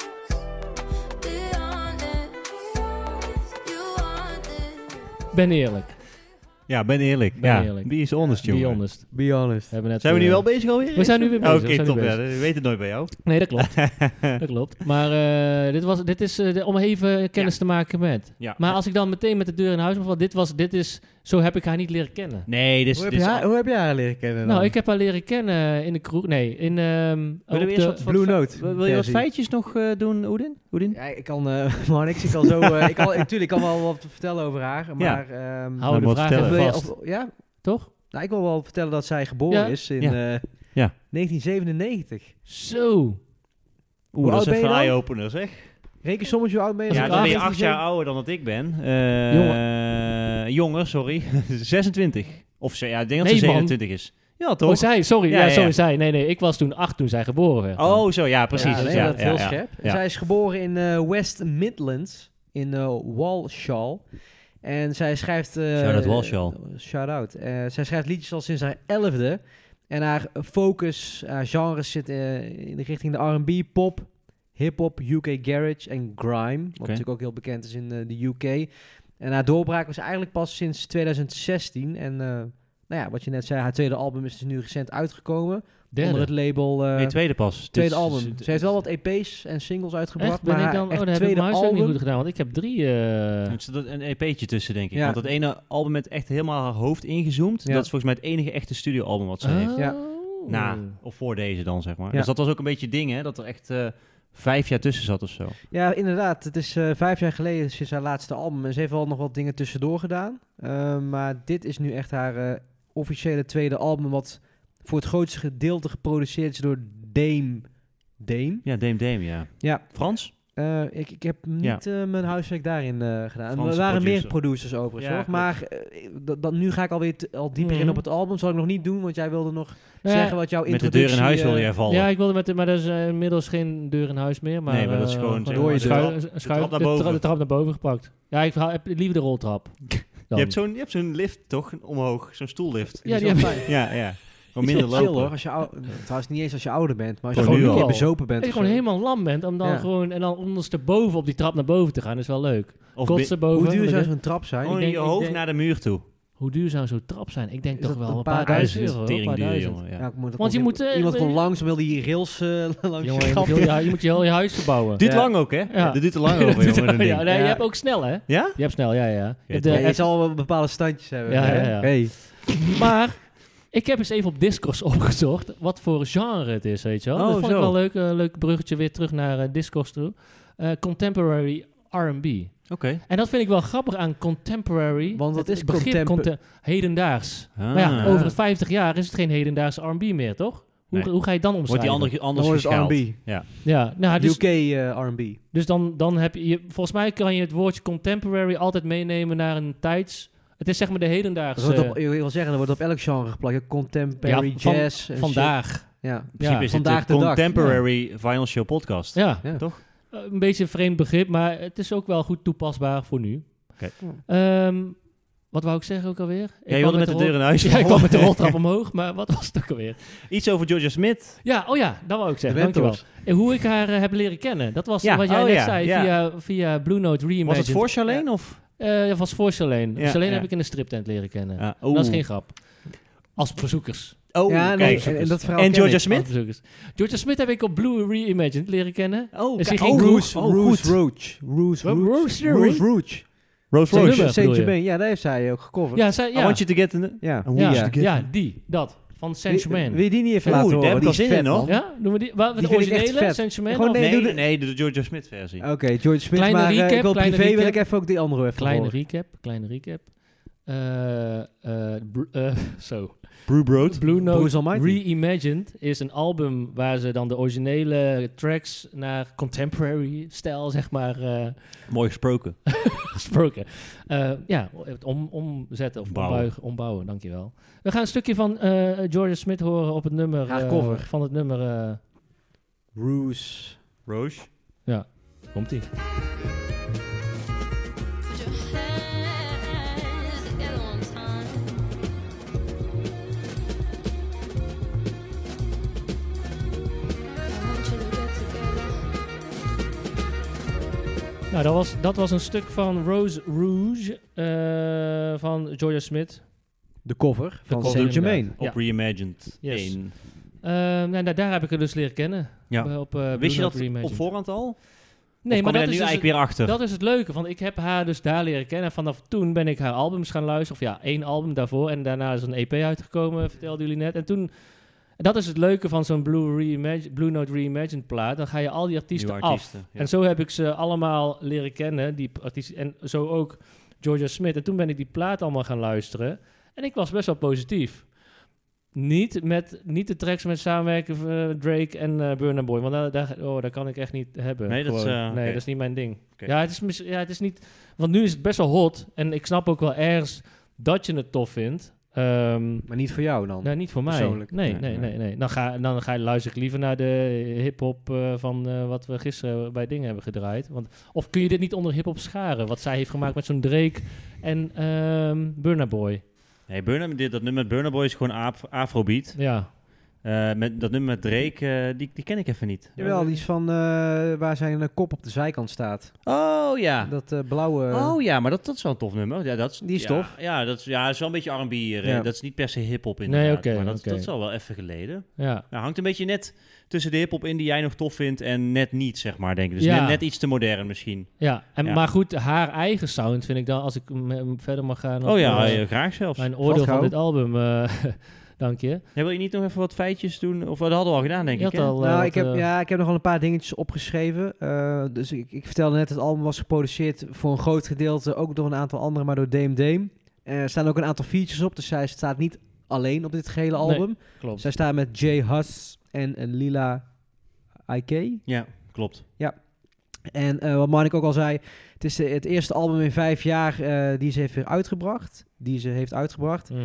G: be honest. You want this.
A: Ben eerlijk.
B: Ja, ben eerlijk.
A: Ben
B: ja.
A: eerlijk.
B: Be is honest, jongen.
A: Be honest. We
C: Be Honest.
A: hebben net,
B: Zijn we
A: eh,
B: nu wel bezig alweer? Oh,
A: We zijn nu weer
B: Oké,
A: bezig. we zijn nu
B: top.
A: bezig.
B: Ja, we weten het nooit bij jou.
A: Nee, dat klopt. dat klopt. Maar eh, dit, was, dit is eh, de- om even kennis te maken met.
B: Ja.
A: Maar als ik dan meteen met de deur in huis moet vallen, dit, was, dit is, zo heb ik haar niet leren kennen.
B: Nee, dus- dit is...
C: Hoe heb,
B: dit is-
C: je haar, hoe heb jij haar leren kennen dan?
A: Nou, ik heb haar leren kennen in de kroeg. Nee, in... ehm
B: Willen we
A: op
B: eerst
A: de-
B: wat
C: Blue Note.
B: Wil wil je wat
C: versie.
B: feitjes nog eh, doen, Oedin? Oedin?
C: Ja, ik kan eh maar niks. Ik kan zo. eh, ik kan, natuurlijk, ik kan wel wat vertellen over haar. Maar. ehm,
A: Hou de
B: wat
A: vraag
B: vertellen.
A: even
C: wil je-
A: vast,
C: of- ja,
A: toch?
C: nou, ik wil wel vertellen dat zij geboren
A: Ja.
C: is in
B: Ja.
C: eh,
B: Ja.
C: 1997.
A: Zo. Oh,
B: Oeh, dat
C: oud
B: is
C: ben je
B: even een
C: dan?
B: eye-opener, zeg.
C: Reken sommetje hoe oud ben je?
A: Als
B: Ja,
A: ik
B: dan ben je
A: 18
B: acht
A: zeg-
B: jaar ouder dan dat ik ben. Eh, jonger, sorry. 26. Of ze- ja, ik denk dat
A: Nee,
B: ze
A: man.
B: 27 is. Ja, toch?
A: Oh, zij. Sorry.
B: Ja,
A: Ja,
B: ja,
A: sorry,
B: ja.
A: zij. Nee, nee. Ik was toen acht toen zij geboren werd.
B: Oh, zo, ja, precies.
C: Ja,
B: Ja,
C: nee,
B: ja,
C: dat is heel
B: ja.
C: scherp. En
B: Ja.
C: Zij is geboren in eh, West Midlands in eh, Walshall. En zij schrijft... eh,
B: Shout-out Walshall.
C: Shout-out. Eh, zij schrijft liedjes al sinds haar elfde. En haar focus, haar genres zit eh, in de richting de R&B, pop, hip-hop, UK garage en grime. Wat natuurlijk ook heel bekend is in eh, de UK. En haar doorbraak was eigenlijk pas sinds 2016. En eh, nou ja, wat je net zei, haar tweede album is dus nu recent uitgekomen.
A: Derde.
C: Onder het label... eh,
B: nee, tweede pas. Dus- Het
C: tweede
B: is-
C: album.
B: het-
C: Ze heeft wel wat EP's en singles uitgebracht.
A: Echt? Ben
C: maar
A: ik dan, oh,
C: echt
A: dan heb ik
C: tweede
A: mijn huiswerk
C: album.
A: niet goed gedaan, want ik heb drie... eh,
B: Er zit een EP'tje tussen, denk ik.
C: Ja.
B: Want dat ene album met echt helemaal haar hoofd ingezoomd.
C: Ja.
B: Dat is volgens mij het enige echte studioalbum wat ze heeft.
A: oh.
C: Ja. Nou
B: Na,
A: Hmm.
B: of voor deze dan, zeg maar.
C: Ja.
B: Dus dat was ook een beetje het ding, hè. Dat er echt eh, vijf jaar tussen zat of zo.
C: Ja, inderdaad. Het is eh, vijf jaar geleden sinds haar laatste album. En ze heeft wel nog wat dingen tussendoor gedaan. Eh, maar dit is nu echt haar eh, officiële tweede album. Wat voor het grootste gedeelte geproduceerd is door Dame. Dame?
B: Ja, Dame Dame, ja.
C: Ja.
B: Frans?
C: Eh, ik, ik heb niet eh, mijn huiswerk daarin eh, gedaan.
B: Franse
C: er waren meer
B: producer.
C: producers overigens,
B: Ja,
C: hoor.
B: klopt.
C: Maar eh, dat, dat, nu ga ik alweer t- al dieper in
A: Mhm.
C: op het album. Zal ik nog niet doen, want jij wilde nog
A: Nou ja,
C: zeggen wat
B: Met
C: jouw
B: de deur in
C: introductie,
B: huis wilde
C: eh,
B: jij vallen.
A: Ja, ik wilde met de, maar dat is eh, inmiddels geen deur in huis meer. Maar,
B: Nee, maar dat is
A: eh,
B: gewoon, zeg
A: door
B: maar,
A: je
B: de
A: schuil-
B: trap-
A: schuil-
B: de trap naar
A: de
B: boven.
A: de trap naar boven gepakt. Ja, ik verhaal- heb liever de roltrap. Dan.
B: Je hebt zo'n je hebt zo'n lift, toch? Omhoog. Zo'n stoellift.
A: ja, die
C: is wel
A: heb ik.
B: Ja, ja. Gewoon
C: Is wel
B: minder lopen.
C: chill, hoor. Als je ou- trouwens, niet eens als je ouder bent, maar als je
B: Gewoon
C: gewoon een
B: nu
C: keer
A: al.
C: bezopen bent.
A: Als je
C: of
A: gewoon
C: zo.
A: helemaal lam bent, om dan
C: Ja.
A: gewoon en dan ondersteboven op die trap naar boven te gaan, is wel leuk.
B: Of bi-
A: Kotsen boven.
C: Hoe duur
A: want
C: zou
A: ik-
C: zo'n trap zijn?
B: gewoon
A: Oh, Ik denk-
B: Oh, je
A: ik
B: hoofd
A: denk-
B: naar de muur toe.
A: Hoe duur zou zo'n trap zijn? Ik denk
C: Is
A: toch
C: dat
A: wel
C: een
A: een
C: paar
A: paar
C: duizend?
A: duizend euro. hoor, Een paar
B: Teringduur,
A: duizend.
B: jongen. Ja.
C: Ja, ik moet,
A: Want je
C: iemand-
A: moet, eh,
C: iemand kon
A: eh,
C: langs, wilde hier rails eh, langs
A: Jongen,
C: je
A: je moet
C: trap.
A: heel je, hu- je moet je heel je huis verbouwen.
B: Duurt lang ook, hè?
A: Ja.
B: Dat duurt te lang over, jongen. dat ding.
A: ja, nee,
C: Ja.
A: Je hebt ook snel, hè?
B: Ja?
A: Je hebt snel, ja, ja. Je hebt
B: Ja,
A: de
C: Ja, je zal wel bepaalde standjes hebben.
A: Ja,
C: hè?
A: ja, ja.
C: Hey.
A: Maar ik heb eens even op Discourse opgezocht wat voor genre het is, weet je wel.
B: Oh,
A: dat vond
B: zo.
A: ik wel leuk, eh, leuk bruggetje weer terug naar eh Discourse toe. Eh, contemporary R&B.
B: Oké.
A: En dat vind ik wel grappig aan contemporary.
C: Want wat
A: het
C: is
A: begrip
C: contempo-
A: conte- hedendaags.
B: Ah.
A: Maar ja, over 50 jaar is het geen hedendaags R&B meer, toch? Hoe,
B: Nee.
A: hoe ga je het dan
B: Wordt
A: omschrijven?
B: die ander,
C: Dan
B: anders
C: wordt het
B: geschaald.
C: R&B.
A: Ja, nou, dus,
C: UK eh, R&B.
A: dus dan, dan heb je, je... Volgens mij kan je het woordje contemporary altijd meenemen naar een tijds... Het is zeg maar de
C: Dat
A: hedendaagse...
C: wordt op- Ik wil zeggen, dat wordt op elk genre geplakt. Contemporary,
A: eh, Ja, van-
C: jazz. en
A: vandaag.
C: shit. Ja.
B: In principe is dit
C: vandaag
B: de
C: de dag.
B: Contemporary Vinyl Show podcast.
A: Ja.
C: Ja.
B: Toch?
A: Eh, Een beetje een vreemd begrip, maar het is ook wel goed toepasbaar voor nu.
B: Oké.
A: Ehm, wat wou ik zeggen ook alweer? Ik
B: Ja,
A: kwam
B: je wilde met de,
A: rol-
B: deur in huis.
A: Ja, ik kwam met de roltrap omhoog, maar wat was het ook alweer?
B: Iets over Georgia Smith.
A: Ja, oh ja, dat wou ik
C: De
A: zeggen. Dankjewel.
C: Mentors.
A: En hoe ik haar eh, heb leren kennen, dat was
B: Ja,
A: wat jij
B: oh
A: net
B: ja,
A: zei
B: ja.
A: Via, via Blue Note Reimagined.
B: Was het voor Charlene of?
A: Eh, dat was voor Charlene.
B: Ja,
A: Charlene
B: ja.
A: heb ik in de striptent leren kennen.
B: Ja,
A: Dat is
B: oeh.
A: geen grap. Als bezoekers.
B: Oh,
C: Ja, nee,
B: kijk.
C: en- en dat verhaal
B: en
C: ken
B: Georgia
A: Als
C: ik.
B: Smith?
A: bezoekers. Georgia Smith heb ik op Blue Reimagined leren kennen.
B: Oh,
A: Is die
B: kijk.
A: geen
B: oh,
A: groep?
B: Roos.
C: Roos,
B: Oh,
C: Roos,
B: goed.
C: Roach. Roos,
A: Roos,
C: Roach.
A: Roach.
C: Roos, Roach.
A: Zijn
B: Rose Roach.
A: nummer. bedoel je?
C: Saint-Germain. Ja, daar heeft zij ook gecoverd.
A: Ja, zij,
B: I
A: ja.
B: Oh, want you to get in the...
C: Ja.
B: I want you
A: Ja,
B: to get
A: ja, die. Dat. Van
C: Wil
A: Saint-Germain.
C: wil je die niet even
B: Oeh,
C: laten
B: daar
C: horen?
B: heb ik al
C: Die is
B: zin
C: vet,
B: in, hoor.
C: man.
A: Ja, doen we die? Wat,
C: Die
A: de
C: vind ik echt
A: originele,
C: vet.
A: Saint-Germain?
C: Gewoon
A: of-
C: nee,
B: Nee,
C: doe
B: nee,
C: de- Oh.
B: de Georgia Smith versie.
C: Oké, George Smith,
A: Kleine
C: maar eh, ik
A: recap,
C: wil
A: kleine
C: privé wil
A: recap.
C: ik even ook die andere even
A: Kleine
C: horen.
A: recap, kleine recap. Eh, eh, br- eh, zo.
B: Brew Broad.
A: Blue
C: Bruce
A: Note
C: Almighty.
A: Reimagined is een album waar ze dan de originele tracks naar contemporary stijl, zeg maar, eh,
B: Mooi gesproken.
A: gesproken. Eh, ja, het om, omzetten of
B: Bouwen.
A: ombouwen. ombouwen, dankjewel. We gaan een stukje van eh Georgia Smith horen op het nummer.
C: Haar
A: eh,
C: cover.
A: van het nummer. eh,
C: Roos.
B: Roche.
A: Komt-ie.
G: Put your hands together one time. I want you to get together.
A: Nou, dat was, dat was een stuk van Rose Rouge eh, van Georgia Smith.
C: De cover van
A: cover,
C: Saint Germain.
A: inderdaad. Ja.
B: Op Reimagined
A: Yes.
B: 1.
A: Ehm, nou, daar- daar heb ik haar dus leren kennen.
B: Ja.
A: Op, eh, op, eh, Blue
B: Wist je
A: Note
B: dat op
A: Reimagined.
B: voorhand al?
A: Nee,
B: Of
A: maar
B: kwam
A: dat is,
B: je daar nu
A: dus het,
B: eigenlijk weer achter?
A: dat is het leuke. Want ik heb haar dus daar leren kennen. Vanaf toen ben ik haar albums gaan luisteren. Of ja, één album daarvoor. En daarna is een EP uitgekomen, vertelden jullie net. En toen... Dat is het leuke van zo'n Blue, Reimag- Blue Note Reimagined plaat. Dan ga je al die artiesten,
B: Nieuwe
A: af.
B: artiesten, ja.
A: En zo heb ik ze allemaal leren kennen, die p- artiesten. En zo ook Georgia Smith. En toen ben ik die plaat allemaal gaan luisteren. En ik was best wel positief. Niet, met, niet de tracks met samenwerken van eh, Drake en eh Burna Boy. Want daar, daar, oh, daar kan ik echt niet hebben.
B: Nee, dat is,
A: gewoon.
B: eh,
A: nee,
B: oké.
A: dat is niet mijn ding.
B: Oké.
A: Ja, het is, mis- ja, het is niet... Want nu is het best wel hot. En ik snap ook wel ergens dat je het tof vindt. Ehm,
C: Maar niet voor jou dan.
A: nou, niet voor mij.
C: Persoonlijk.
A: Nee,
B: Nee,
A: nee, nee.
B: nee.
A: nee, Dan, ga, dan ga, luister ik liever naar de hip-hop eh, van eh, wat we gisteren bij dingen hebben gedraaid. Want, of kun je dit niet onder hip-hop scharen? Wat zij heeft gemaakt met zo'n Drake en ehm Burna Boy.
B: Nee, Burna, dit, dat nummer met Burna Boy is gewoon af- afrobeat.
A: Ja.
B: Eh, met, dat nummer met Drake, eh, die, die ken ik even niet.
C: Jawel, die is van eh, waar zijn eh, kop op de zijkant staat.
B: Oh ja.
C: Dat eh, blauwe...
B: oh ja, maar dat, dat is wel een tof nummer. Ja, dat is,
C: Die is
B: ja,
C: tof.
B: Ja, dat is, ja, is wel een beetje R&B hier. eh.
C: Ja.
B: Dat is niet per se hip-hop
A: Nee,
B: inderdaad.
A: oké,
B: maar dat,
A: oké.
B: dat is al wel even geleden.
A: Ja.
B: Nou, hangt een beetje net tussen de hip-hop in die jij nog tof vindt en net niet, zeg maar, denk ik. Dus
A: Ja.
B: net, net iets te modern misschien.
A: Ja, en,
B: Ja.
A: maar goed, haar eigen sound vind ik dan, als ik m- m- verder mag gaan. op,
B: oh ja,
A: eh,
B: eh, graag zelfs.
A: mijn oordeel van
C: gauw.
A: dit album, eh, dank je.
B: Ja, wil je niet nog even wat feitjes doen? Of dat hadden we al gedaan, denk
A: Je
B: ik.
A: had
B: hè?
A: al, eh,
C: Nou,
A: wat,
C: ik heb,
A: eh,
C: ja, ik heb nog wel een paar dingetjes opgeschreven. Eh, dus ik, ik vertelde net, het album was geproduceerd voor een groot gedeelte, ook door een aantal anderen, maar door Dame Dame. Eh, Er staan ook een aantal features op, dus zij staat niet alleen op dit gehele
A: Nee.
C: album.
A: Klopt.
C: Zij staat met Jay Huss en eh, Lila IK.
B: Ja, klopt.
C: En eh, wat Marnik ook al zei, het is eh, het eerste album in vijf jaar eh, die ze heeft weer uitgebracht. Die ze heeft uitgebracht.
A: Mm.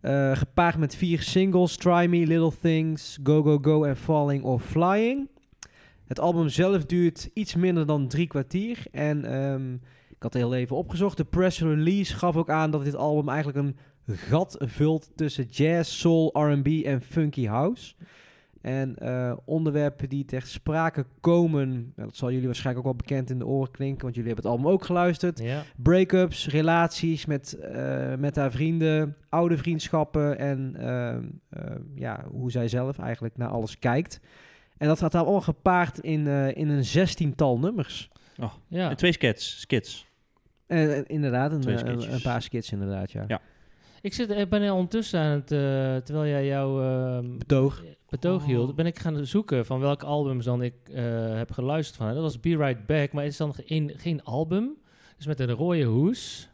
C: Eh, gepaard met vier singles: Try Me, Little Things, Go Go Go en Falling or Flying. Het album zelf duurt iets minder dan drie kwartier. En ehm, ik had het heel even opgezocht. De press release gaf ook aan dat dit album eigenlijk een gat vult tussen jazz, soul, RB en funky house. En eh, onderwerpen die ter sprake komen, nou, dat zal jullie waarschijnlijk ook wel bekend in de oren klinken, want jullie hebben het album ook geluisterd
A: Ja.
C: break-ups, relaties met, eh, met haar vrienden, oude vriendschappen en ehm, ehm, ja, hoe zij zelf eigenlijk naar alles kijkt. En dat gaat daar allemaal gepaard in, eh, in een zestiental nummers.
A: Ja.
B: En twee skits. skits.
C: En, en inderdaad, een,
B: Twee
C: eh, een,
B: sketches.
C: een paar skits inderdaad, ja.
B: Ja.
A: Ik zit, ik ben ondertussen aan het, eh, terwijl jij jouw ehm,
C: Betoog.
A: betoog
C: Oh.
A: hield, ben ik gaan zoeken van welke albums dan ik eh, heb geluisterd van. haar. Dat was Be Right Back, maar het is dan geen, geen album. Dus met een rode hoes.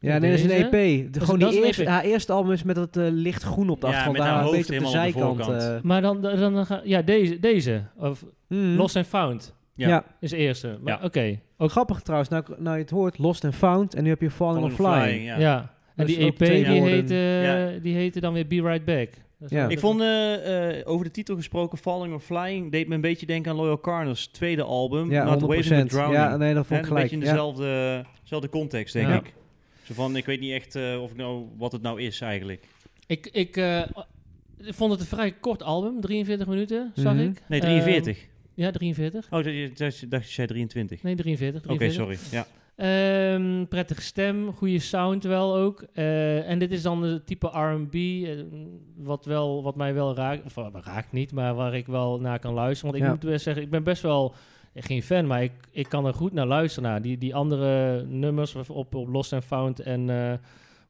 C: Ja, nee, dat is
A: Deze.
C: een EP. De-
A: is-
C: gewoon
A: dat is
C: die
A: een E
C: eerste,
A: EP.
C: haar eerste album is met dat eh, lichtgroen op de
B: Ja,
C: achtergrond.
B: met haar
C: daar een
B: hoofd
C: beetje op de
B: helemaal aan de
C: zijkant.
B: voorkant.
A: Maar dan, dan, dan ga- ja, deze, deze. Of
C: eh. Mhm.
A: Lost and Found
B: Ja.
C: Ja.
A: is de eerste. Maar
B: Ja.
A: oké.
C: Ook grappig trouwens, nou, nou je het hoort, Lost and Found en nu heb je Falling,
B: Van
C: on
B: een
C: Flying.
A: Ja.
B: ja.
A: En
C: Dus
A: die
C: ook
A: EP
C: twee
A: die
C: woorden.
A: heette, die heette dan weer Be Right Back. Dat is
C: Ja.
A: wel-
B: Ik vond, eh, eh, over de titel gesproken, Falling or Flying, deed me een beetje denken aan Loyal Carners tweede album,
C: Ja,
B: Not Waving But
C: 100%.
B: Drowning.
C: Ja, nee,
B: Hè,
C: dat vond ik
B: een
C: gelijk.
B: beetje in
C: ja.
B: dezelfde, dezelfde context, denk
A: Ja.
B: ik. Zo van, ik weet niet echt eh, of ik nou, wat het nou is eigenlijk.
A: Ik, ik eh, ik vond het een vrij kort album, 43 minuten, zag
C: Mhm.
A: ik.
B: Nee, 43.
A: Ehm, ja, 43.
B: oh, dat je, dat je, dacht je zei 23.
A: Nee, 43. 43.
B: Oké, sorry. Ja.
A: Ehm, prettige stem, goede sound wel ook. Eh, en dit is dan het type R&B, eh, wat, wel, wat mij wel raakt. Of eh, raakt niet, maar waar ik wel naar kan luisteren. Want ik
C: Ja.
A: moet best zeggen, ik ben best wel... eh, Geen fan, maar ik, ik kan er goed naar luisteren. Naar. Die, die andere nummers of op, op Lost and Found en... eh,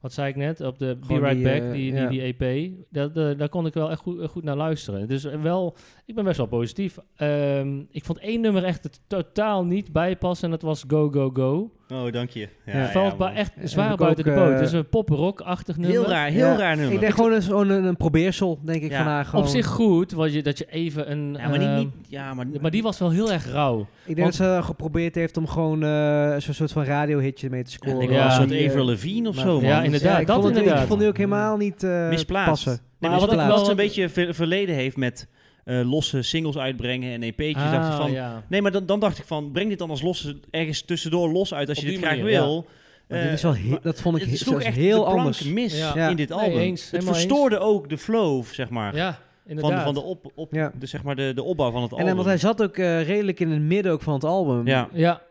A: wat zei ik net? Op de Be
C: Gewoon
A: Right
C: die,
A: Back,
C: eh,
A: die,
C: ja.
A: die, die EP. Dat, eh, daar kon ik wel echt goed, eh, goed naar luisteren. Dus eh, wel ik ben best wel positief. Ehm, ik vond één nummer echt het totaal niet bijpassen. En dat was Go Go Go.
B: Oh, dank je. Ja,
C: Ja,
A: Valt
B: man.
A: ba- echt
C: Heb ik
A: zwaar
C: ook,
A: buiten de poot.
C: eh,
A: dus een poprock-achtig nummer.
B: Heel raar, heel
C: Ja.
B: raar nummer.
C: Ik denk gewoon een, gewoon een, een probeersel, denk ik,
B: Ja.
C: van haar. Gewoon.
A: Op zich goed, want je, dat je even een...
B: ja, maar,
A: ehm,
B: niet, niet, ja, maar,
A: maar die was wel heel erg rauw.
C: Ik denk dat ze geprobeerd heeft om gewoon eh, zo'n soort van radiohitje mee te
B: Ja,
C: scoren.
B: ik
A: Ja.
B: ja, een soort
C: Die, eh,
B: Avril Lavigne of
C: maar-
B: zo, man.
A: Ja, inderdaad,
C: ik
A: dat
C: vond het-
A: inderdaad.
C: Ik vond die ook helemaal niet eh,
B: misplaatst.
C: passen.
B: Nee,
A: Maar
B: maar
A: wat ik
B: wat,
A: wel-
B: ze een beetje ver- verleden heeft met eh, losse singles uitbrengen en EP'tjes. dacht ik
A: Ah,
B: van,
A: ja.
B: Nee, maar dan, dan dacht ik van, breng dit dan als losse ergens tussendoor los uit als
A: Op
B: je dit
A: die
B: graag
A: manier,
B: wil.
C: Maar
B: Eh,
C: dit is wel he- dat vond ik
B: het
C: he-
B: sloeg
C: zelfs
B: echt de
C: heel
B: plank
C: anders.
B: mis
A: Ja.
C: Ja.
B: in dit
A: Nee,
B: album.
A: eens,
B: het
A: helemaal
B: verstoorde ook de flow, zeg maar.
A: Ja, inderdaad.
B: van, de- van de, op, op,
C: Ja.
B: de, zeg maar de, de opbouw van het
C: En,
B: album.
C: dan want hij zat ook eh, redelijk in het midden ook van het album.
B: ja.
A: Ja,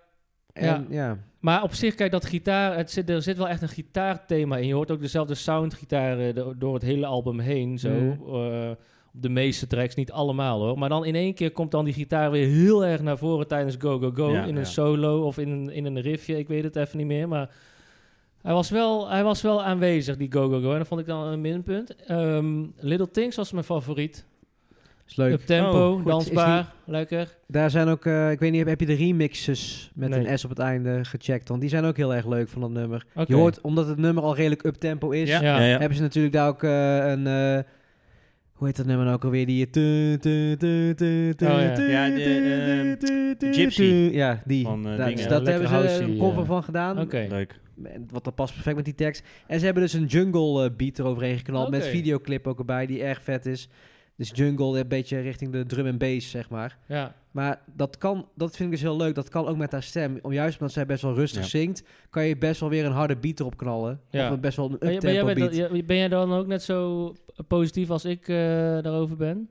C: En, ja.
A: maar op zich, kijk, dat gitaar... Het zit, er zit wel echt een gitaarthema in. Je hoort ook dezelfde soundgitaar eh, do- door het hele album heen. Zo,
C: Mm.
A: eh, op de meeste tracks, niet allemaal hoor. Maar dan in één keer komt dan die gitaar weer heel erg naar voren tijdens Go Go Go.
B: Ja,
A: in een
B: ja.
A: solo of in een, in een riffje, ik weet het even niet meer. Maar hij was wel, hij was wel aanwezig, die Go Go Go. En dat vond ik dan een minpunt. Ehm, Little Things was mijn favoriet.
C: Is leuk. Oh,
A: Up tempo,
C: goed,
A: dansbaar,
C: is
A: lekker.
C: Daar zijn ook, eh, ik weet niet, heb je de remixes met
A: Nee.
C: een S op het einde gecheckt? Want die zijn ook heel erg leuk van dat nummer.
A: Oké.
C: Je hoort, omdat het nummer al redelijk uptempo is,
B: Ja.
A: Ja.
B: Ja, ja.
C: hebben ze natuurlijk daar ook eh, een... eh, hoe heet dat nummer nou ook alweer? Die... tu- tu- tu- tu- tu-
A: Oh, ja.
C: tu-
B: Ja, de,
C: tu-
B: ehm,
C: tu- tu-
B: Gypsy.
C: tu- Ja, die.
B: Van, eh,
C: Daar-
B: dingen.
C: dus dat
A: Lekker
C: hebben ze
A: housey,
C: een cover
A: eh.
C: van gedaan.
A: Oké.
B: Leuk.
C: En Wat dat past perfect met die tekst. En ze hebben dus een jungle eh, beat eroverheen geknald
A: Oké.
C: met videoclip ook erbij, die erg vet is. Dus jungle, een beetje richting de drum en bass, zeg maar.
A: Ja.
C: Maar dat kan, dat vind ik dus heel leuk. Dat kan ook met haar stem. Om juist omdat zij best wel rustig
B: Ja.
C: zingt, kan je best wel weer een harde beat erop knallen.
A: Ja.
C: Of een best wel een
A: Maar jij- maar jij
C: uptempo
A: bent
C: beat.
A: dan- ja, ben jij dan ook net zo positief als ik eh, daarover ben?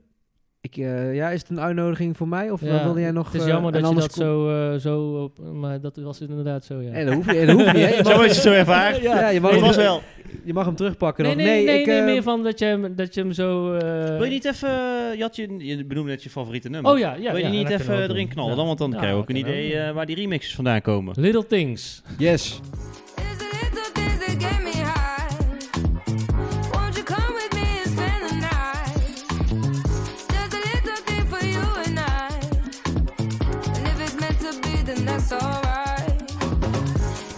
C: Ik, eh, ja, is het een uitnodiging voor mij? Of eh,
A: Ja,
C: wilde jij nog...
A: Het is
C: eh,
A: jammer
C: en
A: dat je
C: anders
A: dat
C: kom-
A: zo, eh, zo... op- maar dat was inderdaad zo, eh, ja.
C: En dat hoeft niet. Dat hoeft niet hè. Je
B: Zo
C: mag,
B: is het zo ervaren.
A: Ja.
C: ja, je mag,
B: Het
C: hem,
B: was
C: terug-
B: wel.
C: je mag hem terugpakken.
A: Nee, nee,
C: nog.
A: nee, nee,
C: ik, eh,
A: meer van dat je hem, dat je hem zo... eh,
B: Wil je niet even... Je, had je, je benoemde net je favoriete nummer.
A: Oh ja, ja.
B: Wil je
A: ja,
B: die niet
A: dat kunnen we
B: even
A: ook doen.
B: erin knallen
A: Ja.
B: dan? Want dan
A: Ja,
B: krijgen we ook een
A: dat kunnen we
B: idee
A: ook
B: eh, waar die remixes vandaan komen.
A: doen. Little Things.
C: Yes.
G: It's the little things that get me high. Won't you come with me and spend the night? Just a little thing for you and I. And if it's meant to be, then that's alright.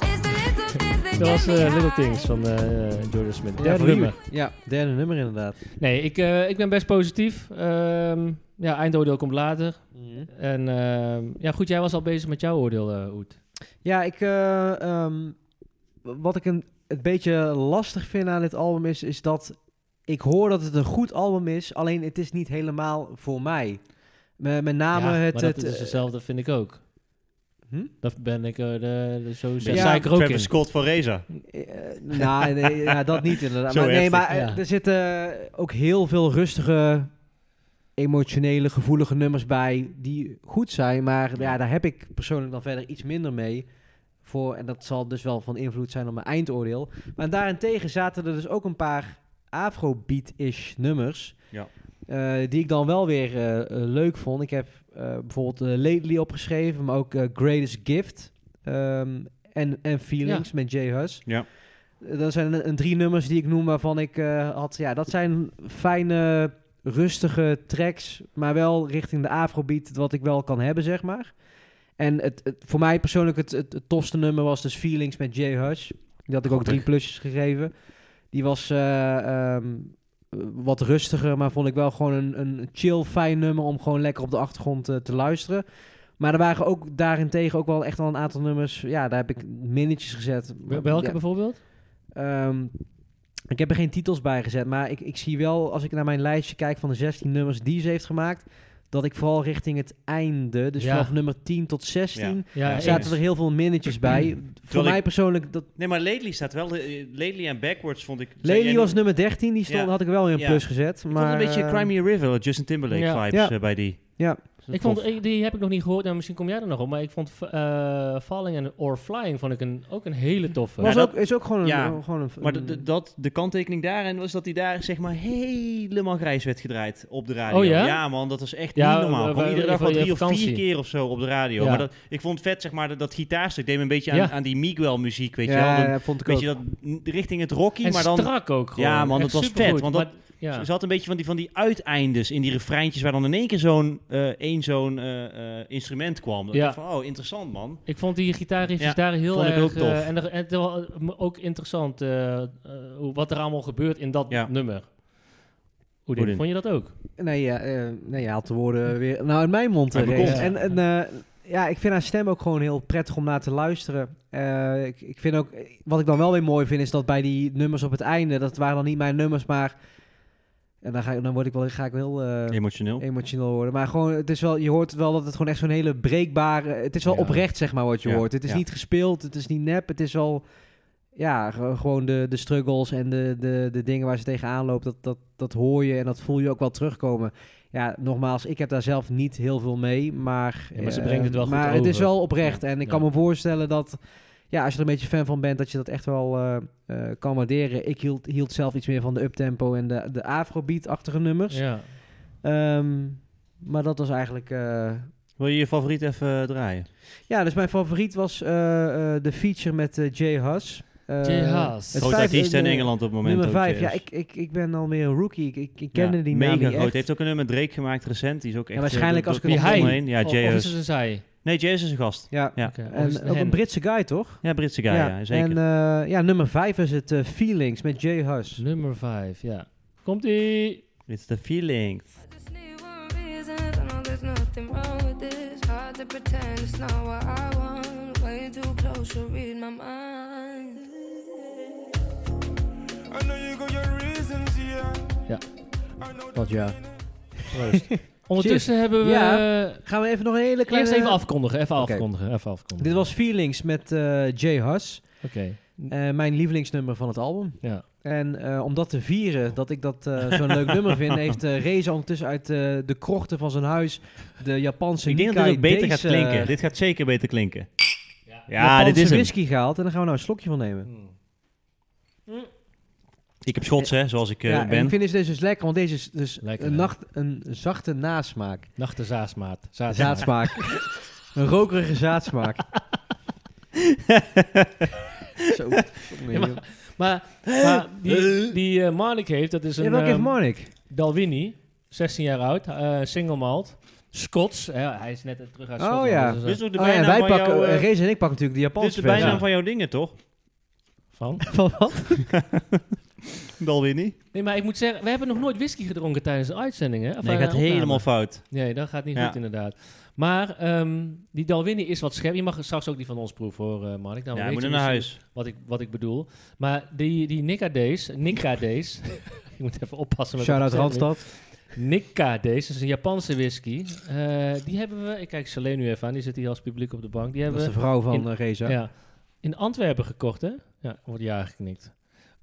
G: It's the little things
A: Dat was eh, Little Things
G: that get me high.
A: van eh Jordan Smith.
C: Ja,
A: Derde
C: voor
A: nummer.
C: u. Ja, derde nummer inderdaad.
A: Nee, ik, eh, ik ben best positief. Ehm, ja, eindoordeel komt later. En ehm, ja, goed, jij was al bezig met jouw oordeel, eh Oet.
C: Ja, ik, eh, ehm, wat ik een, het beetje lastig vind aan dit album is, is dat ik hoor dat het een goed album is, alleen het is niet helemaal voor mij. Me- Met name
A: ja,
C: het...
A: maar
C: het
A: dat is dus
C: eh,
A: hetzelfde, vind ik ook.
C: Hm?
A: Dat ben ik, eh, de, de- zo
B: Ja,
A: ja, zei ik er ook
B: Dus Travis
A: in.
B: Scott van Reza.
C: Eh, nou, nee, ja, dat niet inderdaad.
B: Zo
C: Maar, nee,
B: heftig,
C: maar eh,
A: ja.
C: er zitten ook heel veel rustige, emotionele, gevoelige nummers bij die goed zijn. Maar ja, daar heb ik persoonlijk dan verder iets minder mee. Voor, en dat zal dus wel van invloed zijn op mijn eindoordeel. Maar daarentegen zaten er dus ook een paar afrobeat-ish nummers.
B: Ja.
C: eh, die ik dan wel weer eh, eh, leuk vond. Ik heb eh, bijvoorbeeld eh, Lately opgeschreven, maar ook eh, Greatest Gift. ehm, en, en Feelings met Jay Huss.
B: Ja.
C: Eh, Dat zijn een, een drie nummers die ik noem waarvan ik eh, had... Ja, dat zijn fijne, rustige tracks, maar wel richting de afrobeat wat ik wel kan hebben, zeg maar. En het, het- voor mij persoonlijk het, het, het tofste nummer was dus Feelings met Jay Hush. Die had ik ook drie plusjes gegeven. Die was eh, ehm, wat rustiger, maar vond ik wel gewoon een, een chill, fijn nummer om gewoon lekker op de achtergrond eh, te luisteren. Maar er waren ook daarentegen ook wel echt wel een aantal nummers. Ja, daar heb ik minnetjes gezet.
A: Wel- Welke
C: Ja.
A: bijvoorbeeld?
C: Ehm, ik heb er geen titels bij gezet, maar ik, ik zie wel, als ik naar mijn lijstje kijk van de 16 nummers die ze heeft gemaakt, dat ik vooral richting het einde, dus
A: Ja.
C: vanaf nummer 10 tot 16,
A: Ja,
B: Ja,
A: eens.
C: zaten er heel veel minnetjes bij. Voor
B: Mm. ik-
C: mij persoonlijk, dat,
B: Nee, maar Lately staat wel... eh, Lately en Backwards vond ik... zei jij
C: Lely
B: niet-
C: was nummer 13, die stond,
B: Ja.
C: had ik wel in een
B: Ja.
C: plus gezet.
B: Ik
C: maar,
B: vond een beetje
C: eh,
B: Crimey River, Justin Timberlake
A: Ja.
B: vibes
C: Ja.
B: eh, bij die.
C: Ja.
B: Dus dat
A: Ik vond,
B: tof.
A: ik- die heb ik nog niet gehoord, en misschien kom jij er nog op. Maar ik vond eh, Falling and or Flying vond ik een, ook een hele toffe.
C: Was
B: Ja,
C: ook, is ook gewoon een...
B: ja.
C: gewoon een
B: Maar de,
A: Mm.
B: de, dat, de kanttekening daarin was dat hij daar zeg maar helemaal grijs werd gedraaid op de radio.
A: Oh ja?
B: man, dat was echt
A: Ja,
B: niet normaal.
A: we- we-
B: Gewoon iedere
A: we-
B: dag
A: we-
B: wel
A: je
B: drie of
A: vakantie.
B: vier keer of zo op de radio.
A: Ja.
B: Maar dat, ik vond het vet, zeg maar, dat, dat gitaarstuk deed me een beetje aan,
A: Ja.
B: aan die Miguel-muziek, weet je wel.
C: ja,
B: Dan-
C: ja, vond ik
B: Weet
C: ook.
B: je, dat n- richting het Rocky,
A: en
B: maar dan...
A: strak ook gewoon.
B: Ja, man,
A: Echt
B: dat was
A: supergoed.
B: vet, want dat-
A: Maar- ja.
B: Ze had een beetje van die, van die uiteindes in die refreintjes waar dan in één keer zo'n eh, één zo'n eh, eh, instrument kwam. Dat
A: Ja.
B: dacht ik van, oh, interessant, man.
A: Ik vond die gitaarriffjes
B: Ja,
A: daar heel
B: vond ik
A: erg...
B: ook tof.
A: eh, en, er- en het was ook interessant eh, eh, hoe- wat er allemaal gebeurt in dat
B: Ja.
A: nummer. Hoe
B: Oedin.
A: vond je dat ook?
C: Nee, ja, eh, nee, je haalt de woorden weer nou in mijn mond.
B: Uit
C: eh,
B: mijn
C: Rees.
A: kont.
C: En, en eh, ja, ik vind haar stem ook gewoon heel prettig om naar te luisteren. Eh, ik, ik vind ook, wat ik dan wel weer mooi vind, is dat bij die nummers op het einde, dat waren dan niet mijn nummers, maar. En dan, ga ik, dan word ik wel, ga ik wel heel eh,
B: Emotioneel.
C: emotioneel worden. Maar gewoon, het is wel, je hoort wel dat het gewoon echt zo'n hele breekbare. Het is wel
A: Ja.
C: oprecht, zeg maar, wat je
B: Ja,
C: hoort. Het is
B: ja.
C: niet gespeeld, het is niet nep, het is wel. Ja, ge- gewoon de, de struggles en de, de, de dingen waar ze tegenaan loopt, dat, dat, dat hoor je en dat voel je ook wel terugkomen. Ja, nogmaals, ik heb daar zelf niet heel veel mee, maar...
A: Ja, maar ze
C: eh,
A: brengt het wel goed
C: Maar het is
A: over.
C: wel oprecht en ik
A: ja.
C: kan me voorstellen dat, ja, als je er een beetje fan van bent, dat je dat echt wel eh, eh, kan waarderen. Ik hield, hield zelf iets meer van de uptempo en de, de afrobeat-achtige nummers.
A: Ja.
C: Ehm, maar dat was eigenlijk. eh,
B: Wil je je favoriet even eh, draaien?
C: ja, dus mijn favoriet was eh, eh, de feature met eh, Jay Huss. Eh,
A: Jay Huss.
C: het
B: Groot
C: vijf-
B: artiest in
C: eh,
B: Engeland op het moment.
C: Nummer
B: ook,
C: 5. Ja,
B: eh,
C: ik, ik, ik ben alweer een rookie. Ik, ik, ik kende
B: Ja,
C: die naam
B: mega
C: niet
B: groot.
C: echt.
B: Heeft ook een nummer met Drake gemaakt recent. Die is ook echt.
C: waarschijnlijk
B: eh,
C: als
B: door-
C: ik Oh,
B: door
A: het
B: de
A: nog-
B: omheen. Ja,
A: Of- of is
B: JS.
A: het een zij?
B: Nee, JS is een gast.
C: Ja.
B: Ja.
A: Oké, of is het
C: En ook
A: hen?
C: een Britse guy, toch?
B: Ja, Britse guy. Ja, zeker.
C: En eh, ja, nummer 5 is het eh, Feelings met Jay Huss.
A: Nummer 5, ja. Komt-ie!
B: It's the feeling.
G: I just need one reason. I know there's nothing wrong with this. Hard to pretend it's not what I want. Way too close to read my mind.
E: I know you got your reasons, yeah.
A: Ja.
E: I know
C: Wat ja.
A: Ondertussen hebben we...
C: Ja.
A: eh,
C: Gaan we even nog een hele kleine...
A: Eerst even afkondigen, even
C: Oké.
A: afkondigen, even afkondigen.
C: Dit was Feelings met eh Jay Huss.
A: Oké.
C: Eh, mijn lievelingsnummer van het album.
A: Ja.
C: En eh, om dat te vieren, dat ik dat eh, zo'n leuk nummer vind, heeft eh Reza ondertussen uit eh, de krochten van zijn huis de Japanse
B: Ik denk dat
C: Nikkei
B: dit ook beter gaat
C: deze,
B: klinken.
C: eh,
B: Dit gaat zeker beter klinken. Ja,
C: Japanse
B: dit is hem.
C: whisky gehaald. En daar gaan we nou een slokje van nemen.
A: Hm.
B: Ik heb Schots, hè, zoals ik eh,
C: ja, en
B: ben.
C: ik vind deze dus lekker, want deze is dus
A: Lekker,
C: een,
A: hè?
C: nacht, een zachte nasmaak.
A: Nachten zaasmaat. Zaasmaat.
C: Zaadsmaak. een rokerige zaadsmaak. Zo.
A: Ja, maar- Maar, maar die, die eh, Marnik heeft, dat is een
C: Ja, welke heeft
A: ehm,
C: Marnik?
A: Dalwini, 16 jaar oud, eh, single malt, Scots. eh, hij is net eh, terug uit
C: Oh,
A: Schotland.
C: ja.
A: dus, eh,
B: Dit is ook de
C: Oh, ja, en
B: bijnaam
C: wij
B: van
C: pakken,
B: jouw... eh,
C: eh, Reza en ik pakken natuurlijk de
B: dit is de
C: Japanse
B: bijnaam
A: Ja.
B: van jouw dingen, toch?
A: van.
C: Van wat?
B: Dalwini.
A: Nee, maar ik moet zeggen, we hebben nog nooit whisky gedronken tijdens de uitzendingen. hè, of,
B: Nee,
A: eh,
B: gaat
A: opname.
B: helemaal fout.
A: Nee, dat gaat niet
B: Ja.
A: goed inderdaad. Maar ehm, die Dalwini is wat scherp. Je mag straks ook die van ons proeven hoor, eh Marnik. Dan
B: Ja,
A: weet
B: moet
A: je
B: naar naar
A: misschien-
B: huis.
A: wat ik, wat ik bedoel. Maar die, die Nikkadees, Nikkadees, ik moet even oppassen met
C: Shout-out
A: wat ik zeg nu.
C: Randstad.
A: Nikkadees, dat is een Japanse whisky. Eh, die hebben we, ik kijk Soleil nu even aan, die zit hier als publiek op de bank. Die
C: Dat
A: hebben
C: is de
A: we
C: vrouw van
A: in-
C: eh, Reza.
A: ja, in Antwerpen gekocht hè? Ja, wordt jaren geknikt.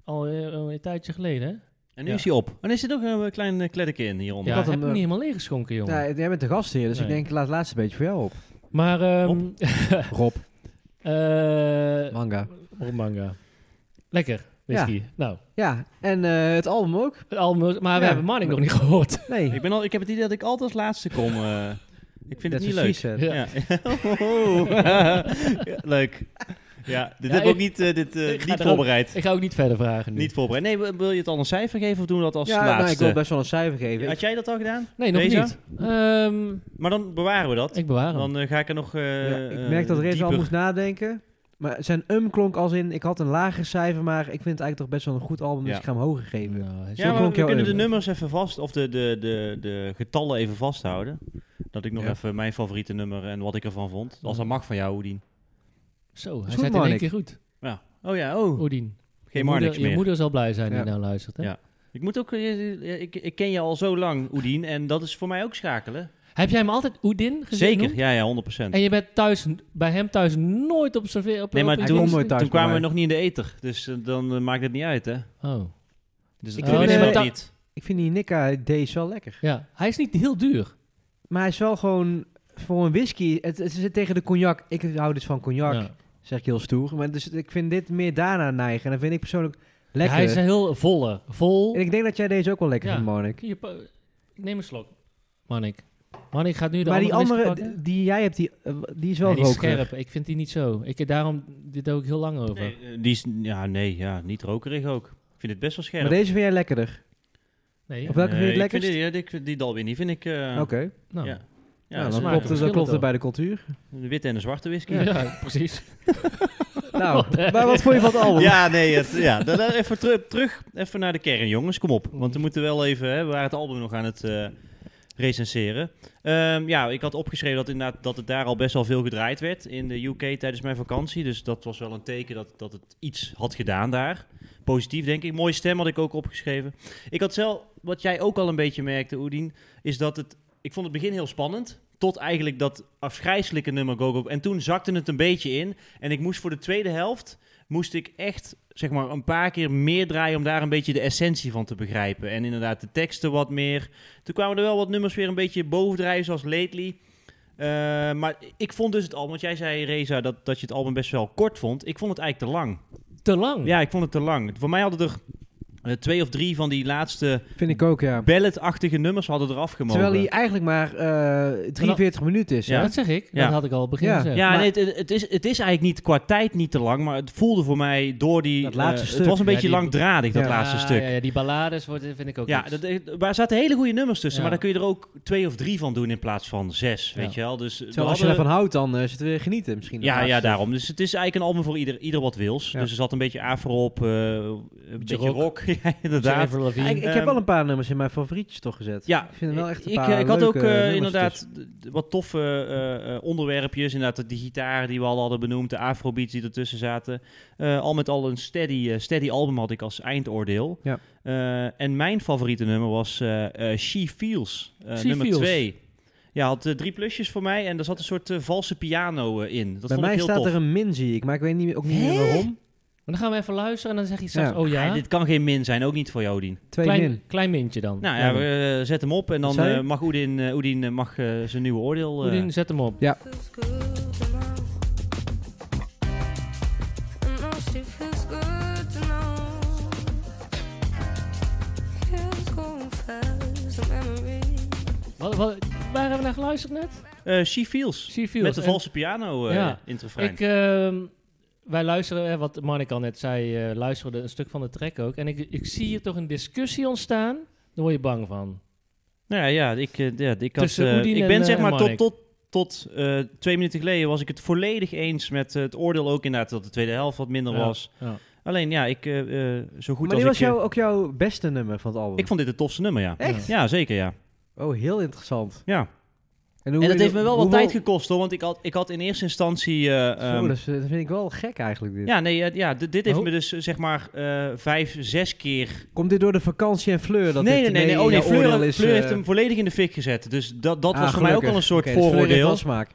A: Al eh, al een tijdje geleden hè?
B: En nu
A: Ja.
B: is hij op. En er zit ook een eh, klein eh, kleddeke in hieronder.
A: Ja,
C: had
A: ik heb
C: hem,
A: hem
C: eh,
A: niet helemaal leeggeschonken jongen.
C: Ja, jij bent de gast hier, dus ik
A: Nee.
C: denk, laat het laatste beetje voor jou op.
A: Maar, ehm
C: Rob,
A: eh,
C: manga.
A: oh, manga. Lekker, whisky. Nou,
C: Ja, en eh, het album ook.
A: het album, maar we
C: Ja.
A: hebben Manning nog niet gehoord.
C: Nee,
B: Ik, ben al, ik heb het idee dat ik altijd als laatste kom. eh. ik vind
C: dat
B: het
C: is
B: niet leuk.
C: precies.
A: Ja.
B: Ja. Ja, leuk. Ja, dit
A: Ja,
B: heb ik ook
A: ik-
B: niet, eh, dit, eh,
A: ik ga
B: niet
A: er ook-
B: voorbereid.
A: Ik ga ook niet verder vragen nu.
B: Niet voorbereid. Nee, wil- wil je het al een cijfer geven of doen we dat als
C: Ja, nou, ik
B: laatste?
C: wil best wel een cijfer geven.
B: Had jij dat al gedaan?
A: Nee, nog
B: Reza?
A: niet. Ehm,
B: Maar dan bewaren we dat.
A: ik bewaar hem.
B: Dan eh, ga ik er nog. eh,
C: Ja, ik
B: eh,
C: merk dat Reza al
B: dieper-
C: moest nadenken. Maar zijn um klonk als in, ik had een lager cijfer, maar ik vind het eigenlijk toch best wel een goed album, dus
B: Ja.
C: ik ga hem hoger geven.
A: Nou, hij is-
B: Ja, maar
C: klonk
B: we
C: jouw
B: kunnen de
C: euro.
B: nummers even vast, of de, de, de, de getallen even vasthouden. Dat ik nog
C: Ja.
B: even mijn favoriete nummer en wat ik ervan vond. Als dat mag van jou, Oedien.
A: Zo, hij
C: goed,
A: zei het in één
C: Marnik.
A: keer goed.
B: Ja. Oh ja, oh.
A: Odin.
B: Geen
A: moeder,
B: Marnix
A: Je
B: meer.
A: moeder zal blij zijn die
C: Ja.
A: nou luistert. Hè?
B: Ja. Ik moet ook. eh, eh, Ik, ik ken je al zo lang, Oedien. En dat is voor mij ook schakelen.
A: Heb jij hem altijd Oedin gezien?
B: Zeker, ja, ja, 100%.
A: En je bent thuis, bij hem thuis nooit op serveer. Op,
B: Nee, maar
A: op
B: hij
A: iets-
C: komt nooit thuis.
B: Toen
C: bij
B: kwamen we
C: mij.
B: nog niet in de eter, dus eh, dan eh, maakt het niet uit, hè?
A: Oh,
B: Dus
A: Ik
B: ik
A: vind,
B: vind
A: eh,
B: het
A: dat-
B: niet.
C: Ik vind die Nikka Days wel lekker.
A: ja. Hij is niet heel duur.
C: Maar hij is wel gewoon, voor een whisky, het, het zit tegen de cognac. Ik hou dus van cognac,
A: Ja.
C: zeg ik heel stoer. Maar dus, ik vind dit meer daarna neigen. En dat vind ik persoonlijk lekker.
A: Hij is heel volle. Vol.
C: En ik denk dat jij deze ook wel lekker
A: Ja.
C: vindt, Monik.
A: Hier, pa- neem een slok. Manik. Manik gaat nu de
C: Maar die
A: andere
C: andere,
A: whisky pakken.
C: d- die jij hebt, die, eh, w- die is wel
A: Nee, die is
C: rokerig.
A: scherp. Ik vind die niet zo. Ik, eh, daarom, dit doe ik heel lang over.
B: Nee, eh, die is, ja, nee, ja, niet rokerig ook. Ik vind het best wel scherp.
C: Maar deze vind jij lekkerder.
A: Nee,
C: Of welke
B: Nee,
C: vind je het
B: ik vind
C: lekkerst?
B: die, ja, die, ik vind die Dalwini vind ik... eh,
C: Oké,
A: nou.
B: Ja. Ja,
C: nou,
A: smaken
B: dat
C: dan
B: smaakt
C: klopt, het- dan
A: verschillen
C: klopt
A: toch?
C: het bij de cultuur.
B: De witte en de zwarte whisky.
A: Ja,
B: Ja,
A: precies.
C: nou, maar wat vond je van het album?
B: nee, het, ja, dan dan even teru- terug even naar de kern, jongens. Kom op, want we moeten wel even... Hè, we waren het album nog aan het eh, recenseren. Ehm, ja, ik had opgeschreven dat, inderdaad, dat het daar al best wel veel gedraaid werd in de UK tijdens mijn vakantie. Dus dat was wel een teken dat, dat het iets had gedaan daar. Positief, denk ik. Mooie stem had ik ook opgeschreven. Ik had zelf, wat jij ook al een beetje merkte, Oedien, is dat het... Ik vond het begin heel spannend. Tot eigenlijk dat afgrijzelijke nummer Go Go. Go. En toen zakte het een beetje in. En ik moest voor de tweede helft, moest ik echt zeg maar een paar keer meer draaien om daar een beetje de essentie van te begrijpen. En inderdaad de teksten wat meer. Toen kwamen er wel wat nummers weer een beetje bovendrijven, zoals Lately. Eh, maar ik vond dus het album, want jij zei Reza dat, dat je het album best wel kort vond. Ik vond het eigenlijk te lang.
A: Te lang.
B: Ja, ik vond het te lang. Voor mij hadden er eh, twee of drie van die laatste
C: Vind ik ook, ja.
B: balladachtige nummers hadden eraf gemogen.
C: Terwijl hij eigenlijk maar eh 43 minuten is.
A: Ja,
C: hè?
A: dat zeg ik.
B: Ja.
A: Dat had ik al op het begin
C: Ja.
A: gezegd.
B: Ja,
C: Maar-
B: nee, het, het, is, het is eigenlijk niet qua tijd niet te lang, maar het voelde voor mij door die...
C: Dat laatste
B: eh,
C: stuk.
B: Het was een
A: Ja,
B: beetje
A: die-
B: langdradig, dat
C: Ja.
B: laatste
A: Ah,
B: stuk.
A: Ja,
B: Ja,
A: ja, die ballades wordt, vind ik ook niks.
B: dat, eh, daar zaten hele goede nummers tussen,
A: Ja.
B: maar daar kun je er ook twee of drie van doen in plaats van zes,
A: Ja.
B: weet je wel. Dus we
C: Terwijl als je
B: hadden-
C: ervan houdt, dan eh, is het weer genieten misschien.
B: Ja,
C: daarnaast.
B: ja, daarom. Dus het is eigenlijk een album voor ieder, ieder wat wils.
C: Ja.
B: Dus er zat een beetje afro op, eh, een beetje
A: rock.
B: rock. Ja, ja, inderdaad.
A: Jennifer Lavine.
C: ik, ik heb
B: Ehm,
C: wel een paar nummers in mijn favorietjes toch gezet.
B: Ja,
C: ik vind er wel echt een
B: ik,
C: paar
B: eh, ik had ook
C: leuke
B: eh,
C: nummers
B: inderdaad
C: tussen.
B: d- wat toffe eh, eh, onderwerpjes. Inderdaad, de gitaar die we al hadden benoemd, de afrobeats die ertussen zaten. Eh, al met al een steady, eh, steady album had ik als eindoordeel.
C: Ja.
B: Eh, en mijn favoriete nummer was eh, eh, She Feels, eh,
A: She
B: nummer
A: Feels.
B: 2. Ja, had eh, drie plusjes voor mij en er zat een soort eh, valse piano eh, in. Dat
C: Bij
B: vond
C: mij
B: ik heel
C: staat
B: tof.
C: er een min, zie ik, maar ik weet niet, ook niet meer waarom.
A: Maar dan gaan we even luisteren en dan zeg je straks,
C: Ja.
A: oh ja,
B: Ah, dit kan geen min zijn, ook niet voor jou, Dien.
C: Twee min.
A: klein, klein mintje dan.
B: Nou ja, we, eh, zet hem op en dan
C: Sorry?
B: eh, mag Oedin, eh, Oedin eh, mag, eh, zijn nieuwe oordeel... eh,
A: Oedin, zet hem op.
G: feels good tonight. I know Mm, oh, she feels good tonight. Here's going fast, the memory.
A: Wat, wat, waar hebben we naar geluisterd net?
B: eh, She Feels.
A: She Feels.
B: Met de
A: En
B: valse piano eh
A: Ja.
B: in het refrein.
A: Ik, ehm, wij luisteren, hè, wat Marnik al net zei, eh luisteren een stuk van de track ook. En ik, ik zie hier toch een discussie ontstaan. Daar word je bang van.
B: nou ja, ja, ik, eh, ja, ik, had,
A: Tussen
B: eh,
A: Oedin
B: ik
A: en,
B: ben
A: eh,
B: zeg
A: en
B: maar tot,
A: Marnik.
B: tot, tot eh, twee minuten geleden was ik het volledig eens met eh, het oordeel ook inderdaad dat de tweede helft wat minder
A: Ja,
B: was.
A: ja.
B: Alleen ja, ik eh, eh, zo goed als
C: maar die was
B: ik... eh,
C: jou, ook jouw beste nummer van het album.
B: ik vond dit het tofste nummer, ja.
C: Echt?
B: Ja, zeker, ja.
C: Oh, heel interessant.
B: ja.
C: hoe-
B: En dat heeft me wel wat
C: hoeveel-
B: tijd gekost, hoor. Want ik had, ik had in eerste instantie... eh,
C: Zo,
B: ehm,
C: dat, is- dat vind ik wel gek eigenlijk. Dit.
B: ja, nee, eh, ja, dit, dit heeft
A: Oh.
B: me dus eh, zeg maar eh, vijf, zes keer
C: Komt dit door de vakantie en Fleur? Dat
B: nee, nee,
C: dit
B: nee, nee.
C: mee
B: Oh, nee
C: jouw oordeel
B: Fleur,
C: is,
B: Fleur
C: eh,
B: heeft hem volledig in de fik gezet. Dus dat, dat
C: ah,
B: was voor mij ook
C: gelukkig.
B: al een soort
C: Oké, dus Fleur heeft
B: vooroordeel.
C: wel smaak.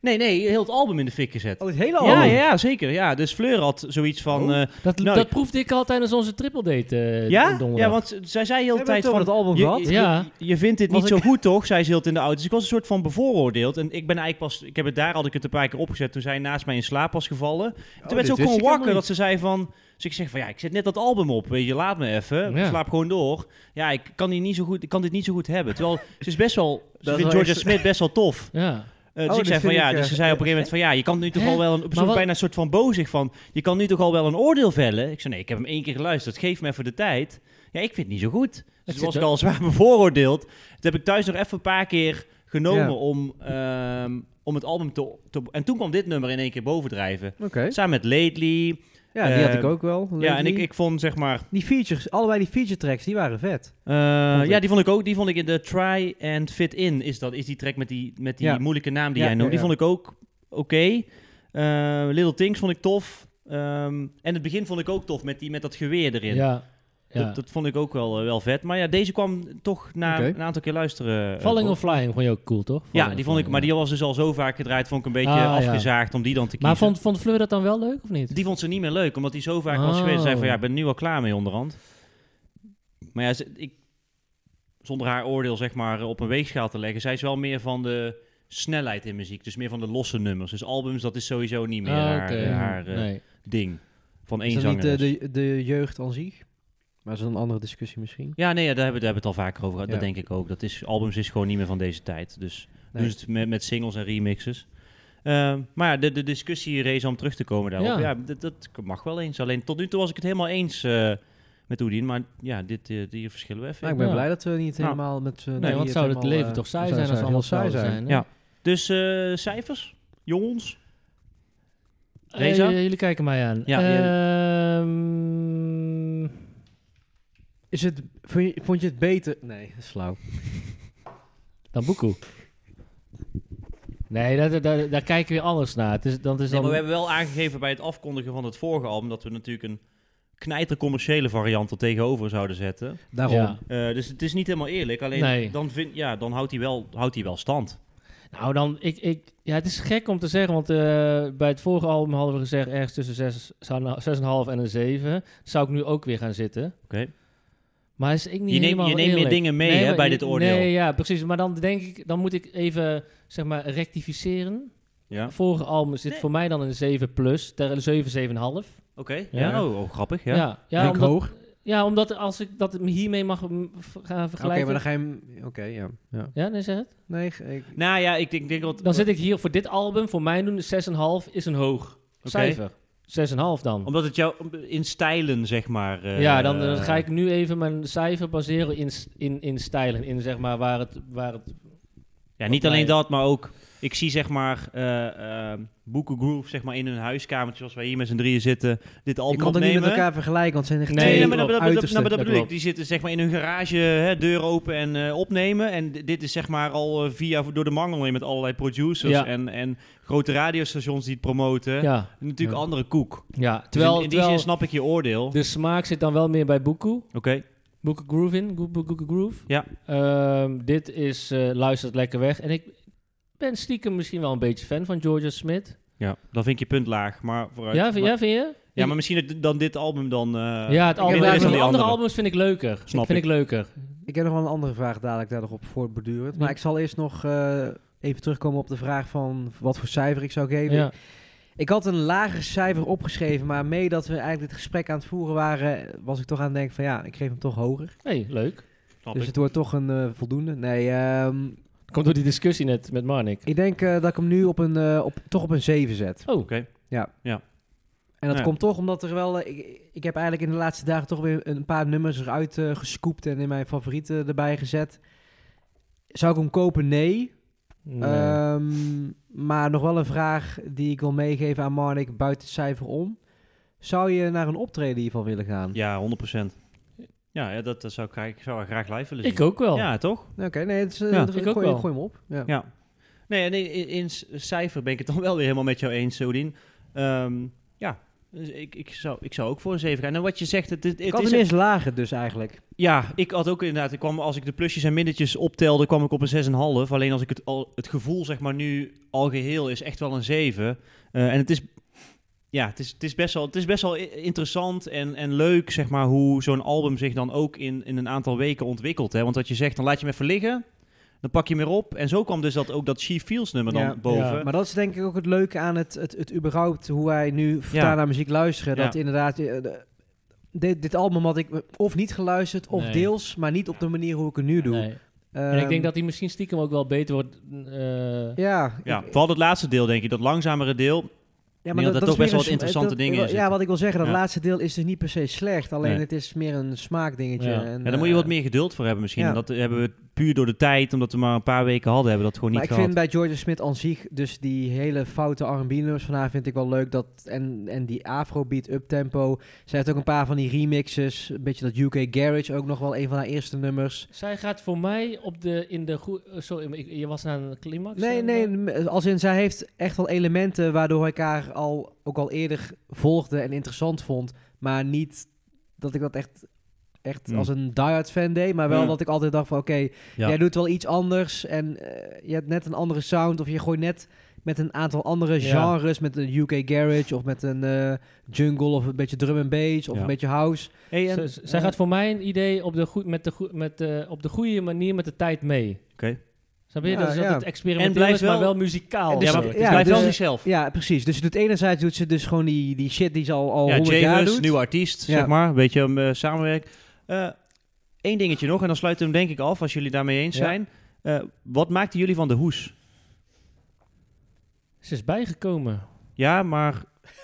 B: nee, nee, heel het album in de fik gezet.
C: Oh, het hele album?
B: ja, ja, ja, zeker. Ja. Dus Fleur had zoiets van...
C: Oh.
B: eh,
A: Dat,
B: Nou,
A: dat
B: ik-
A: proefde ik al tijdens onze triple date eh,
B: ja?
A: donderdag.
B: ja, want zij zei heel de
C: Hebben we
B: tijd
C: het over
B: van...
C: het album
B: je,
C: gehad?
B: je,
A: Ja.
B: je vindt dit
A: Was
B: niet zo goed, toch? Zei ze heel de tijd in de auto. Dus ik was een soort van bevooroordeeld. En ik ben eigenlijk pas... Ik heb het daar had ik het een paar keer opgezet toen zij naast mij in slaap was gevallen.
C: Oh,
B: toen werd ze ook
C: dit wist
B: gewoon
C: ik helemaal
B: wakker dat ze zei van... Dus ik zeg van ja, ik zet net dat album op, weet je, laat me even.
A: Ja.
B: Slaap gewoon door. Ja, ik kan, die niet zo goed, ik kan dit niet zo goed hebben. Terwijl ze is best wel... Ze
C: is
B: vindt
C: wel
B: Georgia
C: echt-
B: Smith best wel tof.
A: Ja.
B: Eh,
C: Oh,
B: dus ik
C: dit
B: zei van
C: vind
B: ja,
C: ik,
B: dus
C: eh,
B: ze zei op een gegeven moment van ja, je kan nu toch
A: Hè?
B: al wel een, op
A: Maar
B: zo'n
A: wat-
B: bijna een soort van bozig van, je kan nu toch al wel een oordeel vellen. Ik zei nee, ik heb hem één keer geluisterd, geef me even de tijd. Ja, ik vind het niet zo goed. Dus
A: zit
B: toen was ik
A: wel-
B: al zwaar bevooroordeeld. Dat heb ik thuis nog even een paar keer genomen
C: Ja.
B: om, ehm, om het album te, te... En toen kwam dit nummer in één keer bovendrijven.
C: Oké.
B: Samen met Lately.
C: Ja, die had
B: Eh,
C: ik ook wel.
B: Ja, en
C: Lately.
B: ik, ik vond zeg maar...
C: Die features, allebei die feature tracks, die waren vet.
B: eh,
C: Vond ik.
B: ja, die vond ik ook. Die vond ik in de Try and Fit In. Is, dat, is die track met die, met die
C: Ja.
B: moeilijke naam die
C: Ja,
B: jij noemt.
C: ja,
B: Die vond ik ook oké. Eh, Little Things vond ik tof. Ehm, en het begin vond ik ook tof met, die, met dat geweer erin.
A: ja. ja.
B: Dat, dat vond ik ook wel, eh, wel vet. Maar ja, deze kwam toch na
C: Oké.
B: een aantal keer luisteren. eh,
A: Falling
B: op.
A: or Flying vond je ook cool, toch? Falling
B: Ja,
A: or
B: die vond ik.
A: Flying,
B: Maar
A: ja.
B: die was dus al zo vaak gedraaid. Vond ik een beetje
A: Ah, ja.
B: afgezaagd om die dan te kiezen.
A: Maar vond, vond Fleur dat dan wel leuk, of niet?
B: Die vond ze niet meer leuk, omdat die zo vaak was
A: Oh.
B: geweest. Ze Zei van ja, ik ben er nu al klaar mee onderhand. Maar ja, ze- ik, zonder haar oordeel zeg maar op een weegschaal te leggen, zij is wel meer van de snelheid in muziek. Dus meer van de losse nummers. Dus albums, dat is sowieso niet meer
A: Ah,
B: haar,
A: oké.
B: haar eh,
A: nee.
B: ding. Van één
C: is dat niet eh,
B: zangeres.
C: de, de jeugd aan zich? Maar dat is een andere discussie misschien.
B: Ja, nee, ja, daar hebben we daar hebben we het al vaker over gehad. Dat
C: Ja.
B: denk ik ook. Dat is, albums is gewoon niet meer van deze tijd. Dus
C: Nee.
B: doen ze het met, met singles en remixes. Ehm, maar ja, de, de discussie race om terug te komen daarop. Ja,
A: Ja.
B: dat, dat mag wel eens. Alleen tot nu toe was ik het helemaal eens eh, met Oedien. Maar ja, dit, eh, hier verschillen we even.
C: Nou,
B: in.
C: ik ben
A: Ja.
C: blij dat we niet
B: Nou,
C: helemaal met... eh,
A: Nee,
C: die
A: want zou het
C: helemaal,
A: leven
C: eh,
A: toch saai
C: zou-
A: zijn als
C: zou
A: allemaal
C: heel
A: saai zijn? hè?
B: Ja. Dus eh, cijfers, jongens.
A: Eh,
B: Reza?
A: j- jullie kijken mij aan.
B: Ja,
A: Ehm,
C: Is het, vond, je, vond je het beter? Nee, dat is flauw.
A: dan Boekoe. Nee, daar, daar, daar kijken we anders naar. Het is, dat is
B: Nee,
A: dan,
B: maar Dus we hebben wel aangegeven bij het afkondigen van het vorige album... dat we natuurlijk een knijtercommerciële variant er tegenover zouden zetten.
C: Daarom.
A: Ja.
B: Eh, dus het is niet helemaal eerlijk. Alleen
A: Nee.
B: dan, vind, ja, dan houdt hij wel, houdt hij wel stand.
A: Nou, dan, ik, ik, ja, het is gek om te zeggen, want eh, bij het vorige album hadden we gezegd ergens tussen zes- zou- 6,5 en een 7. Zou ik nu ook weer gaan zitten.
B: Oké.
A: Maar is ik niet
B: Je neemt-
A: helemaal
B: je neemt meer
A: eerlijk.
B: dingen mee, hè,
A: maar
B: bij
A: je-
B: dit oordeel.
A: Nee, ja, precies. Maar dan denk ik, dan moet ik even, zeg maar, rectificeren.
B: Ja.
A: Vorige album zit
B: Nee.
A: voor mij dan een 7 plus, ter 7, 7,5.
B: Oké, ja.
A: Ja.
B: Oh, oh, grappig, ja.
A: Ja, ja,
C: Vind ik
A: omdat,
C: hoog. Oké,
A: ja, omdat als ik dat hiermee mag mm, v- gaan vergelijken.
C: maar dan ga je hem... Oké, ja. ja.
A: Ja, nee, zeg het.
C: Nee, ge- ik,
B: Nou ja, ik denk, denk dat...
A: Dan zit ik hier voor dit album, voor mij doen 6,5 is een hoog cijfer. 6,5 dan.
B: Omdat het jou in stijlen, zeg maar... eh,
A: ja, dan, dan ga ik nu even mijn cijfer baseren in, s- in, in stijlen. In zeg maar waar het, waar het
B: Ja, niet
A: Wat
B: alleen
A: mij-
B: dat, maar ook... Ik zie zeg maar eh, eh, Boeken Groove zeg maar, in hun huiskamertje, zoals wij hier met z'n drieën zitten, dit
C: Ik
B: album
C: kan het
B: opnemen.
C: niet met elkaar vergelijken, want het zijn echt
A: Nee,
C: twee
A: nee,
B: Nee, maar dat, dat, dat,
C: uitersten.
B: nou, maar dat
A: Dat
B: bedoel ik.
A: klopt.
B: Die zitten zeg maar in hun garage, hè, deur open en eh, opnemen. En d- dit is zeg maar al eh, via door de mangel heen met allerlei producers
A: Ja.
B: en, en grote radiostations die het promoten.
A: Ja,
B: Natuurlijk
A: Ja.
B: andere koek.
A: ja.
B: Dus in-
A: Terwijl,
B: in, die
A: terwijl
B: zin snap ik je oordeel. Oké.
A: de smaak zit dan wel meer bij Boekoe. Boeken Groove in, Go- Go- Go- Groove.
B: Ja.
A: Ehm, dit is eh, Luistert Lekker Weg. En ik ben stiekem misschien wel een beetje fan van Georgia Smith.
B: Ja, dan vind ik je punt laag. Maar vooruit.
A: Ja, vind,
B: maar,
A: ja, vind je?
B: ja, maar misschien het- dan dit album dan. eh,
A: ja, het
B: minder
A: album,
B: is
A: maar
B: dan
A: die
B: die
A: andere
B: andere.
A: albums vind ik leuker.
B: Snap
A: vind
B: ik.
A: ik leuker.
C: Ik heb nog wel een andere vraag dadelijk daar nog op voortbordurend. Maar
A: Ja.
C: ik zal eerst nog eh, even terugkomen op de vraag van wat voor cijfer ik zou geven.
A: Ja.
C: Ik had een lager cijfer opgeschreven, maar mee dat we eigenlijk dit gesprek aan het voeren waren, was ik toch aan het denken van ja, ik geef hem toch hoger.
A: Hey, leuk.
B: Snap
C: dus
B: ik.
C: het wordt toch een eh, voldoende. Nee, ehm,
A: Komt door die discussie net met Marnik.
C: ik denk eh, dat ik hem nu op een, eh, op, toch op een 7 zet.
A: Oh,
B: Oké.
C: En dat
B: Ja.
C: komt toch omdat er wel, eh, ik, ik heb eigenlijk in de laatste dagen toch weer een paar nummers eruit eh, gescoopt en in mijn favorieten erbij gezet. Zou ik hem kopen? Nee.
A: nee.
C: Ehm, maar nog wel een vraag die ik wil meegeven aan Marnik buiten het cijfer om. Zou je naar een optreden hiervan willen gaan?
B: Ja, 100%. Ja, ja dat, dat zou ik, graag- ik zou haar graag live willen zien.
A: ik ook wel.
B: Ja, toch?
C: Oké, nee, het is, eh,
B: Ja,
C: het-
A: ik ook
C: gooi,
A: wel.
C: gooi hem op. Ja.
B: Ja. Nee, en in, in c- cijfer ben ik het dan wel weer helemaal met jou eens, Sodien. Ehm, ja, dus ik, ik, zou, ik zou ook voor een 7 gaan. En wat je zegt, het, het,
C: Ik
B: het
C: had
B: is...
C: hem eerst lager dus eigenlijk.
B: ja, ik had ook inderdaad... Ik kwam, als ik de plusjes en minnetjes optelde, kwam ik op een 6,5. Alleen als ik het, al, het gevoel, zeg maar, nu al geheel is echt wel een 7. Eh, en het is... Ja, het is, het is best wel, het is best wel i- interessant en, en leuk, zeg maar, hoe zo'n album zich dan ook in, in een aantal weken ontwikkelt. Hè? Want wat je zegt, dan laat je hem even liggen, dan pak je hem weer op. En zo kwam dus dat, ook dat She Feels nummer dan
C: Ja.
B: boven.
A: Ja.
C: Maar dat is denk ik ook het leuke aan het, het, het überhaupt hoe wij nu vertaan
B: Ja.
C: naar muziek luisteren. Dat
B: Ja.
C: inderdaad, eh, de- dit, dit album had ik of niet geluisterd of
A: Nee.
C: deels, maar niet op de manier hoe ik het nu doe.
A: Nee. En ik
C: Ehm,
A: denk dat die misschien stiekem ook wel beter wordt. eh,
C: Ja,
B: Ja,
C: ik-
B: vooral het laatste deel, denk ik. Dat langzamere deel.
C: Ja,
B: Ik denk dat daar toch
C: is
B: best
C: meer
B: wel wat
C: een sma-
B: interessante
C: dat-
B: dingen in
C: Ja,
B: zitten.
C: wat ik wil zeggen, dat
B: Ja.
C: laatste deel is dus niet per se slecht. Alleen
B: Nee.
C: het is meer een smaakdingetje.
A: Ja.
C: En,
B: Ja, daar moet je
C: eh,
B: wat meer geduld voor hebben misschien.
C: ja.
B: En dat hebben we puur door de tijd, omdat we maar een paar weken hadden, hebben we dat gewoon
C: Maar
B: niet
C: ik
B: gehad.
C: vind bij Georgia Smith aan zich, dus die hele foute R&B-nummers van haar vind ik wel leuk. Dat, en, en die afrobeat uptempo. Zij heeft ook een paar van die remixes. Een beetje dat UK Garage, ook nog wel een van haar eerste nummers.
A: Zij gaat voor mij op de, in de goe- eh, Sorry, maar ik- je was naar een climax?
C: Nee,
A: eh,
C: nee, m- als in zij heeft echt wel elementen waardoor ik haar al, ook al eerder volgde en interessant vond. Maar niet dat ik dat echt, echt
B: Hmm.
C: als een diehard fan deed. Maar wel
B: Ja.
C: dat ik altijd dacht van oké,
B: Ja.
C: jij doet wel iets anders. En eh, je hebt net een andere sound of je gooit net met een aantal andere
A: Ja.
C: genres. Met een UK Garage of met een eh, jungle of een beetje drum and bass of
B: Ja.
C: een beetje house.
B: Hey, en-
A: Z- z- zij
C: eh,
A: gaat voor mijn idee op de, goe- met de, goe- met de, op de goede manier met de tijd mee.
B: Oké.
A: Snap je?
C: Ja,
A: dat is dat
C: ja.
A: het
B: En
A: experimenteel
B: blijft
A: is, maar
B: wel-
A: wel muzikaal.
C: dus-
A: Ja,
B: ja, maar het
C: ja,
B: blijft
C: dus-
B: wel zichzelf.
C: Ja, precies. Dus ze doet enerzijds doet ze dus gewoon die, die shit die ze al, al
B: Ja,
C: 100 jaar
B: James,
C: doet.
B: nieuw artiest,
C: Ja.
B: zeg maar. Een beetje hem eh, samenwerken. Eén dingetje nog, en dan sluiten we hem denk ik af, als jullie daarmee eens
A: Ja.
B: zijn. Eh, wat maakten jullie van de hoes?
A: Ze is bijgekomen.
B: Ja, maar...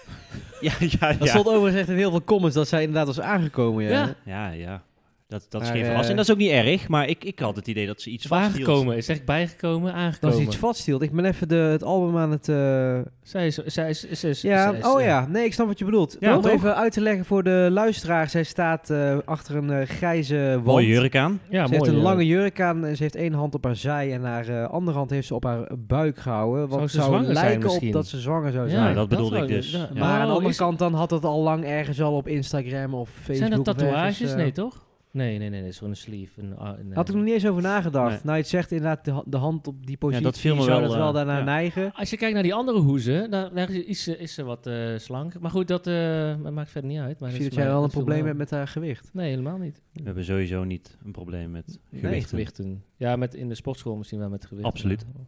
B: ja, ja,
C: Dat
B: ja.
C: stond overigens echt in heel veel comments dat zij inderdaad was aangekomen. Ja.
A: Ja.
B: Ja, ja. Dat, dat is
C: Maar,
B: geen
C: eh,
B: verrassing. Dat is ook niet erg, maar ik, ik had het idee dat ze iets
A: Is
B: vasthield.
A: Aangekomen. Is echt bijgekomen,
C: Dat
A: aangekomen.
C: is iets vasthield. Ik ben even de, het album aan het... eh,
A: Zij is... Zij is, zij is
C: Ja,
A: zij is,
C: oh
A: eh,
C: ja. Nee, ik snap wat je bedoelt.
B: Ja,
C: Om
B: toch?
C: even uit te leggen voor de luisteraar. Zij staat eh, achter een eh, grijze wand.
B: Mooie jurk aan.
A: Ja, mooi.
C: ze heeft
A: eh.
C: een lange jurk aan en ze heeft één hand op haar zij en haar eh, andere hand heeft ze op haar buik gehouden. Wat
A: Zou ze
C: zou
A: zwanger zijn
C: lijken op
A: misschien?
C: dat ze zwanger zou
A: Ja,
C: zijn.
B: dat bedoelde ik
A: zou-
B: dus.
A: ja.
B: Maar
C: Maar aan de
A: Oh,
C: andere
A: is-
C: kant dan had dat al lang ergens al op Instagram of Facebook.
A: Zijn dat
C: of ergens,
A: tatoeages?
C: eh,
A: Nee, toch? Nee, nee, nee. Dat is gewoon een sleeve. Een, ah, een,
C: Had ik
A: eh,
C: nog niet eens over nagedacht.
B: Nee.
C: Nou, je zegt inderdaad de, ha- de hand op die positie.
B: dat viel me
C: zou
B: wel,
C: dat wel
B: eh,
C: daarnaar
B: ja.
C: neigen.
A: Als je kijkt naar die andere hoezen, daar, daar is, is, ze- is ze wat eh, slank. Maar goed, dat eh, dat maakt verder niet uit. Maar dat
C: Ik zie
A: is
C: dat jij
A: mij-
C: wel een
A: dat viel
C: probleem
A: me
C: hebt
A: wel.
C: met haar gewicht.
A: Nee, helemaal niet.
B: We hebben sowieso niet een probleem met
C: Nee,
B: gewichten.
A: Gewichten. Ja, met, in de sportschool misschien wel met gewichten.
B: Absoluut.
A: maar-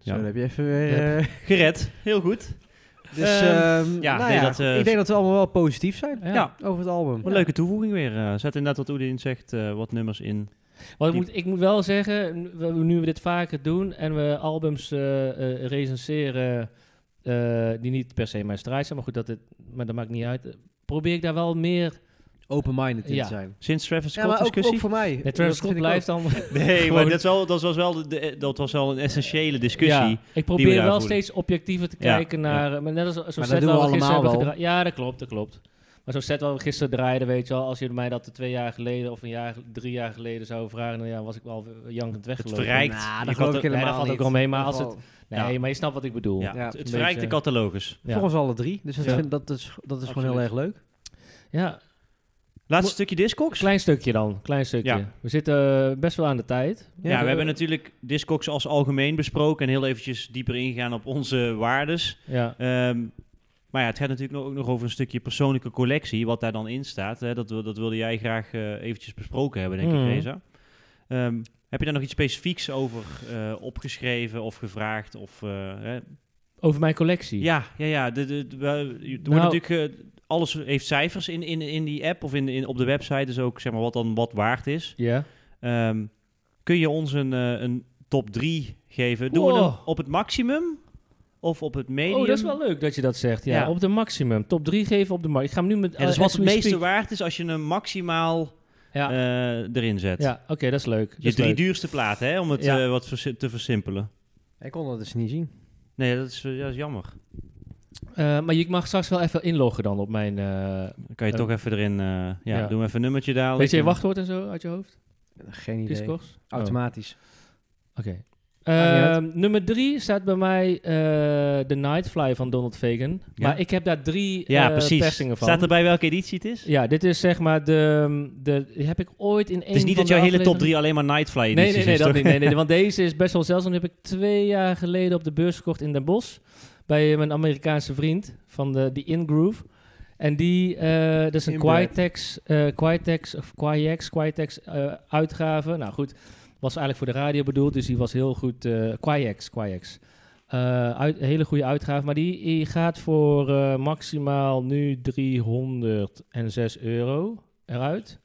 B: Ja.
C: Zo, dan heb je even weer...
A: Ja.
C: eh,
B: Gered, heel goed.
C: Dus
B: Ehm,
C: ehm,
B: ja,
C: nou
B: nee,
C: ja,
B: dat, eh,
C: ik denk dat we allemaal wel positief zijn
A: Ja.
B: Ja.
C: over het album.
B: Wat een leuke toevoeging weer. eh. zet inderdaad wat Oedin zegt, eh, wat nummers in.
A: Want ik
B: Die-
A: moet, ik moet wel zeggen, n- we- nu we dit vaker doen en we albums eh, eh, recenseren eh, die niet per se mijn strijd zijn, maar goed, dat het, maar dat maakt niet uit. eh, Probeer ik daar wel meer
C: Open-minded in
A: Ja.
C: te zijn.
B: Sinds Travis
C: Ja,
B: Scott
C: maar ook,
B: discussie?
C: ook voor mij.
A: Nee,
C: Dat
A: Travis Scott
C: vind ik
A: blijft dan...
B: Nee, maar
A: Gewoon-
B: dat, is wel, dat, was wel de, dat was wel een essentiële discussie.
A: Ja, ik
B: we
A: probeer
B: daar
A: wel
B: voeren.
A: steeds objectiever te
B: Ja,
A: kijken naar... eh, Maar net als zo'n
C: dat
A: set
C: doen we
A: waar we gisteren
C: allemaal
A: hebben
C: wel.
A: gedraaid. Ja, dat klopt, dat klopt. Maar zo'n set waar we gisteren draaiden, weet je wel... Als je mij dat twee jaar geleden of een jaar, drie jaar geleden zou vragen... Dan ja, was ik wel jankend weggelopen.
B: verrijkt-
C: ook.
B: blijft-
C: Nah,
B: je
C: dat
B: gaat
C: geloof
B: er-
C: ik
A: Nee,
C: helemaal
A: dat valt ook
C: niet.
A: wel mee. Maar
C: Dat
A: als het...
C: valt-
A: Nee,
B: Ja.
A: maar je snapt wat ik bedoel.
B: Ja,
C: Ja.
B: het- het
A: Een
B: verrijkt de
A: beetje-
B: catalogus.
A: Ja.
C: Voor ons alle drie. Dus dat,
A: Ja.
C: vind, dat is, dat is gewoon heel
B: Absoluut.
C: erg leuk.
A: Ja,
B: Laatste stukje Discogs.
A: klein stukje dan. Klein stukje.
B: Ja.
A: We zitten eh, best wel aan de tijd.
B: Ja, we
A: eh,
B: hebben natuurlijk Discogs als algemeen besproken en heel eventjes dieper ingegaan op onze waardes.
A: Ja,
B: Ehm, maar ja, het gaat natuurlijk nog- ook nog over een stukje persoonlijke collectie, wat daar dan in staat. Hè. Dat, wil- dat wilde jij graag eh, eventjes besproken hebben, denk
A: Mhm.
B: ik, Reza. Ehm, heb je daar nog iets specifieks over eh, opgeschreven of gevraagd? Of, eh, hè?
A: over mijn collectie.
B: Ja, ja, ja. De, de, de- we- je- er wordt
A: Nou-
B: natuurlijk, eh, alles heeft cijfers in, in, in die app of in, in, op de website, dus ook zeg maar, wat dan wat waard is.
A: Ja.
B: Ehm, kun je ons een, eh, een top 3 geven? Doen we
A: Wow.
B: hem op het maximum of op het medium?
A: Oh, dat is wel leuk dat je dat zegt. Ja,
B: Ja.
A: op de maximum. Top 3 geven op de markt. Ik ga hem nu met...
B: En dat is
A: eh,
B: wat
A: as
B: het
A: we
B: meeste
A: speak.
B: waard is als je hem maximaal
A: Ja,
B: eh, erin zet.
A: ja oké, dat is leuk. Dat
B: Je
A: is
B: drie
A: leuk.
B: duurste platen, hè, om het
A: Ja.
B: eh, wat versi- te versimpelen.
C: Ik kon dat dus niet zien.
B: Nee, dat is, eh, dat is jammer.
A: Eh, maar je mag straks wel even inloggen dan op mijn... eh,
B: Dan kan je
A: Eh,
B: toch even erin... eh, ja,
A: ja.
B: doen we even een nummertje dadelijk.
A: weet je je wachtwoord en zo uit je hoofd?
C: Geen idee.
A: Discogs? Oh,
C: Automatisch.
A: Oké.
C: Maakt niet
A: Ehm, nummer drie staat bij mij eh The Nightfly van Donald Fagan.
B: Ja.
A: Maar ik heb daar drie
B: Ja,
A: eh,
B: precies.
A: persingen van.
B: Staat erbij welke editie het is?
A: Ja, dit is zeg maar de... de die heb ik ooit in één
B: het is
A: van
B: niet dat
A: de
B: jouw hele top
A: afleveringen-
B: 3 alleen maar Nightfly edities
A: Nee, nee, nee,
B: is,
A: dat
B: toch?
A: niet. Nee, nee, want deze is best wel zeldzaam. Die heb ik twee jaar geleden op de beurs gekocht in Den Bosch. Bij mijn Amerikaanse vriend van de, die Ingroove. En die, eh, dat is een
C: Inbred.
A: Quietex, eh Quietex of Quiex, Quietex eh, uitgave. Nou goed, was eigenlijk voor de radio bedoeld, dus die was heel goed. eh Quiex, Quiex. Eh, uit, een hele goede uitgave, maar die, die gaat voor eh, maximaal nu 306 euro eruit.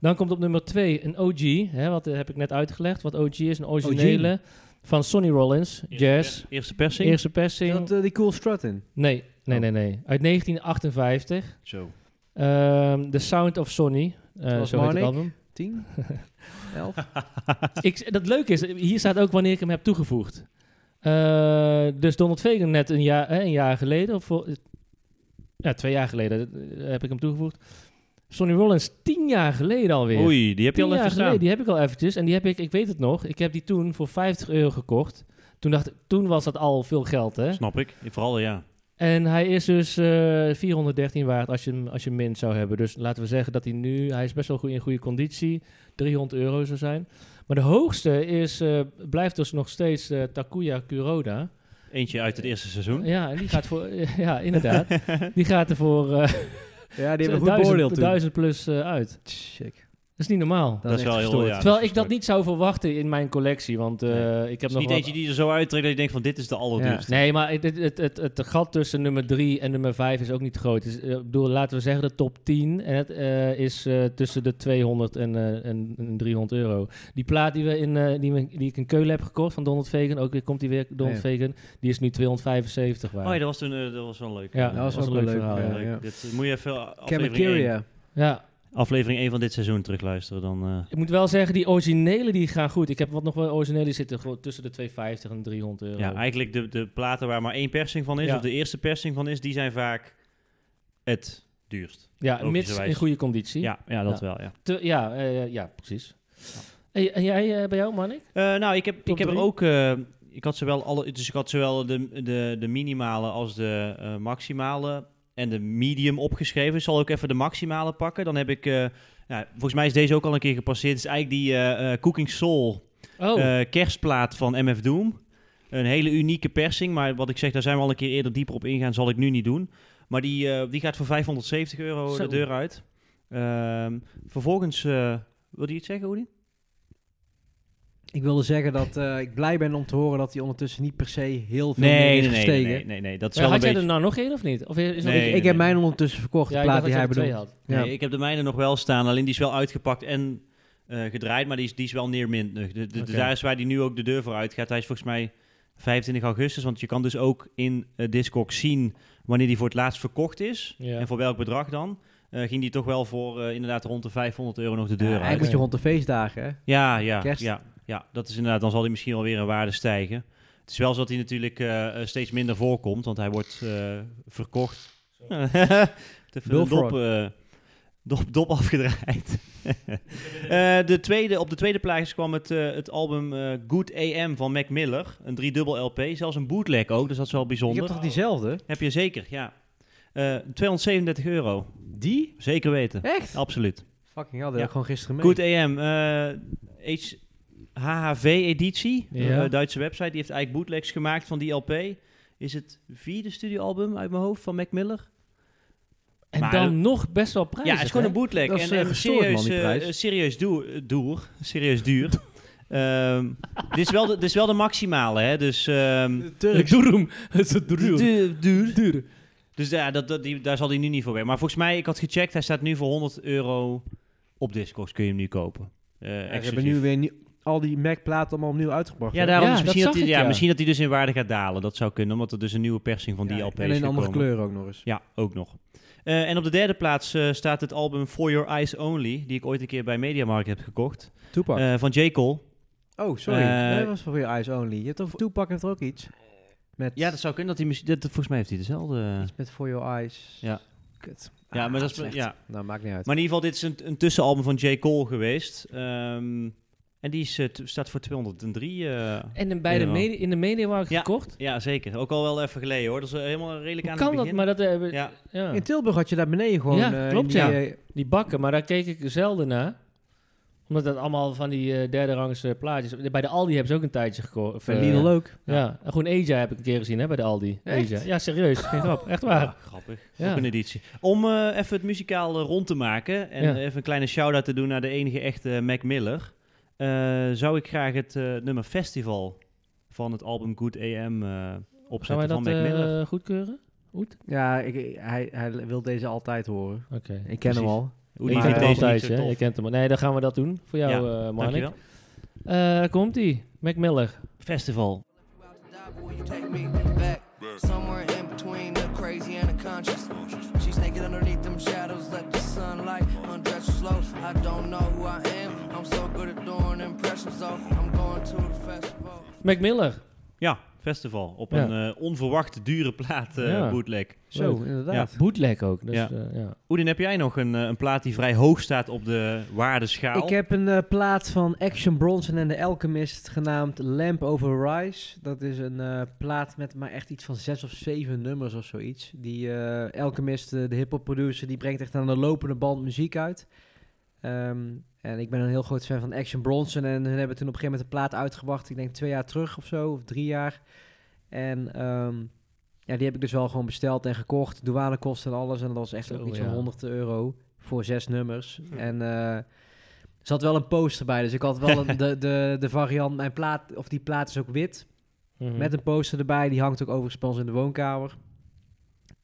A: Dan komt op nummer 2 een OG, hè, wat eh, heb ik net uitgelegd. Wat OG is, een originele van Sonny Rollins, jazz.
B: Eerste persing?
A: Eerste
C: Is
A: persing.
C: dat Oh. eh, die cool strut in?
A: Nee, nee, nee, nee. Uit 1958.
B: Zo.
A: Ehm, The Sound of Sonny. eh,
C: Zoals
A: zo heet het
C: Marnik.
A: album.
C: 10? 11?
A: Ik, dat leuke is, hier staat ook wanneer ik hem heb toegevoegd. Eh, dus Donald Fagan net een jaar, hè, een jaar geleden, of voor- ja, twee jaar geleden eh, heb ik hem toegevoegd. Sonny Rollins tien jaar geleden alweer.
B: Oei, die heb je
A: Tien
B: al even
A: jaar geleden,
B: staan.
A: die heb ik al eventjes. En die heb ik, ik weet het nog, ik heb die toen voor 50 euro gekocht. Toen, dacht, ik- toen was dat al veel geld, hè?
B: Snap ik. Vooral, ja.
A: En hij is dus eh, 413 waard als je, hem- als je hem min zou hebben. Dus laten we zeggen dat hij nu, hij is best wel goed in goede conditie, 300 euro zou zijn. Maar de hoogste is, eh, blijft dus nog steeds eh, Takuya Kuroda.
B: Eentje uit het
A: Eh,
B: eerste seizoen.
A: Ja, en die gaat voor, ja, inderdaad. Die gaat er voor eh
C: Ja, die hebben we goed
A: 1000,
C: beoordeeld toen.
A: 1000 plus eh, uit. Dat
C: Check.
A: is niet normaal.
B: Dat is wel heel... Ja,
A: Terwijl ik
B: is
A: dat niet zou verwachten in mijn collectie, want eh, ik heb
B: Het is
A: nog
B: niet
A: wat-
B: eentje die je er zo uittrekt dat je denkt van dit is de allerduurste.
A: Nee, maar het, het, het, het, het gat tussen nummer 3 en nummer 5 is ook niet groot. Dus, eh, ik bedoel, laten we zeggen de top 10 en het, eh, is eh, tussen de 200 en, eh, en, en 300 euro. Die plaat die, we in, eh, die, we- die ik in Keulen heb gekocht van Donald Fagan, ook weer komt die weer
B: Ah,
A: Donald
C: Ja.
A: Fagan, die is nu 275 waard.
B: Oh ja, dat was toen eh, dat was wel leuk.
A: Ja,
C: dat was
A: was
C: ook
A: een
C: wel
A: leuk
C: leuk.
A: verhaal,
C: ja,
B: Leuk.
C: ja.
B: Dit eh, moet je even aflevering 1,
C: Camacuria.
A: ja.
B: aflevering 1 van dit seizoen terugluisteren. Dan, eh.
A: Ik moet wel zeggen, die originele die gaan goed. Ik heb wat nog wel originele die zitten gewoon tussen de 250 en 300 euro.
B: ja, eigenlijk de, de platen waar maar één persing van is,
A: Ja.
B: of de eerste persing van is, die zijn vaak het duurst.
A: ja mits
B: logischerwijs.
A: in goede conditie.
B: Ja, ja dat
A: Ja.
B: wel, ja.
A: Te- ja, eh, ja precies. En, en jij eh, bij jou, Manik?
B: Eh, nou, ik heb,
A: Top
B: ik heb er
A: drie?
B: ook... eh, ik had zowel, alle, dus ik had zowel de, de, de minimale als de eh, maximale en de medium opgeschreven. Ik zal ook even de maximale pakken. Dan heb ik... eh, nou, volgens mij is deze ook al een keer gepasseerd. Het is eigenlijk die eh, eh, Cooking Soul
A: Oh,
B: eh, kerstplaat van MF Doom. Een hele unieke persing, maar wat ik zeg, daar zijn we al een keer eerder dieper op ingaan, zal ik nu niet doen. Maar die, eh, die gaat voor 570 euro
A: Zo.
B: de deur uit. Ehm, vervolgens, eh, wil je iets zeggen, Oedi?
C: Ik wilde zeggen dat eh, ik blij ben om te horen dat hij ondertussen niet per se heel veel meer
B: Nee,
C: is
B: nee, nee, nee,
C: gestegen.
B: nee, nee, nee, dat is
A: Ja,
B: wel
A: had
B: een
A: jij
B: beetje...
A: er nou nog één of niet? Of is is er
B: Nee,
A: nog-
C: Ik,
B: nee,
C: ik heb
B: nee.
C: mijn ondertussen verkocht,
A: ja,
C: de
A: ik dacht
C: plaat
A: dat
C: die
A: je
C: hij
A: er twee
C: bedoelt.
A: had.
C: Ja.
B: Nee, ik heb de mijne nog wel staan, alleen die is wel uitgepakt en eh, gedraaid, maar die is, die is wel neermindig. De, de,
A: Oké.
B: de- Daar is waar die nu ook de deur voor uitgaat. Hij is volgens mij 25 augustus, want je kan dus ook in eh Discogs zien wanneer die voor het laatst verkocht is.
A: Ja.
B: En voor welk bedrag dan? eh, ging die toch wel voor eh, inderdaad rond de 500 euro nog de deur
C: eigenlijk
B: uit.
C: moet je rond de feestdagen, hè?
B: Ja, ja,
C: Kerst.
B: ja, ja, dat is inderdaad. Dan zal hij misschien alweer in waarde stijgen. Het is wel zo dat hij natuurlijk eh, eh, steeds minder voorkomt, want hij wordt eh, verkocht. Te veel een
C: Bullfrog.
B: dop, eh, dop, dop afgedraaid. Eh, de tweede, op de tweede plaats kwam het, eh, het album eh, Good AM van Mac Miller. Een driedubbel LP, zelfs een bootleg ook, dus dat is wel
C: Ik
B: bijzonder.
C: heb toch diezelfde?
B: Heb je zeker, ja. Eh, 237 euro.
C: Die?
B: Zeker weten.
C: Echt?
B: Absoluut.
C: Fucking hell, die
B: Ja.
C: had ik gewoon gisteren mee.
B: Goed AM. eh HHV-editie.
A: Ja.
B: Eh, Duitse website. Die heeft eigenlijk bootlegs gemaakt van die LP. Is het vierde studioalbum uit mijn hoofd van Mac Miller?
A: En
B: Maar-
A: dan nog best wel prijzig.
B: ja, het is gewoon
A: hè?
B: een bootleg.
C: Dat is,
B: en
C: eh,
B: en
C: gestoord,
B: serieus,
C: man, die
B: eh,
C: prijs.
B: eh, serieus doer. doer serieus duur. Ehm, dit, is wel de, dit is wel de maximale, hè? Dus ehm,
A: Turks. Durum. Het is durum.
B: duur. duur.
A: Duur.
B: Dus ja, dat, dat, die, daar zal hij nu niet voor werken. Maar volgens mij, ik had gecheckt, hij staat nu voor 100 euro op Discogs. Kun je hem nu kopen. Eh
C: Ja, ze hebben
B: exclusief.
C: nu weer nie- al die Mac-platen allemaal opnieuw uitgebracht.
B: Ja,
C: hè?
B: daarom
A: Ja,
B: is
A: dat
B: misschien, dat
A: zag
B: die,
A: ik,
B: ja,
A: ja.
B: misschien dat die dus in waarde gaat dalen. Dat zou kunnen, omdat er dus een nieuwe persing van die
C: Ja,
B: LP is
C: En in een andere
B: gekomen.
C: kleur ook nog eens.
B: Ja, ook nog. Eh, en op de derde plaats eh, staat het album For Your Eyes Only, die ik ooit een keer bij Mediamarkt heb gekocht,
C: Toepak.
B: eh, van J. Cole.
C: oh, sorry.
B: eh,
C: Nee, dat was voor je Eyes Only. Je hebt over Toepak heeft er ook iets. Met,
B: Ja, dat zou kunnen. Dat hij, mis- dat, volgens mij heeft hij dezelfde...
C: iets met For Your Eyes.
B: Ja.
C: Kut.
B: Ja,
C: Ah,
B: maar dat is...
C: slecht.
B: Ja.
C: Nou, maakt niet uit.
B: Maar in ieder geval, dit is een, een tussenalbum van J. Cole geweest. Ehm, en die is, eh, t- staat voor 203. eh,
A: En dan bij de
B: Ja.
A: mede- in de mediamarkt
B: Ja.
A: gekocht?
B: ja, zeker. Ook al wel even geleden, hoor. Dat is eh, helemaal redelijk
A: Hoe
B: aan
A: kan
B: het
A: dat?
B: begin.
A: Maar dat hebben...
B: Ja.
A: ja.
C: in Tilburg had je daar beneden gewoon...
A: Ja,
C: eh, in
A: klopt,
C: die,
A: ja.
C: eh,
A: Die bakken, maar daar keek ik zelden naar. Omdat dat allemaal van die eh, derde rangs eh, plaatjes... Bij de Aldi hebben ze ook een tijdje gekocht.
C: bij Lidl
B: eh,
C: ook.
A: Ja, en gewoon Asia heb ik een keer gezien hè, bij de Aldi.
C: Echt?
A: Asia. Ja, serieus. Geen grap. Echt waar.
B: Ja, grappig.
A: Ja.
B: Ook een editie. Om eh, even het muzikaal eh, rond te maken en eh,
A: Ja.
B: even een kleine shout-out te doen naar de enige echte Mac Miller, eh, zou ik graag het eh, nummer Festival van het album Good AM eh,
A: Zou wij
B: opzetten
A: dat
B: van Mac Miller.
A: eh, goedkeuren? Goed?
C: Ja, ik, hij, hij wil deze altijd horen.
A: Oké.
C: Ik ken hem
B: Precies.
C: al.
B: Hoe
A: Ik
B: die
A: vind
B: vindt
A: het
C: deze
B: deze niet
A: altijd, hè?
B: zo tof.
A: Je kent hem. Nee, dan gaan we dat doen. Voor jou, eh Marnik.
B: Dankjewel.
A: Eh, daar komt-ie. Mac Miller.
B: Festival.
H: Will you take me back? Somewhere in between the crazy and the conscious. She's naked underneath them shadows. Let the sunlight undress her slow. I don't know who I am. I'm so good at doing impressions, though. I'm going to the festival.
A: Mac Miller.
B: Ja, Festival. Op
A: Ja.
B: een eh, onverwacht dure plaat eh,
A: Ja.
B: bootleg.
C: Zo,
A: Leuk.
C: inderdaad.
A: Bootleg ook. Dus,
B: Ja.
A: ja. ja.
B: Oedin, heb jij nog een, eh, een plaat die vrij hoog staat op de waardeschaal?
C: Ik heb een eh, plaat van Action Bronson en de Alchemist genaamd Lamp Over Rise. Dat is een eh, plaat met maar echt iets van zes of zeven nummers of zoiets. Die eh Alchemist, eh, de hip-hop producer, die brengt echt aan de lopende band muziek uit. Ehm, en ik ben een heel groot fan van Action Bronson. En hun hebben toen op een gegeven moment een plaat uitgebracht. Ik denk twee jaar terug of zo, of drie jaar. En ehm, ja, die heb ik dus wel gewoon besteld en gekocht. Douanekosten en alles. En dat was echt
A: Zo,
C: ook iets
A: ja. Hm.
C: van 100 euro voor zes nummers. En eh, er zat wel een poster bij. Dus ik had wel een- de, de, de variant, mijn plaat, of die plaat is ook wit.
A: Mhm.
C: Met een poster erbij, die hangt ook overigens bij ons in de woonkamer.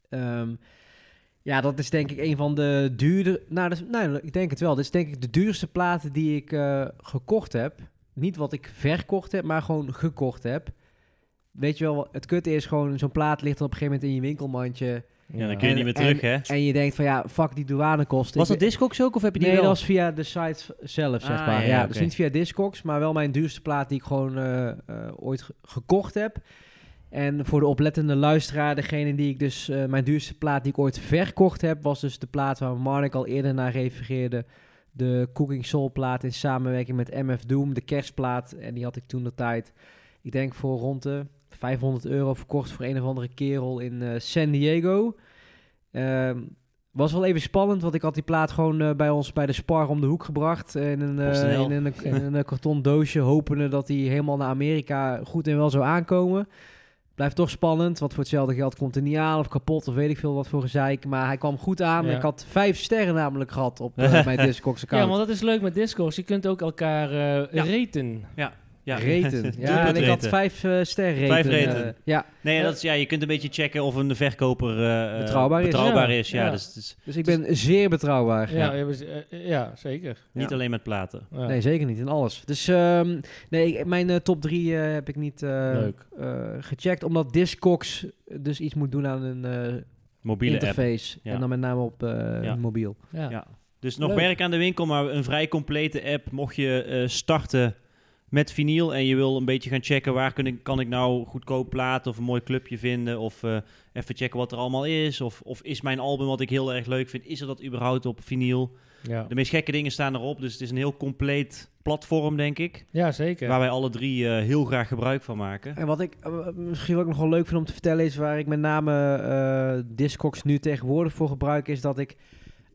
C: Ehm, ja, dat is denk ik een van de duurder... Nou, dat is, nou, ik denk het wel. Dit is denk ik de duurste platen die ik eh, gekocht heb. Niet wat ik verkocht heb, maar gewoon gekocht heb. Weet je wel, het kutte is gewoon... Zo'n plaat ligt dan op een gegeven moment in je winkelmandje.
B: Ja, dan kun je
C: En-
B: niet meer terug, hè?
C: En je denkt van ja, fuck die douanekosten.
B: Was
C: Ik-
B: dat Discogs ook of heb je die
C: Nee,
B: wel?
C: dat was via de site v- zelf, zeg
B: Ah,
C: maar.
B: ja,
C: Ja,
B: oké.
C: Dus niet via Discogs, maar wel mijn duurste plaat die ik gewoon eh, eh, ooit ge- gekocht heb. En voor de oplettende luisteraar, degene die ik dus... eh, mijn duurste plaat die ik ooit verkocht heb, was dus de plaat waar Marnik al eerder naar refereerde. De Cooking Soul plaat in samenwerking met MF Doom, de kerstplaat. En die had ik toen de tijd, ik denk voor rond de 500 euro verkocht voor een of andere kerel in eh, San Diego. Ehm, was wel even spannend, want ik had die plaat gewoon eh, bij ons bij de Spar om de hoek gebracht. eh, In een, eh,
B: PostNL.
C: in een, in een, eh, karton doosje, hopende dat die helemaal naar Amerika goed en wel zou aankomen. Blijft toch spannend, want voor hetzelfde geld komt hij niet aan of kapot of weet ik veel wat voor gezeik. Maar hij kwam goed aan.
A: Ja.
C: Ik had vijf sterren namelijk gehad op eh, mijn Discogs account.
A: Ja, want dat is leuk met Discogs. Je kunt ook elkaar eh
B: Ja.
A: reten.
B: Ja.
C: Reten. Ja,
B: Doelpunt
C: en ik had
B: reten.
C: vijf eh sterren reten.
B: Vijf reten.
C: eh, ja,
B: Nee, dat is, ja, je kunt een beetje checken of een verkoper eh, eh,
C: Betrouwbaar is,
B: betrouwbaar
A: ja.
B: is. Ja,
A: Ja.
B: Dus, het is
C: dus ik ben zeer betrouwbaar.
A: Ja, ja. eh, ja, zeker.
B: niet alleen met platen.
A: Ja.
C: Nee, zeker niet in alles. Dus ehm, nee, ik- mijn eh, top drie eh, heb ik niet eh,
A: Leuk.
C: eh, gecheckt, omdat Discogs dus iets moet doen aan een eh,
B: Mobiele app.
C: interface.
B: Ja.
C: En dan met name op eh,
B: Ja.
C: mobiel.
A: Ja.
B: Ja. Dus nog
A: Leuk.
B: werk aan de winkel, maar een vrij complete app. Mocht je eh, starten met vinyl en je wil een beetje gaan checken waar kun ik, kan ik nou goedkoop platen of een mooi clubje vinden. Of eh, even checken wat er allemaal is. Of, of is mijn album wat ik heel erg leuk vind, is er dat überhaupt op vinyl?
A: Ja.
B: De meest gekke dingen staan erop, dus het is een heel compleet platform, denk ik.
A: ja, zeker.
B: Waar wij alle drie eh, heel graag gebruik van maken.
C: En wat ik eh, misschien ook nog wel leuk vind om te vertellen is waar ik met name eh Discogs nu tegenwoordig voor gebruik is dat ik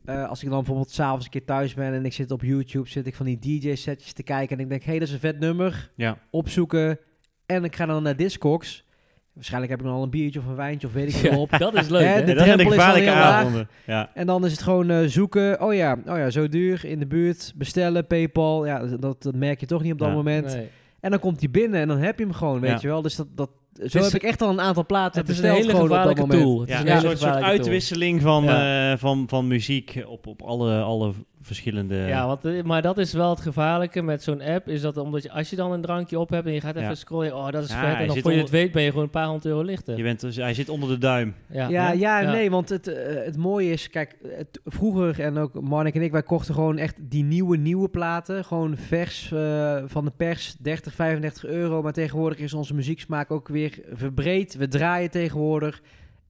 C: eh, als ik dan bijvoorbeeld s'avonds een keer thuis ben en ik zit op YouTube, zit ik van die DJ-setjes te kijken en ik denk, hé, hey, dat is een vet nummer,
B: Ja.
C: opzoeken en ik ga dan naar Discogs. Waarschijnlijk heb ik dan al een biertje of een wijntje of weet ik veel op.
A: Dat is leuk,
C: Hè,
A: hè?
C: de
B: dat zijn de
C: drempel is al
B: gevaarlijke
C: heel laag.
B: avonden. Ja.
C: En dan is het gewoon eh, zoeken, oh ja, oh ja, zo duur, in de buurt, bestellen, Paypal, ja, dat, dat merk je toch niet op dat
B: Ja.
C: moment.
A: Nee.
C: En dan komt hij binnen en dan heb je hem gewoon, weet
B: Ja.
C: je wel. Dus dat, dat, zo
A: is-
C: heb ik echt al een aantal platen
A: Het is een
C: besteld
A: hele
C: gewoon op dat
A: gevaarlijke
C: moment.
A: tool. Het
B: Ja,
A: is een
B: een
A: hele
B: soort, soort
A: gevaarlijke tool.
B: uitwisseling van,
A: Ja.
B: eh, van, van muziek op, op alle, alle verschillende...
A: Ja, want, eh, maar dat is wel het gevaarlijke met zo'n app. Is dat omdat je, als je dan een drankje op hebt en je gaat even
B: Ja.
A: scrollen. Oh, dat is
B: Ja,
A: vet.
B: je
A: En dan
B: zit
A: voor je het
B: onder-
A: weet ben je gewoon een paar honderd euro lichter.
B: Je bent dus, hij zit onder de duim.
A: Ja,
C: Ja, ja,
A: Ja.
C: nee, want het, eh, het mooie is, kijk, het- vroeger en ook Marnik en ik, wij kochten gewoon echt die nieuwe, nieuwe platen. Gewoon vers eh, van de pers, 30, 35 euro. Maar tegenwoordig is onze muzieksmaak ook weer verbreed. We draaien tegenwoordig.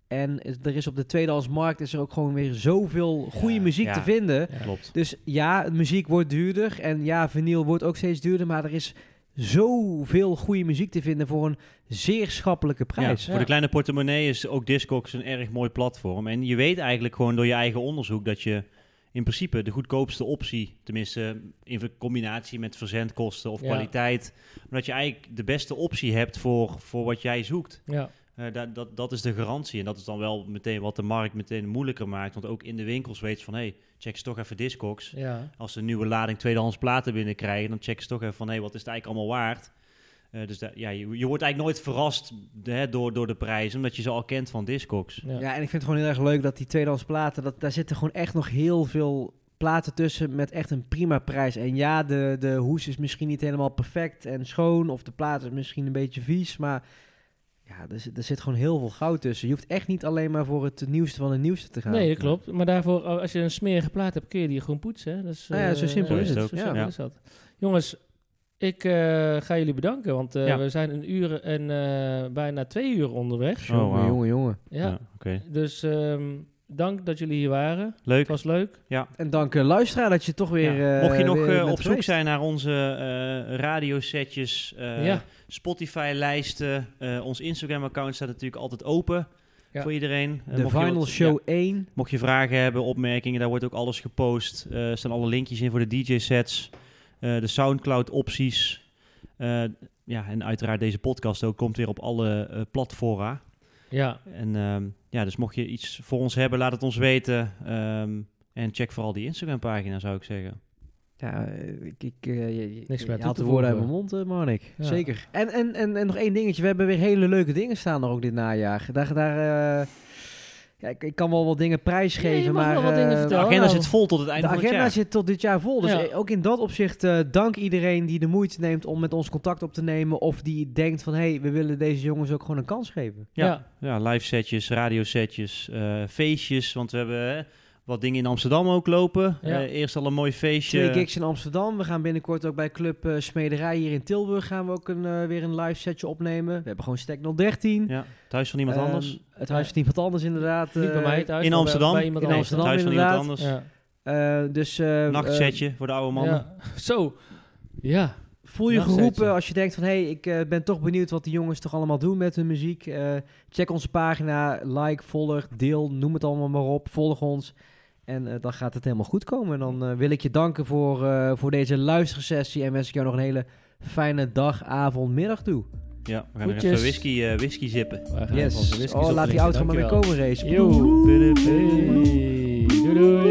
C: En er is op de tweedehandsmarkt is er ook gewoon weer zoveel goede
A: Ja,
C: muziek
B: ja.
C: te vinden.
B: Klopt.
C: Dus ja, muziek wordt duurder. En ja, vinyl wordt ook steeds duurder. Maar er is zoveel goede muziek te vinden voor een zeer schappelijke prijs.
B: Voor de kleine portemonnee is ook Discogs een erg mooi platform. En je weet eigenlijk gewoon door je eigen onderzoek dat je in principe de goedkoopste optie, tenminste in combinatie met verzendkosten of
A: Ja.
B: kwaliteit, maar dat je eigenlijk de beste optie hebt voor, voor wat jij zoekt.
A: Ja.
B: Eh, da- dat, dat is de garantie. En dat is dan wel meteen wat de markt meteen moeilijker maakt. Want ook in de winkels weet je van, hé, hey, check ze toch even Discogs.
A: ja.
B: Als ze een nieuwe lading tweedehands platen binnenkrijgen, dan check ze toch even van, hé, wat is het eigenlijk allemaal waard? Eh, dus da- ja, je, je wordt eigenlijk nooit verrast hè, door, door de prijzen, omdat je ze al kent van Discogs.
A: Ja.
C: Ja, en ik vind het gewoon heel erg leuk dat die tweedehands platen, dat, daar zitten gewoon echt nog heel veel platen tussen met echt een prima prijs. En ja, de, de hoes is misschien niet helemaal perfect en schoon, of de plaat is misschien een beetje vies, maar ja, er, zit- er zit gewoon heel veel goud tussen. Je hoeft echt niet alleen maar voor het nieuwste van het nieuwste te gaan.
A: Nee, dat klopt. Maar daarvoor, a- als je een smerige plaat hebt, kun je die gewoon poetsen. hè. Dat is,
C: Nou ja,
A: eh,
C: zo simpel
A: eh,
B: is het
A: zo
B: ook.
A: simpel
B: Ja.
A: is dat. Jongens, ik eh, ga jullie bedanken, want eh,
B: Ja.
A: we zijn een uur en eh, bijna twee uur onderweg.
B: Oh, wauw.
C: jongen, jongen.
A: Ja.
B: Ja, oké.
A: Dus ehm, dank dat jullie hier waren.
B: Leuk.
A: Het was leuk.
C: En dank eh, luisteraar dat je toch weer...
B: Ja.
C: eh,
B: Mocht je nog
C: weer
B: eh,
C: bent
B: op zoek
C: geweest.
B: zijn naar onze eh radiosetjes, eh,
A: ja.
B: Spotify-lijsten, eh, ons Instagram-account staat natuurlijk altijd open
A: Ja.
B: voor iedereen. Eh,
C: De
B: mocht je
C: Vinyl
B: wat-
C: Show 1.
B: Mocht je vragen hebben, opmerkingen, daar wordt ook alles gepost. Eh, Er staan alle linkjes in voor de DJ-sets, eh, de Soundcloud-opties. Eh, ja, en uiteraard deze podcast ook komt weer op alle eh, platfora.
A: Ja.
B: En ehm, ja, dus mocht je iets voor ons hebben, laat het ons weten. Ehm, en check vooral die Instagram-pagina, zou ik zeggen.
C: Ja, eh, ik, ik, eh, je, je-
A: Niks meer
C: je
A: toe
C: haalt
A: te
C: de woorden uit
A: voegen.
C: mijn mond, eh, Marnik.
A: Ja.
C: Zeker. En, en, en, en nog één dingetje. We hebben weer hele leuke dingen staan er ook dit najaar. Daar, daar, eh, ja, ik, ik kan wel wat dingen prijsgeven,
A: Ja, je mag
C: maar...
A: wel wat dingen
C: eh,
B: De
A: vertellen. Oh,
B: agenda
A: nou.
B: zit vol tot het
C: De
B: einde van het
C: agenda
B: jaar.
C: zit tot dit jaar vol. Dus
A: Ja.
C: eh, ook in dat opzicht eh, dank iedereen die de moeite neemt om met ons contact op te nemen. Of die denkt van, hé, hey, we willen deze jongens ook gewoon een kans geven.
B: Ja.
A: Ja.
B: Ja, live setjes, radio setjes, eh, feestjes. Want we hebben eh, wat dingen in Amsterdam ook lopen.
A: Ja.
B: Eh, eerst al een mooi feestje.
C: Twee gigs in Amsterdam. We gaan binnenkort ook bij Club eh, Smederij hier in Tilburg gaan we ook een, eh, weer een live setje opnemen. We hebben gewoon Stack 013.
B: Ja, thuis van iemand
C: Ehm,
B: anders.
C: Het huis van iemand anders, inderdaad.
A: Niet bij
C: Eh,
A: mij thuis. maar
B: in
A: bij-
B: Amsterdam.
A: bij iemand
C: In
A: anders.
C: Amsterdam,
B: thuis van iemand
C: inderdaad.
B: anders.
A: Ja.
C: eh, dus, eh,
B: Nachtsetje voor de oude mannen.
A: Ja. Zo. Ja.
C: eh, voel je
A: Nachtsetje.
C: geroepen als je denkt van... hé, hey, ik eh, ben toch benieuwd wat die jongens toch allemaal doen met hun muziek. Eh, check onze pagina, like, volg, deel, noem het allemaal maar op. Volg ons. En eh, dan gaat het helemaal goed komen. En dan eh, wil ik je danken voor, eh, voor deze luistersessie. En wens ik jou nog een hele fijne dag, avond, middag toe.
B: Ja, we gaan weer
A: Goedjes.
B: even whisky, eh, whisky zippen.
A: Wij gaan even onze
C: Yes.
A: whiskies
C: Oh, laat die
A: opdrinken.
C: outro maar weer
A: Dankjewel.
C: komen, race.
A: Yo. Doei doei.